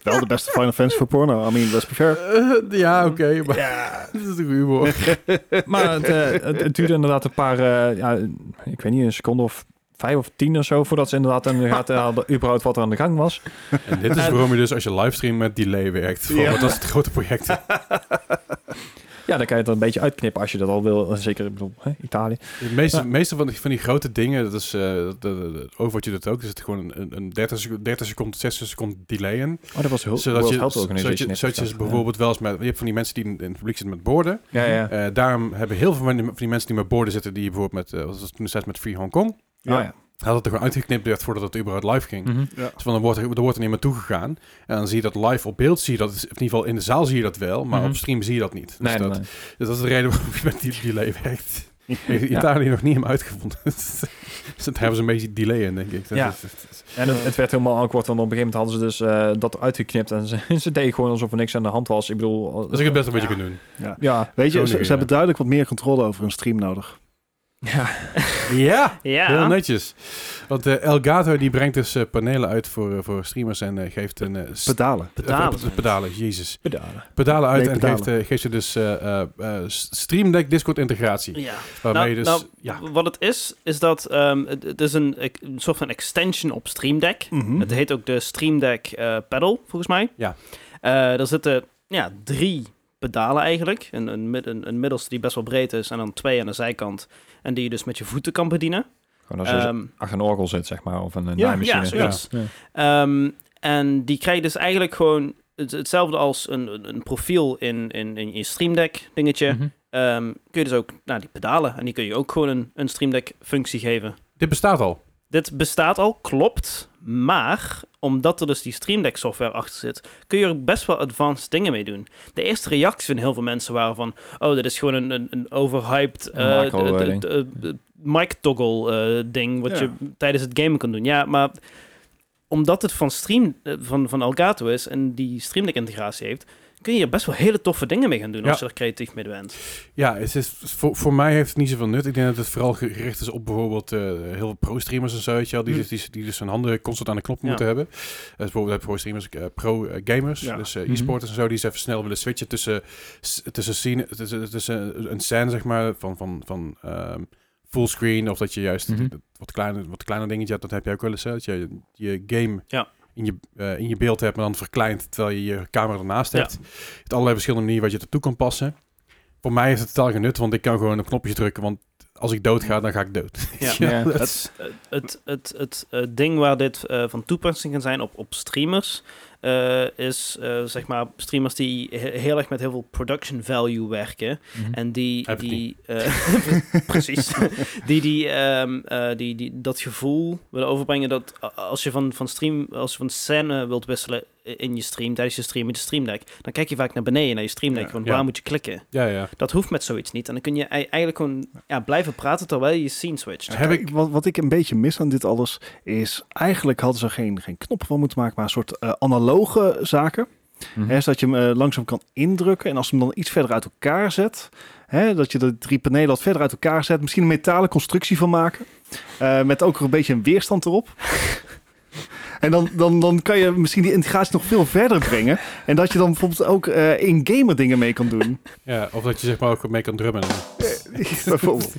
Wel de beste Final Fantasy voor [laughs] porno. I mean, let's be fair. Eh, ja, oké, maar [laughs] dat is een humor. [laughs] Maar het, eh, het, het duurde inderdaad een paar, eh, ja, ik weet niet, een seconde of vijf of tien of zo voordat ze [laughs] inderdaad in de gaten hadden überhaupt wat er aan de gang was. En dit is waarom je dus als je livestream met delay werkt. Van, Ja. Want dat is het grote project. Ja, dan kan je het er een beetje uitknippen als je dat al wil. eh, Zeker, ik bedoel, hè, Italië. De meeste, Ja. meeste van, die, van die grote dingen, dat is eh de, de, je Overwatch doet het ook, er zit gewoon een, een 30 seconden, 30 seconden, 60 seconden delay in. Oh, dat was heel Zodat je, Health zodat je, heeft zodat je gezegd, ja. bijvoorbeeld wel eens met, je hebt van die mensen die in, in het publiek zitten met borden. Ja, ja. Eh, daarom hebben heel veel van die, van die mensen die met borden zitten, die bijvoorbeeld met, eh, wat was het toen destijds met Free Hong Kong, Ja. ja. had het er gewoon uitgeknipt werd voordat het überhaupt live ging. Mhm. Dus van, dan wordt er, er wordt er niet meer toegegaan. En dan zie je dat live op beeld, zie je dat, in ieder geval in de zaal zie je dat wel, maar Mhm. op stream zie je dat niet. Dus Nee, dat, nee. dus dat is de reden waarom je met die delay werkt. Italië nog niet hem uitgevonden. [laughs] dus daar hebben ze een beetje delay in, denk ik. Dat Ja. is- dat is- En het, het werd helemaal awkward, want op een gegeven moment hadden ze dus eh, dat eruit geknipt. En ze, [laughs] ze deden gewoon alsof er niks aan de hand was. Ik bedoel... eh, dat is ook het beste wat je kunt doen. Ja. Weet je, Zo ze, nu, ze ja. hebben duidelijk wat meer controle over hun stream nodig. ja. Ja! Heel Ja. netjes. Want eh, Elgato die brengt dus eh, panelen uit voor, eh, voor streamers en eh, geeft een... eh, st- Pedalen. Pedalen. eh, pe- pedalen, jezus. Pedalen. Pedalen uit Nee, en pedalen. Geeft, eh, geeft je dus eh, eh, eh, Stream Deck Discord integratie. Ja. Waarmee Nou, je dus... nou, ja. Wat het is, is dat ehm, het, het is een, een soort van extension op Stream Deck. Hm? Het heet ook de Stream Deck eh Pedal, volgens mij. Ja. Eh, daar zitten ja, drie pedalen eigenlijk. Een, een, mid- een, een middelste die best wel breed is en dan twee aan de zijkant. En die je dus met je voeten kan bedienen. Gewoon als je Ehm, achter dus een orgel zit, zeg maar. Of een, een Ja, naaimachine. ja, zoiets. Ehm, en die krijg je dus eigenlijk gewoon het- hetzelfde als een, een, een profiel in, in, in je Stream Deck dingetje. Mhm. Ehm, kun je dus ook nou, die pedalen en die kun je ook gewoon een, een Stream Deck functie geven. Dit bestaat al. Dit bestaat al, klopt, maar omdat er dus die Stream Deck software achter zit, kun je er best wel advanced dingen mee doen. De eerste reacties van heel veel mensen waren van, oh, dit is gewoon een, een, een overhyped Een macro, eh, ding. mic toggle eh, ding wat Ja. je tijdens het gamen kan doen. Ja, maar omdat het van stream eh, van, van Elgato is en die Stream Deck integratie heeft, kun je er best wel hele toffe dingen mee gaan doen Ja. als je er creatief mee bent. Ja, het is, voor, voor mij heeft het niet zoveel nut. Ik denk dat het vooral gericht is op bijvoorbeeld eh, heel veel pro-streamers en zo, weet je wel, die, Hm. dus, die, die dus hun handen constant aan de knop Ja. moeten hebben. Dus bijvoorbeeld eh, pro-streamers, eh, pro-gamers, Ja. dus eh, Mhm. e-sporters en zo, die eens even snel willen switchen tussen, s- tussen, scene, tussen, tussen een scène, zeg maar, van, van, van ehm, fullscreen, of dat je juist Mhm. wat kleiner wat kleiner dingetje hebt, dat heb je ook wel eens, hè, dat je je game... Ja. In je, eh, in je beeld hebt, maar dan verkleind terwijl je je camera ernaast Ja. hebt. Je hebt allerlei verschillende manieren wat je ertoe kan passen voor mij heeft het totaal genut, want ik kan gewoon op knopjes drukken. Want als ik dood ga, dan ga ik dood. Ja. [laughs] Ja. dat- Het, het, het, het, eh, ding waar dit eh, van toepassing kan zijn op, op streamers, eh, is eh, zeg maar streamers die he- heel erg met heel veel production value werken. En die, Heb ik die eh, [laughs] precies, die, die, ehm, eh, die, die dat gevoel willen overbrengen dat a- als je van, van stream, als je van scène wilt wisselen in je stream, tijdens je stream met je stream deck, dan kijk je vaak naar beneden, naar je stream deck, Ja. van Ja. waar moet je klikken? ja, ja. Dat hoeft met zoiets niet. En dan kun je ei- eigenlijk gewoon ja, blijven praten terwijl je je scene switcht. Heb ik, Kijk, wat, wat ik een beetje mis aan dit alles is, eigenlijk hadden ze geen, geen knop van moeten maken, maar een soort eh, analoge zaken. Mhm. Hè, zodat je hem eh, langzaam kan indrukken en als je hem dan iets verder uit elkaar zet, hè, dat je de drie panelen wat verder uit elkaar zet, misschien een metalen constructie van maken, eh, met ook een beetje een weerstand erop. [laughs] En dan, dan, dan kan je misschien die integratie nog veel verder brengen. En dat je dan bijvoorbeeld ook eh, in gamer dingen mee kan doen. ja, of dat je zeg maar ook mee kan drummen. [laughs] bijvoorbeeld.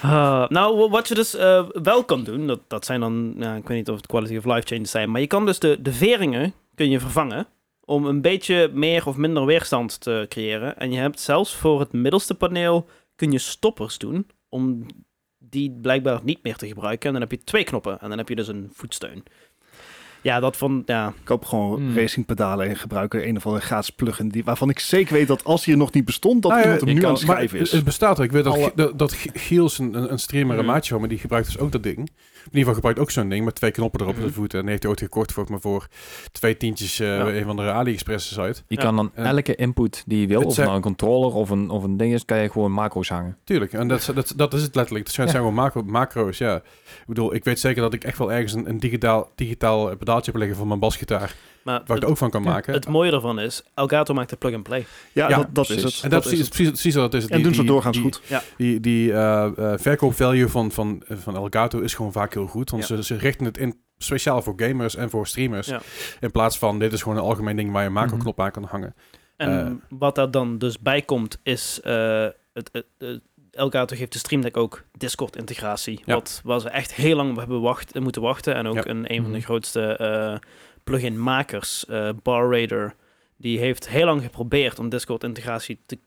Ah, nou, wa- wat je dus eh, wel kan doen, dat, dat zijn dan, nou, ik weet niet of het quality of life changes zijn, maar je kan dus de, de veringen kun je vervangen om een beetje meer of minder weerstand te creëren. En je hebt zelfs voor het middelste paneel kun je stoppers doen om die blijkbaar niet meer te gebruiken. En dan heb je twee knoppen en dan heb je dus een voetsteun. Ja, dat van, ja, Koop gewoon Hmm. racingpedalen en gebruik er een of andere gratis plugin die, waarvan ik zeker weet dat als die er nog niet bestond, dat Nou ja, iemand hem je nu kan- aan het schrijven het, is. het bestaat ook. Ik weet dat, Alle- G- dat, dat G- Giels, een, een een streamer, een Mhm. maatje van me, die gebruikt dus ook dat ding. In ieder geval gebruikt ook zo'n ding met twee knoppen erop op Mhm. de voeten. En die heeft hij ooit gekocht voor, maar voor twee tientjes eh Ja. een van de AliExpress uit. Je Ja. kan dan Ja. elke input die je wil, Het of het zijn- nou een controller of een, of een ding is, kan je gewoon macro's hangen. Tuurlijk, en dat, dat, dat is het letterlijk. Het zijn Ja. zijn gewoon macro, macro's, ja. Ik bedoel, ik weet zeker dat ik echt wel ergens een, een digitaal, digitaal eh, pedaaltje heb liggen voor mijn basgitaar. maar Waar ik er het, ook van kan ja, maken. het mooie ervan is, Elgato maakt de plug-and-play. ja, ja, dat, dat is precies. het. En dat, is is het. precies, precies wat het is. en doen ze die- doorgaans die- goed. Die, die eh eh, verkoopvalue van, van, van Elgato is gewoon vaak heel goed. Want Ja. ze, ze richten het in speciaal voor gamers en voor streamers. Ja. In plaats van, dit is gewoon een algemeen ding waar je een macro-knop aan kan hangen. En Eh. wat daar dan dus bij komt, is eh het, het, het- Elgato geeft de Stream Deck ook Discord-integratie. Ja. Wat waar ze echt heel lang op hebben wacht, eh, moeten wachten. En ook Ja. een, een van de Mhm. grootste eh, plugin-makers, eh Bar Raider, die heeft heel lang geprobeerd om Discord-integratie te,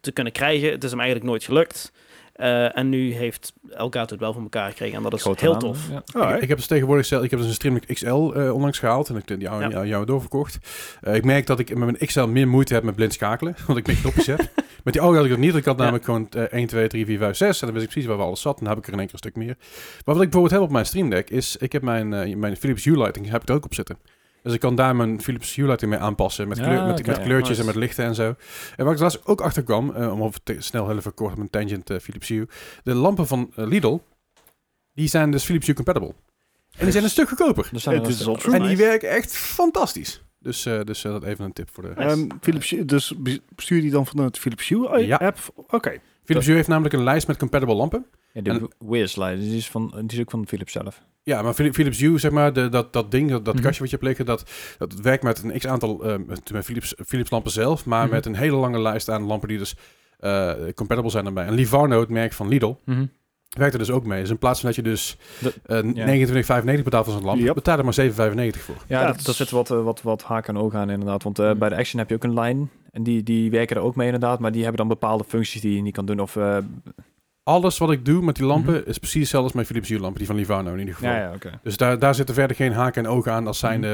te kunnen krijgen. Het is hem eigenlijk nooit gelukt. Eh, en nu heeft Elgato het wel voor elkaar gekregen. En dat is heel naam, tof. hè? Ja. Ik, ik heb dus tegenwoordig zelf, ik heb dus een Stream Deck XL eh, onlangs gehaald en ik heb die oude, Ja. die oude doorverkocht. Eh, ik merk dat ik met mijn XL meer moeite heb met blind schakelen, [laughs] want ik meer knopjes [laughs] heb. Met die oude had ik dat niet. Ik had Ja. namelijk gewoon eh, 1, 2, 3, 4, 5, 6 en dan wist ik precies waar we alles zat en dan heb ik er in één keer een stuk meer. Maar wat ik bijvoorbeeld heb op mijn Stream Deck is, ik heb mijn, eh, mijn Philips Hue Lighting heb ik er ook op zitten. Dus ik kan daar mijn Philips Hue lighting mee aanpassen. Met, Ja, kleur, met, oké. met kleurtjes Nice. en met lichten en zo. En waar ik laatst ook achter kwam, eh, om over te- snel heel even kort op een tangent eh, Philips Hue. De lampen van eh, Lidl, die zijn dus Philips Hue compatible. En die zijn een stuk goedkoper. Dus zijn Het er is wel- op En die Nice. werken echt fantastisch. Dus, eh, dus eh, dat even een tip voor de... Nice. Ehm, Philips Hue- dus bestuur die dan vanuit de Philips Ja. Hue eh, app? Oké. Philips Hue heeft namelijk een lijst met compatible lampen. Ja, de Wears Light, die is, van, die is ook van Philips zelf. Ja, maar Phili- Philips Hue, zeg maar, de, dat, dat ding, dat, dat Mhm. kastje wat je hebt liggen, dat, dat werkt met een x-aantal eh, met met Philips, Philips lampen zelf, maar Mhm. met een hele lange lijst aan lampen die dus eh, compatible zijn daarbij. En Livarno, het merk van Lidl, werkt er dus ook mee. Dus in plaats van dat je dus Dat- eh, ja. 29,95 betaalt voor zo'n lamp, Yep. betaal er maar 7,95 voor. Ja, Ja, dat, het is- daar zit wat, eh, wat, wat haken en ogen aan inderdaad. Want eh, bij de Action heb je ook een lijn. En die, die werken er ook mee inderdaad. Maar die hebben dan bepaalde functies die je niet kan doen. Of, eh, Alles wat ik doe met die lampen is precies hetzelfde als mijn Philips Hue lampen, die van Livarno in ieder geval. Mhm. ja, Mhm. ja, oké. Dus daar, daar zitten verder geen haken en ogen aan als zijn.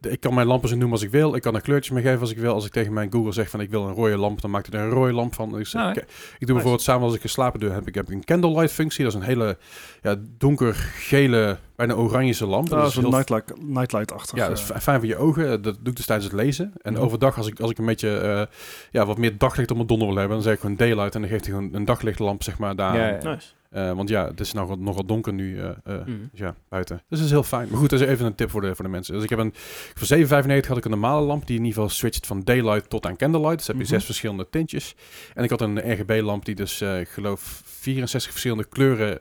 ik kan mijn lampen zo noemen als ik wil. Ik kan een kleurtje mee geven als ik wil. Als ik tegen mijn Google zeg van ik wil een rode lamp, dan maakt het een rode lamp van. Dus, Ah, ik, ik doe bijvoorbeeld samen als ik geslapen doe, heb ik heb ik een candlelight functie. Dat is een hele ja, donkergele, bijna oranje lamp. Dat is is een heel- nightlight, nightlight-achtig. eh. ja, dat eh. is fi- fijn voor je ogen. Dat doe ik dus tijdens het lezen. En Ja. overdag, als ik, als ik een beetje eh, ja, wat meer daglicht op mijn donder wil hebben, dan zeg ik gewoon daylight. En dan geeft hij gewoon een daglichtlamp, zeg maar, daar. Ja, ja. Nice. Eh, want ja, het is nogal, nogal donker nu eh, eh, Mhm. dus ja, buiten. Dus dat is heel fijn. Maar goed, dat is even een tip voor de, voor de mensen. Dus ik heb een... Voor 7,95 had ik een normale lamp die in ieder geval switcht van daylight tot aan candlelight. Dus heb je Mhm. zes verschillende tintjes. En ik had een RGB-lamp die dus, eh, ik geloof, 64 verschillende kleuren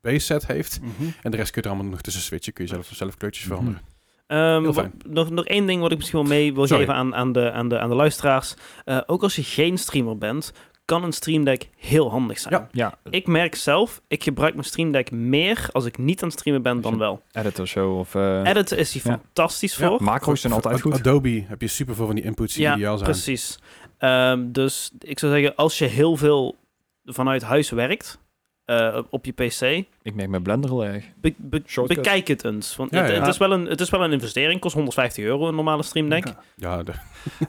base set heeft. Mhm. En de rest kun je er allemaal nog tussen switchen. Kun je zelf, zelf kleurtjes Mhm. veranderen. Ehm, Heel wa- fijn. nog, nog één ding wat ik misschien wel mee wil Sorry. geven aan, aan, de, aan, de, aan de luisteraars. Eh, ook als je geen streamer bent, kan een Stream Deck heel handig zijn. Ja. Ja, Ik merk zelf, ik gebruik mijn Stream Deck meer als ik niet aan het streamen ben dan Zo. wel. editor show of... eh, Editen is hier Ja. fantastisch Ja, voor. macro's zijn altijd Voor- voor goed. Adobe heb je super veel van die inputs die Ja, ideaal zijn. Precies. Ehm, dus ik zou zeggen, als je heel veel vanuit huis werkt eh, op- op je PC, Ik merk mijn blender heel erg. be- be- Shortcuts. bekijk het eens. Want Ja, het, ja. het is wel een, het is wel een investering, kost 150 euro een normale Stream Deck. Ja. Ja, de,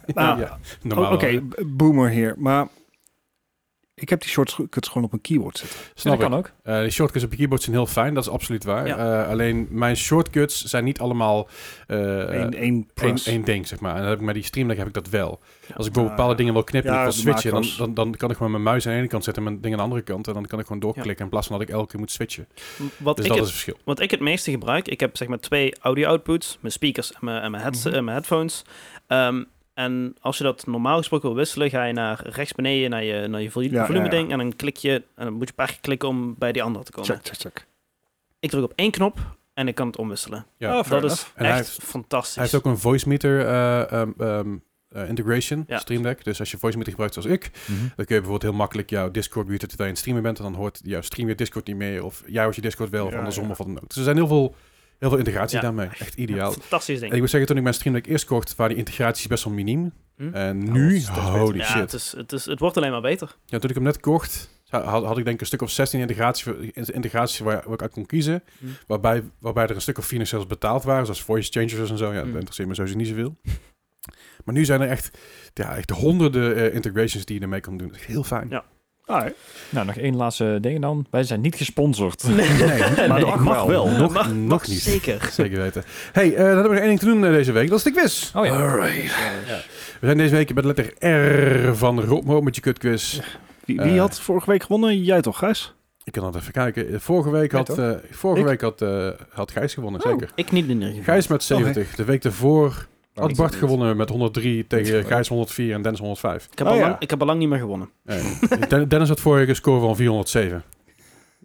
[laughs] Nou, ja, o- normaal. Oké, b- boomer hier. Maar ik heb die shortcuts gewoon op een keyboard zitten. Snap Ja, dat ik. kan ook. Eh die shortcuts op je keyboard zijn heel fijn, dat is absoluut waar. Ja. Eh, alleen mijn shortcuts zijn niet allemaal eh, Eén één- één één press. één ding, zeg maar. En dan heb ik met die streamlink heb ik dat wel. Ja. Als ik bijvoorbeeld bepaalde Ah, dingen wil knippen en Ja, ik wil de switchen, dan, macro's. dan, dan kan ik gewoon mijn muis aan de ene kant zetten en mijn ding aan de andere kant. En dan kan ik gewoon doorklikken in plaats van dat ik elke keer moet switchen. Wat Dus ik dat het- is het verschil. Wat ik het meeste gebruik, ik heb zeg maar twee audio-outputs, mijn speakers en mijn, en mijn, headse- Mhm. en mijn headphones. Ehm, en als je dat normaal gesproken wil wisselen, ga je naar rechts beneden naar je, naar je volu- Ja, ja, volume ding ja. en dan klik je en dan moet je een paar keer klikken om bij die andere te komen. Check, check, check. Ik druk op één knop en ik kan het omwisselen. Ja. Oh, Ah, fair dat is enough. En hij echt heeft- fantastisch. Hij heeft ook een voice meter eh, ehm, ehm, eh, integration, Ja. Stream Deck. Dus als je voice meter gebruikt zoals ik, Dan kun je bijvoorbeeld heel makkelijk jouw Discord muten terwijl je aan het streamen bent. En dan hoort jouw stream je Discord niet meer. Of jij hoort je Discord wel, of Ja, andersom ja. of wat dan ook. Dus er zijn heel veel, heel veel integratie Ja. daarmee. Echt Ja, ideaal. fantastisch ding. en ik moet zeggen, toen ik mijn stream Deck eerst kocht, waren die integraties best wel miniem. Hm? En Oh, dat nu, is steeds holy ja, shit. Het, is, het, is, het wordt alleen maar beter. Ja, toen ik hem net kocht, had, had ik denk ik een stuk of 16 integraties, integraties waar, waar ik uit kon kiezen. Hm. Waarbij, waarbij er een stuk of 4 nog zelfs betaald waren, zoals voice changers en zo. Ja, dat Hm. interesseert me sowieso niet zoveel. Maar nu zijn er echt, ja, echt honderden eh, integrations die je ermee kan doen. Dat is heel fijn. Ja. Alright. Nou, nog één laatste ding dan. Wij zijn niet gesponsord. [laughs] Nee, maar [laughs] Nee, dat mag wel. Nog, Mag- nog mag Eh, niet. Zeker. [laughs] Zeker weten. hey, eh, dan hebben we nog één ding te doen eh, deze week. Dat is de quiz. [laughs] Oh ja. We zijn deze week bij de letter R van Robmo met je kutquiz. Wie, wie Eh. had vorige week gewonnen? Jij toch, Gijs? Ik kan dat even kijken. Eh, Vorige week Ja, had, toch? eh, vorige Ik? week had, eh, had Gijs gewonnen, Oh. zeker. Ik niet in ieder geval. Gijs met 70. De week daarvoor had ik Bart niet. gewonnen met 103 tegen Sorry. Gijs 104 en Dennis 105. Ik heb, Oh, al ja. lang, ik heb al lang niet meer gewonnen. Eh, Den- [laughs] Dennis had vorige keer een score van 407.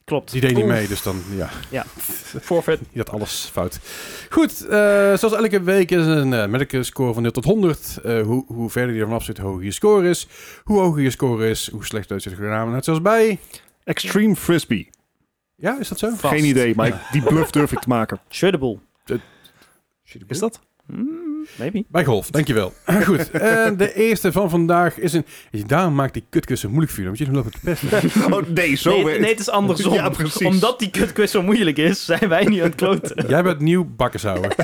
Klopt. Die deed niet Oef. mee, dus dan ja. Forfeit. [laughs] Je had alles fout. Goed, eh, zoals elke week is een eh medical score van 0 tot 100. Eh, hoe, hoe verder je ervan af zit, hoe hoger je score is. Hoe hoger je score is, hoe slecht uit zit de namen. Net zoals bij... Extreme Frisbee. Ja, is dat zo? Vast. Geen idee, maar ik- die bluff durf ik te maken. Shuddable. Is dat? Hmm, maybe. Bij golf, dankjewel. [clears throat] Goed, en de eerste van vandaag is een... Daarom maakt die kutkus zo moeilijk voor jullie, want jullie lopen te pesten. [laughs] Oh nee, zo nee, werkt- nee, het is andersom. [laughs] Ja, precies. Omdat die kutquiz zo moeilijk is, zijn wij nu aan het [laughs] kloten. [laughs] Jij bent nieuw bakkershouwer.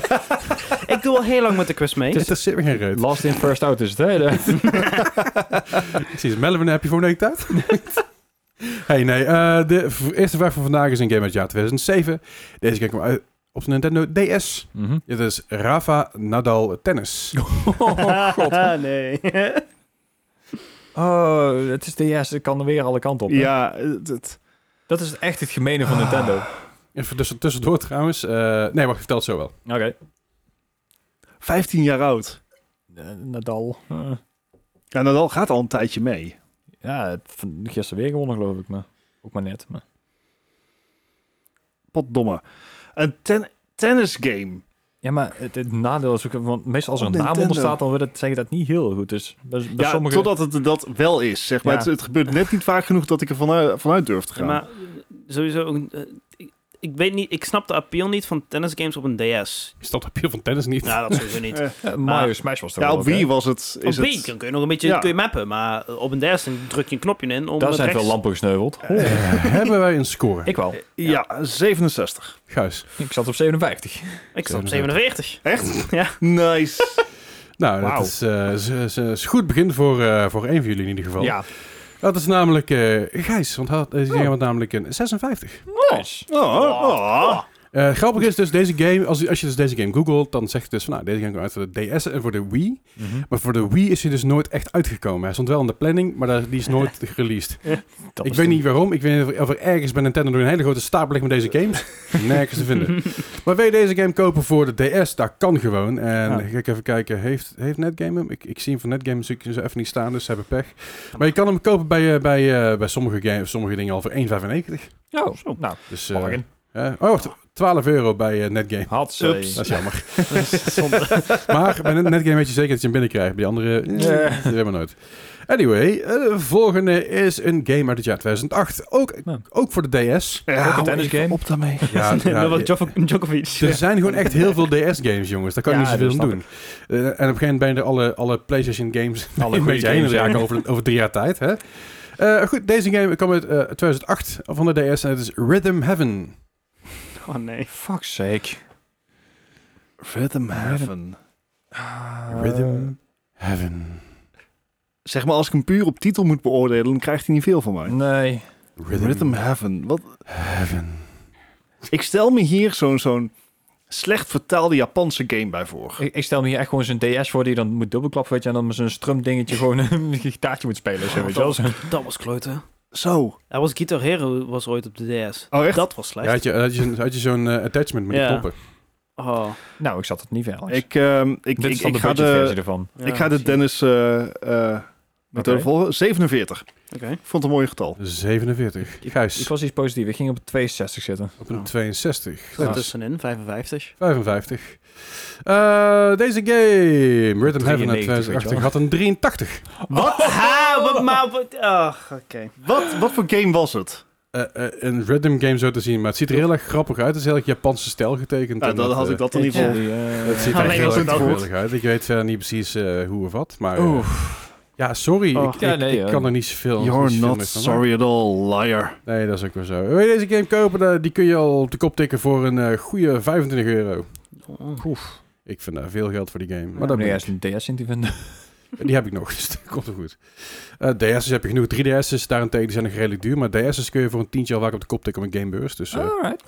Ik doe al heel lang met de quiz mee. [laughs] Het is zit weer geen reet. Last in, first out is het. hè? [laughs] De- Precies, Melvin, heb je voor een week tijd? hey, nee. eh, de v- eerste vraag van vandaag is een game uit het jaar 2007. Deze game kwam uit, op zijn Nintendo DS. Mhm. Dit is Rafa Nadal Tennis. Oh, god. [laughs] nee. [laughs] Oh, het is DS. Het kan er weer alle kanten op. hè? ja, het, het- Dat is echt het gemene van Nintendo. Oké. Even tussen- tussendoor trouwens. eh, nee, wacht, vertel het zo wel. 15 jaar oud. Eh, Nadal. Eh, Ja, Nadal gaat al een tijdje mee. ja, het- van- gisteren weer gewonnen geloof ik. Maar ook maar net. Maar. Potdomme. Een ten- tennisgame. Ja, maar het, het nadeel is ook... Want meestal als er Op een naam onder Nintendo. staat, dan wil het zeggen dat niet heel goed is. Bij, bij Ja, sommige... totdat het dat wel is, zeg maar. Ja. Het, het gebeurt net niet vaak genoeg dat ik er vanuit, vanuit durf te gaan. maar sowieso ook... eh, ik, ik weet niet, ik snap de appeal niet van tennisgames op een DS. Is dat het appeal van tennis niet? Nou, dat sowieso niet. Eh, Ja, Mario Smash was er ja, wel op ook, hè? wie was het? Is op het... Wii kun kun je nog een beetje Ja. kun je mappen, maar eh, op een DS dan druk je een knopje in om Daar het zijn veel rechts- lampen gesneuveld. Eh, hebben wij een score? Ik wel. Ja, 67. Guis. Ik zat op 57. Ik zat op 47. [laughs] Echt? Ja. Nice. [laughs] Nou, Wauw. dat is, eh, is- is- is een goed begin voor, eh, voor één van jullie in ieder geval. Dat is namelijk eh Gijs, want hij is had namelijk een 56. Nice. Oh, oh. Eh, grappig is dus, deze game, als, je- als je dus deze game googelt, dan zegt het dus van, nou, deze game komt uit voor de DS en voor de Wii. Mhm. Maar voor de Wii is hij dus nooit echt uitgekomen. Hij stond wel in de planning, maar daar- die is [laughs] nooit gereleased. Dat ik is weet de- niet waarom. Ik weet niet of er- of er ergens bij Nintendo nog een hele grote stapel ligt met deze [laughs] games. Nergens te vinden. Maar wil je deze game kopen voor de DS? Dat kan gewoon. En Ja. ik ga ik even kijken, heeft, heeft Netgame hem? Ik, ik zie hem van Netgame, dus ik zie ze even niet staan, dus ze hebben pech. Maar je kan hem kopen bij, eh, bij, eh, bij sommige, games, sommige dingen al voor 1,95. Oh, zo. nou. Dus, eh, Morgen. eh, oh, wacht, 12 euro bij eh, Netgame. Had Dat ze. is jammer. [laughs] [laughs] maar bij Net- Netgame weet je zeker dat je hem binnenkrijgt. Bij die andere eh, Ja. die hebben we nooit. Anyway, eh, de volgende is een game uit het jaar 2008. Ook, Ja. ook voor de DS. Ja, Nou. Ook een hou tennisgame? even Op daarmee. [laughs] Ja, [laughs] ja, Dus- Novak Djoko- Djokovic. er zijn gewoon echt heel veel DS-games, jongens. Daar kan je Ja, niet zoveel dat aan snap doen. Eh, en op een gegeven moment ben je er alle, alle PlayStation-games [laughs] Alle een goede beetje heen games, ja. raken over, over drie jaar tijd. Hè? Eh, goed, deze game kwam uit eh, 2008 van de DS en het is Rhythm Heaven. Oh nee. Fuck's sake. Rhythm Heaven. Ah. Rhythm Heaven. Zeg maar, als ik hem puur op titel moet beoordelen, dan krijgt hij niet veel van mij. Nee. Rhythm, Heaven. Wat? Heaven. Ik stel me hier zo'n zo'n slecht vertaalde Japanse game bij voor. Ik, ik stel me hier echt gewoon zo'n DS voor die dan moet dubbelklappen, weet je, en dan met zo'n strumdingetje gewoon een gitaartje moet spelen. Zo, weet je wel. Zo. Dat was kloten. Zo. Hij was Guitar Hero was ooit op de DS. Oh, echt? Dat was Ja, slecht. had je, had je, had je zo'n eh, attachment met die Ja. knoppen. Oh, Nou, ik zat het niet ver. Alex. Ik, ehm, ik, Dit ik, is dan ik de ga budgetversie de, ervan. ja, ik ga de zie je. Dennis eh, eh, methode Oké. volgen. 47. Oké. Ik vond het een mooi getal. 47. Ik Gijs, was iets positiefs. Ik ging op 62 zitten. op een Oh. 62. Goed Klaas, tussenin, 55. 55. Eh, deze game, Rhythm Heaven 93, uit weet je 2018, wel. had een 83. Wat? Ha, wat maar... wat- Ach, oké. Wat, wat voor game was het? Eh, eh, een rhythm game zo te zien, maar het ziet er heel erg grappig uit. Het is heel erg Japanse stijl getekend. Nou, en dan dat, had eh, ik dat in ieder geval. Het ziet er Alleen heel was erg het wel goed. geweldig uit. Ik weet verder niet precies eh, hoe of wat, maar... eh, ja, sorry, Oh. ik, ik, Ja, nee, eh, ik ja. kan er niet zoveel niet You're zoveel not mee van sorry at all, liar. maken. Nee, dat is ook wel zo. Wil je deze game kopen? Eh, Die kun je al op de kop tikken voor een eh, goede 25 euro. Oh. Ik vind daar veel geld voor die game. Maar Maar dat dan moet ben je ik. eerst een DS in te vinden. Die heb ik nog, [laughs] dus dat komt wel goed. Eh, DS's heb je genoeg. 3DS's daarentegen die zijn nog redelijk duur. Maar DS's kun je voor een tientje al vaak op de kop tikken op een gamebeurs. Dus eh, Alright.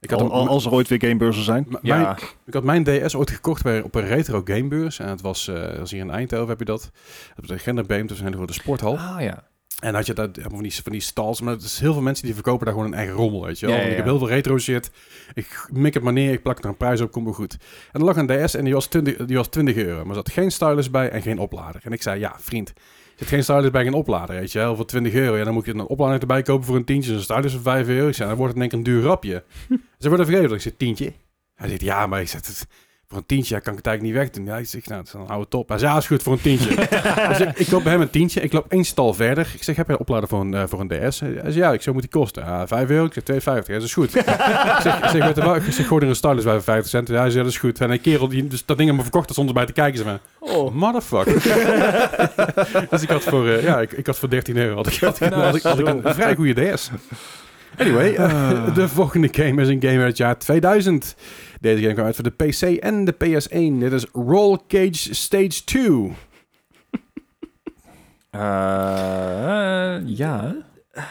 ik, had Al, hem- al- als er ooit weer gamebeurzen zijn. m- mijn, Oh. Ja. ik had mijn DS ooit gekocht bij, op een retro gamebeurs. En het was, eh, dat was hier in Eindhoven, heb je dat. Op de Genderbeam, dat is een hele grote sporthal. Ah ja. En had je daar helemaal van die, van die stalls. Maar het is heel veel mensen die verkopen daar gewoon een eigen rommel, weet je wel. Ja, ja, En Ik heb ja. heel veel retro shit. Ik mik het maar neer, ik plak er een prijs op, komt wel goed. En er lag een DS en die was 20, die was 20 euro. Maar er zat geen stylus bij en geen oplader. En ik zei, ja, vriend, er zit geen stylus bij en geen oplader, weet je wel. Voor 20 euro, ja, dan moet je een oplader erbij kopen voor een tientje. Dus een stylus voor 5 euro. Ik zei, dan wordt het denk ik een duur [laughs] rapje. Ze worden vergeven. Ik zei, tientje? Hij zegt, ja, maar ik zet het... Voor een tientje ja, kan ik het eigenlijk niet wegdoen. Ja, ik zeg, nou, dan hou het op. Hij zei, ja, is goed voor een tientje. [laughs] [laughs] Dus ik, ik loop bij hem een tientje. Ik loop één stal verder. Ik zeg, heb jij een oplader voor een, eh, voor een DS? Hij zei, ja, ik zo moet die kosten. Ah, 5 euro? Ik zeg, 2,50. Ja, dat is goed. ik zeg, ik zeg, weet je wat? Ik zeg, gooi er een stylus bij voor 50 cent. Ja, hij zei, dat is goed. En een kerel die dus dat ding aan me verkocht had zonder bij te kijken. Zei, oh, motherfucker. [laughs] dus ik had voor, eh, ja, ik, ik had voor 13 euro had ik, had ik, had ik, had ik een vrij goede DS. Anyway, eh, de volgende game is een game uit het jaar 2000. Deze game kwam uit voor de PC en de PS1. Dit is Roll Cage Stage 2. Eh, ja. Ik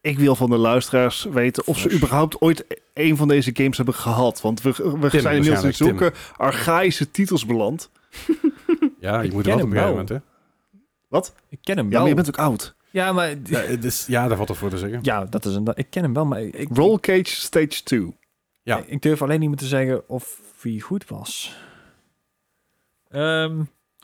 ik wil van de luisteraars weten of ze Flash. überhaupt ooit een van deze games hebben gehad. Want we, we zijn inmiddels in waarschijnlijk, zulke archaïsche titels beland. Ja, je Ik moet ken er wat op een gegeven hem wel. moment, hè? Ik ken hem Ja, wel. maar je bent ook oud. Ja, maar... Ja, het is- ja, daar valt wat voor te zeggen. Ja, dat is een... Ik ken hem wel, maar... Ik, Roll Cage Stage 2. Ja. Ik, ik durf alleen niet meer te zeggen of hij goed was. Ehm,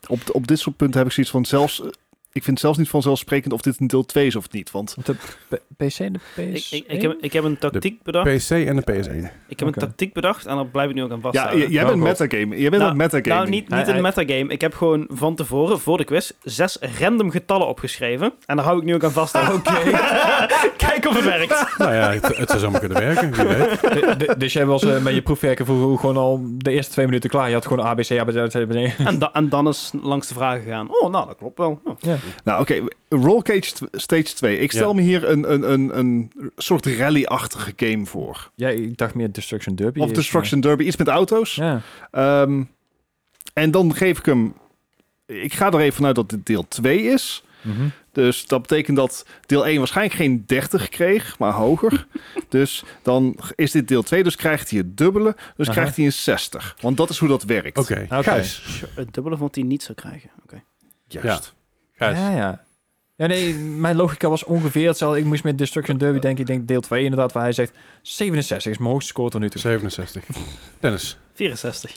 Op, op dit soort punten heb ik zoiets van zelfs... eh, Ik vind het zelfs niet vanzelfsprekend of dit een deel 2 is of niet. Want op de P- E? PC en de Ik, PS... ik, ik, heb, ik heb een tactiek bedacht. PC en de PS1. Ik heb een Oké. tactiek bedacht en daar blijf ik nu ook aan ja, vasthouden. j- jij Nou, bent God. metagame. Jij bent Nou, aan metagame. Nou, niet, niet Hij- een hij- metagame. Ik heb gewoon van tevoren, voor de quiz, zes random getallen opgeschreven. En daar hou ik nu ook aan vast. Oké. [laughs] Kijk of het werkt. nou ja, het, het zou zomaar kunnen werken, wie weet. De- de- dus jij was eh, met je proefwerken voor gewoon al de eerste twee minuten klaar. Je had gewoon ABC, ABC, ABC. En, da- en dan is langs de vragen gegaan. Oh, nou, dat klopt wel. Ja. Nou, oké. Roll Cage tw- Stage 2. Ik stel Ja. me hier een, een, een, een soort rally-achtige game voor. Ja, ik dacht meer Destruction Derby. Of is, Destruction Derby. Iets met auto's. maar- Ja. Ehm, en dan geef ik hem... Ik ga er even vanuit dat dit deel 2 is. Mhm. Dus dat betekent dat deel 1 waarschijnlijk geen 30 kreeg, maar hoger. dus dan is dit deel 2, dus krijgt hij het dubbele. Dus Aha. krijgt hij een 60. Want dat is hoe dat werkt. Oké, Oké. Gijs. Het dubbele van die niet zou krijgen. Oké. Juist. Gijs. Ja, ja. Ja, nee, mijn logica was ongeveer hetzelfde. Ik moest met Destruction Derby denken. Ik denk deel 2 inderdaad, waar hij zegt 67 is mijn hoogste score tot nu toe. 67. Dennis. 64.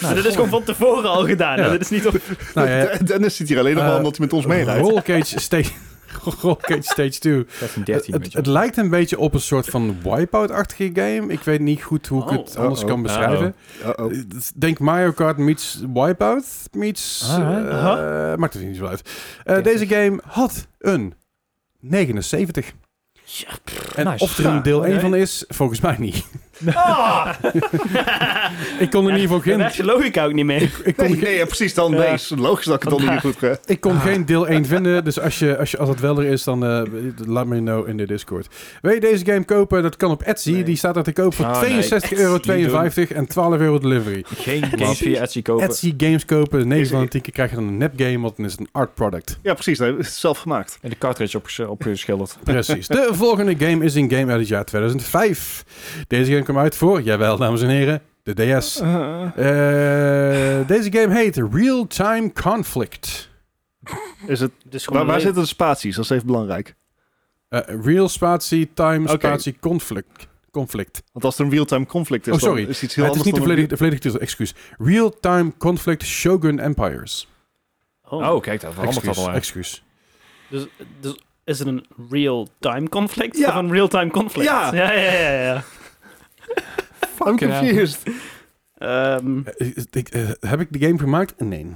Nou, dit is gewoon van tevoren al gedaan. hè? Ja. Dit is niet op... [laughs] Nou ja, En Dennis zit hier alleen nog maar Eh, omdat hij met ons meerijdt. Roll Cage Stage... [laughs] Roll Cage Stage 2. 13, Het, 13. het- het lijkt een beetje op een soort van wipeout-achtige game. Ik weet niet goed hoe ik Oh. het anders Uh-oh. kan beschrijven. Uh-oh. Eh, Denk Mario Kart meets wipeout meets... Ah, hè? eh, Maakt het niet zo uit. Eh, Oké, deze game had een 79. Ja, En Nice. of er een deel Ja, 1 oké. van is, volgens mij niet. [laughs] Ah! Ik kon er in ieder geval Dan geen... [laughs] werkt je logica ook niet meer. Ik kon, Nee, nee, ja, precies dan. Nee, Ja. is logisch dat ik het dan niet meer goed eh, krijg. Ik kon geen deel 1 vinden, dus als, je, als, je, als dat wel er is, dan eh, laat me know in de Discord. Wil je deze game kopen? Dat kan op Etsy. Nee. Die staat er te koop voor Oh, nee. 62,52 euro en 12 euro delivery. Geen games via Etsy kopen. Etsy games kopen, 9 Is- van de 10 keer krijg je dan een nep game, want dan is het een art product. Ja, precies. Nee, het is zelf gemaakt. En de cartridge opges- opgeschilderd. Precies. De volgende game is een game uit het jaar 2005. Deze game kwam uit voor, jawel dames en heren, de DS. [laughs] Uh-huh. Eh, deze game heet Real Time Conflict. Is het, Dus waar, gewoon waar alleen- zitten de spaties? Dat is even belangrijk. Eh, real spatie time Oké. spatie conflict. Conflict. Want als er een real-time conflict is, Oh, sorry. dan is het iets heel het is anders niet de dan een- volledige, de volledige titel, excuus. Real-time conflict Shogun Empires. Oh. Oh, kijk, dat verandert dat Excuus, al. excuus. Dus, dus is het een real-time conflict? Ja. Of een real-time conflict? Ja. ja, ja, ja. ja. I'm Fucking hell. confused. Ehm, Eh, eh, ik, eh, heb ik de game gemaakt? Nee.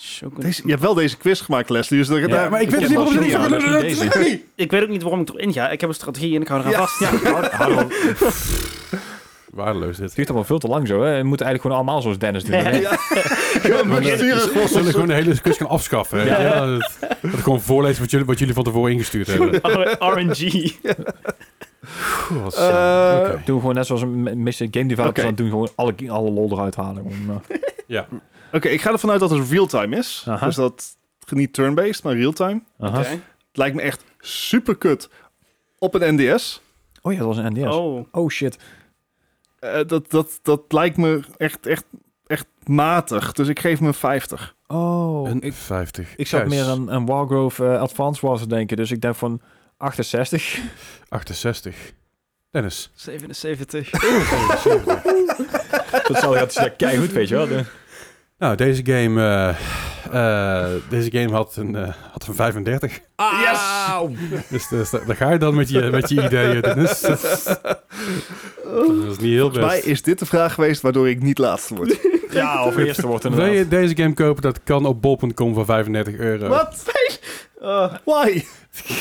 Shogun- Deze, je hebt wel deze quiz gemaakt, Leslie. Dus daar- Ja, daar- maar ik weet ken het niet wel waarom Shogun, maar dat is niet ze niet Ik weet ook niet waarom ik erin ga. Ik heb een strategie en ik hou eraan vast. Ja, hou- hou op. het Waardeloos dit. duurt allemaal veel te lang zo. Hè. We moeten eigenlijk gewoon allemaal zoals Dennis doen. Ja. Ja, maar We sturen gewoon- zullen gewoon de hele quiz gaan afschaffen. hè? Ja. Ja, dat, dat ik gewoon voorlees wat jullie, wat jullie van tevoren ingestuurd hebben. [laughs] Oh, RNG. Pff, wat Eh, saai. Oké. Doen we gewoon net zoals een m- meeste game developers Oké. dat doen. Gewoon alle, alle lol eruit halen. Om, eh, Ja. Oké, ik ga ervan uit dat het real-time is. Aha. Dus dat niet turn-based, maar real-time. aha. Het lijkt me echt super kut op een NDS. Oh ja, dat was een NDS. Oh, Oh. shit. Eh, dat, dat, dat lijkt me echt, echt, echt matig. Dus ik geef me een 50. Oh. Een ik, 50. ik zat Gijs, meer aan, aan Wargrove eh, Advance Wars te denken. Dus ik denk van 68. 68. Dennis. 77. [laughs] dat zal je zeggen. Kijk goed, weet je wel. De- Nou, deze game, eh, eh, deze game had, een, eh, had een 35. [laughs] Ah. Dus, dus daar daar ga je dan met je, met je ideeën. Dennis. Dat is, dat is niet heel [laughs] Volgens mij best. is dit de vraag geweest waardoor ik niet laatste word. [laughs] Ja, [laughs] of eerste wordt Wil inderdaad. je deze game kopen? Dat kan op bol.com voor 35 euro. Wat? Eh, Oh. Why?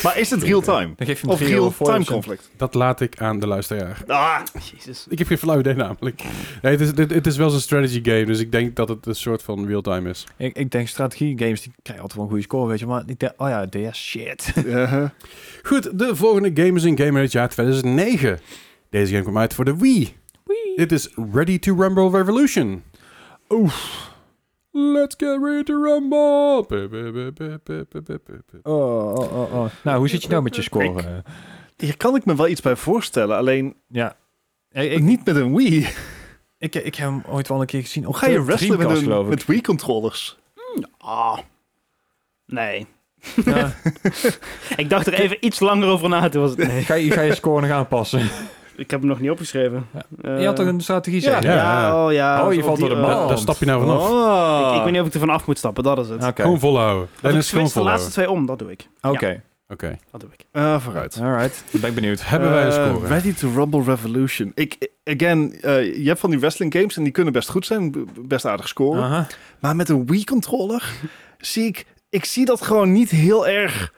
Maar is het real-time? Dan geef je hem Of drie euro voor. dus- real-time of zo. conflict? Dat laat ik aan de luisteraar. Ah, Jezus. Ik heb geen flauw idee namelijk. Nee, het, is, dit- het is wel zo'n strategy game, dus ik denk dat het een soort van real-time is. Ik, ik denk strategie games, die krijgen altijd wel een goede score, weet je. Maar ik denk, oh ja, DS, shit. eh, Goed, de volgende game is een game uit het jaar 2009. Deze game kwam uit voor de Wii. Dit is Ready to Rumble Revolution. Oef. Let's get ready to rumble. Bup, bup, bup, bup, bup, bup, bup, bup. [laughs] Oh, oh, oh, oh. Nou, hoe zit je nou met je score? eh? Hier kan ik me wel iets bij voorstellen, alleen Ja. Ik, ik, ik, niet met een Wii. ik, ik heb hem ooit wel een keer gezien. Hoe Op ga je de wrestlen met, Dreamcast, een- geloof ik. met Wii-controllers? Ah. Nee. Ja. Ik dacht er even iets langer over na. Toen was het [laughs] nee. Ga je, ga je score nog aanpassen? Ik heb hem nog niet opgeschreven. Ja. Eh, [laughs] je had toch een strategie, zeg ja, Ja. ja, oh ja. Oh, je op valt die- door de eh, bal. Daar, daar stap je nou vanaf. Ah. Ik, ik weet niet of ik er vanaf moet stappen, dat is het. Oké, Want Gewoon volhouden. ik Dennis, gewoon switch de laatste volhouden. twee om, dat doe ik. oké. Oké. Dat doe ik. Eh, vooruit. Alright, ben ik benieuwd. Hebben wij een Eh, score? Ready to Rumble Revolution. Ik, again, eh, je hebt van die wrestling games en die kunnen best goed zijn, b- best aardig scoren. Aha. Maar met een Wii-controller zie ik, ik zie dat gewoon niet heel erg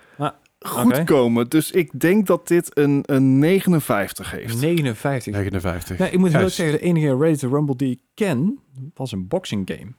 Ah, goed oké. komen. Dus ik denk dat dit een, een 59 heeft. 59. 59. Nee, ik moet wel Juist. zeggen, de enige Ready to Rumble die ik ken, was een boxing game.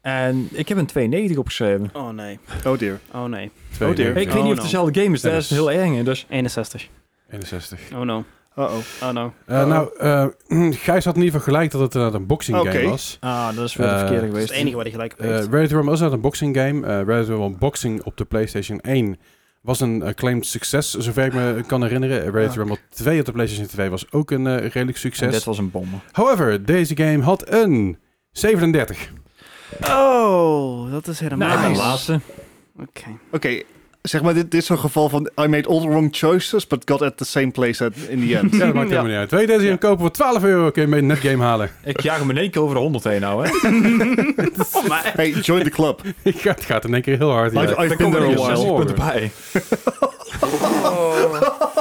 En ik heb een 92 opgeschreven. Oh nee. Oh dear. Oh nee. Oh dear. Ik weet niet Oh, of het no. dezelfde game is, dat Ja, is dus- heel eng. hè, Dus 61. 61. Oh no. Uh-oh. Oh no. Eh, nou, eh, [clears throat] Gijs had in ieder geval gelijk dat het inderdaad een boxing Oké. game was. ah, dat is wel de Eh, verkeerde Dat is geweest. het enige waar je gelijk op Eh heeft. Ready to Rumble was inderdaad een boxing game. Eh Ready to Rumble Boxing op de PlayStation 1 was een acclaimed succes, zover ik me Ah. kan herinneren. Eh, Ready to Rumble 2 op de PlayStation 2 was ook een eh, redelijk En dit succes. was een bom. However, deze game had een 37. Oh, dat is helemaal Nou, en de nice. laatste. Oké. Oké, zeg maar, dit, dit is zo'n geval van I made all the wrong choices, but got at the same place at, in the [laughs] end. Ja, dat maakt helemaal niet uit. Wil je deze game kopen voor 12 euro? Kun je mee een netgame halen. [laughs] Ik jaag hem in één keer over de 100 heen nou, [laughs] hè. Oh, maar- [laughs] Hey, join the club. het gaat- het gaat in één keer heel hard. I've, Ja. I've been er there a nog while. zes. punten bij. Oh.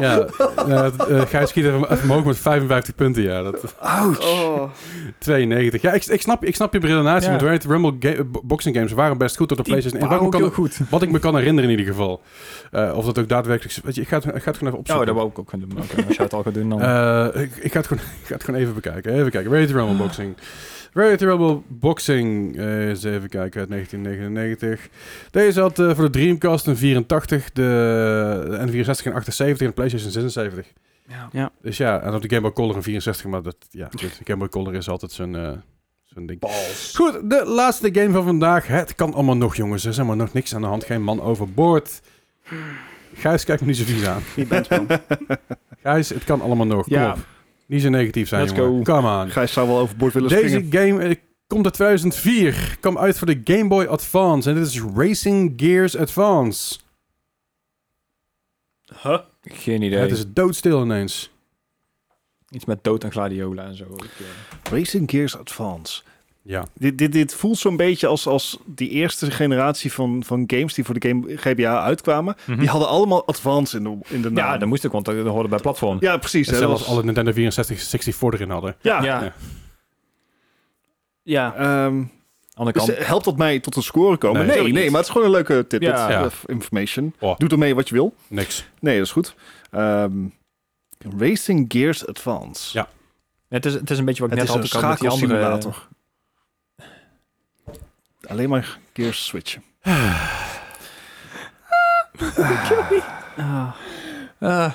Ja, eh, eh, Gijs kiet even even omhoog met 55 punten. Ja, dat, Oh. 92. Ja, ik, ik, snap, ik snap je redenatie. Ja. Want Ready to Rumble ga- eh, bo- boxing games waren best goed op de PlayStation. En waarom ook kan, heel goed. wat ik me kan herinneren in ieder geval. Eh, of dat ook daadwerkelijk... Weet je, ik ga het, ik ga het gewoon even Oh, dat opzoeken. wou ik ook kunnen doen. maar oké, Als jij het al gaat doen, dan... Eh, ik, ik, ga het gewoon, [laughs] ik ga het gewoon even bekijken. Even kijken. Ready to Rumble boxing. Ready to Rumble boxing. eh, eens even kijken. Uit 1999. Deze had eh, voor de Dreamcast een 84. De de N64 een 78. En de PlayStation 76. ja. Dus ja, en op de Game Boy Color een 64. Maar dat, [laughs] ja, goed, de Game Boy Color is altijd zo'n... eh, zo'n ding. Balls. Goed, de laatste game van vandaag. Het kan allemaal nog, jongens. Er is helemaal nog niks aan de hand. Geen man overboord. Gijs, kijk me niet zo vies aan. Je [laughs] bent wel. [laughs] Gijs, het kan allemaal nog. Kom Ja. op. Niet zo negatief zijn, Let's jongen. go. Come on. Gijs zou wel overboord willen Deze springen. game eh, komt uit 2004. Kwam uit voor de Game Boy Advance. En dit is Racing Gears Advance. Huh? Geen idee. Het is doodstil ineens. Iets met dood en gladiola en zo. Ik, eh, Racing Gears Advance. Ja. Dit, dit, dit voelt zo'n beetje als, als die eerste generatie van, van games die voor de game, GBA uitkwamen. Die hadden allemaal Advance in de, in de naam. Nou, Ja, dat moest ik, want dat dat hoorde bij platform. Ja, precies. hè, Zelfs dat alle was- Nintendo 64 64 erin hadden. Ja. Ja, Ja. Ja. Ehm, andere dus kant. eh, helpt dat mij tot een score komen? Nee, Nee, nee, natuurlijk niet. maar het is gewoon een leuke tip. Ja. Ja. Of information. Oh. Doe ermee wat je wil. Niks. Nee, dat is goed. Ehm, Racing Gears Advance. Ja, Het is, het is een beetje wat ik het is net een had ook al met die andere... [laughs] schakelsimulator. Alleen maar Gears switchen. Ah. Eh,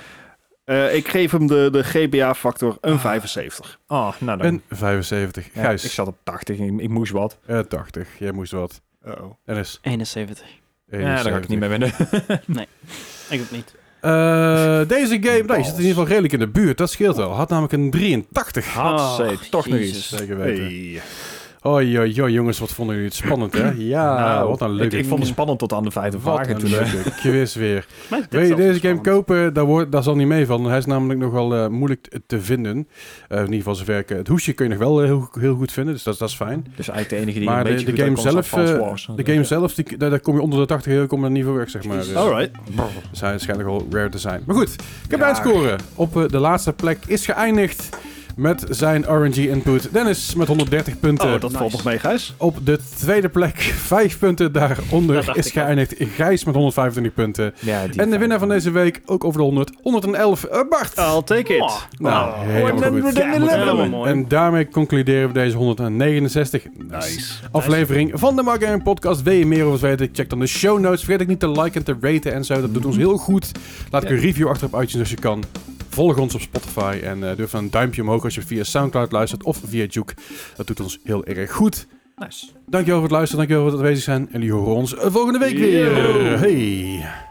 Eh, ik geef hem de, de GBA-factor Ah. een 75. oh, nou dan. Een 75. Ja, Gijs, ik zat op 80, ik, ik moest wat. eh, 80. Jij moest wat. E Uh-oh. Dennis, 71. Ja, daar ga 71. ik niet mee winnen. Ik ook niet. Eh, deze game, nee, je Balls. zit in ieder geval redelijk in de buurt. Dat scheelt wel. Had namelijk een 83. Hatsé, Och, toch nog Oh, Jezus. iets. Zeker weten. Hey. Oi, oi, oi, jongens, wat vonden jullie het spannend, hè? [laughs] Ja, Nou, wat een ik, leuke ik vond het spannend tot aan de vijfde Wat vraag. een Toen, eh, [laughs] leuke quiz weer. Maar dit Wil je is deze altijd game spannend. kopen? Daar, wordt, daar zal niet mee van. Hij is namelijk nogal eh, moeilijk te- te vinden. Eh, in ieder geval zover ik... Het hoesje kun je nog wel eh, heel, heel goed vinden, dus dat, dat is fijn. dus eigenlijk de enige die Maar een de, beetje de goed game uitkomt was zelf, Advance eh, Wars. de game zelf die, daar, daar kom je onder de 80 euro, kom je dan niet voor weg, zeg maar. Dus, Oh, Alright. dus hij is waarschijnlijk al rare te zijn. Maar goed, ik heb scoren. Op eh, de laatste plek is geëindigd met zijn RNG-input. Dennis met 130 punten. Oh, dat valt nog mee, Gijs. Op de tweede plek, vijf punten Dat daaronder, dacht is ik al. geëindigd Gijs met 125 punten. Ja, die en de winnaar van vijfde. deze week, ook over de 100, 111, eh, Bart. I'll take it. Oh. Nou, Oh. helemaal goed. Ja, moet helemaal mooi. En daarmee concluderen we deze 169 Nice. aflevering van de Mark Gaming Podcast. Wil je meer over ons weten? Check dan de show notes. Vergeet ook niet te liken en te raten en zo. Dat doet ons heel goed. Laat ik een review achter op iTunes als je kan. Volg ons op Spotify en eh, durf een duimpje omhoog als je via Soundcloud luistert of via Juke. Dat doet ons heel erg goed. Nice. Dankjewel voor het luisteren, dankjewel voor het aanwezig zijn. En jullie horen ons eh, volgende week weer. Yo. Hey.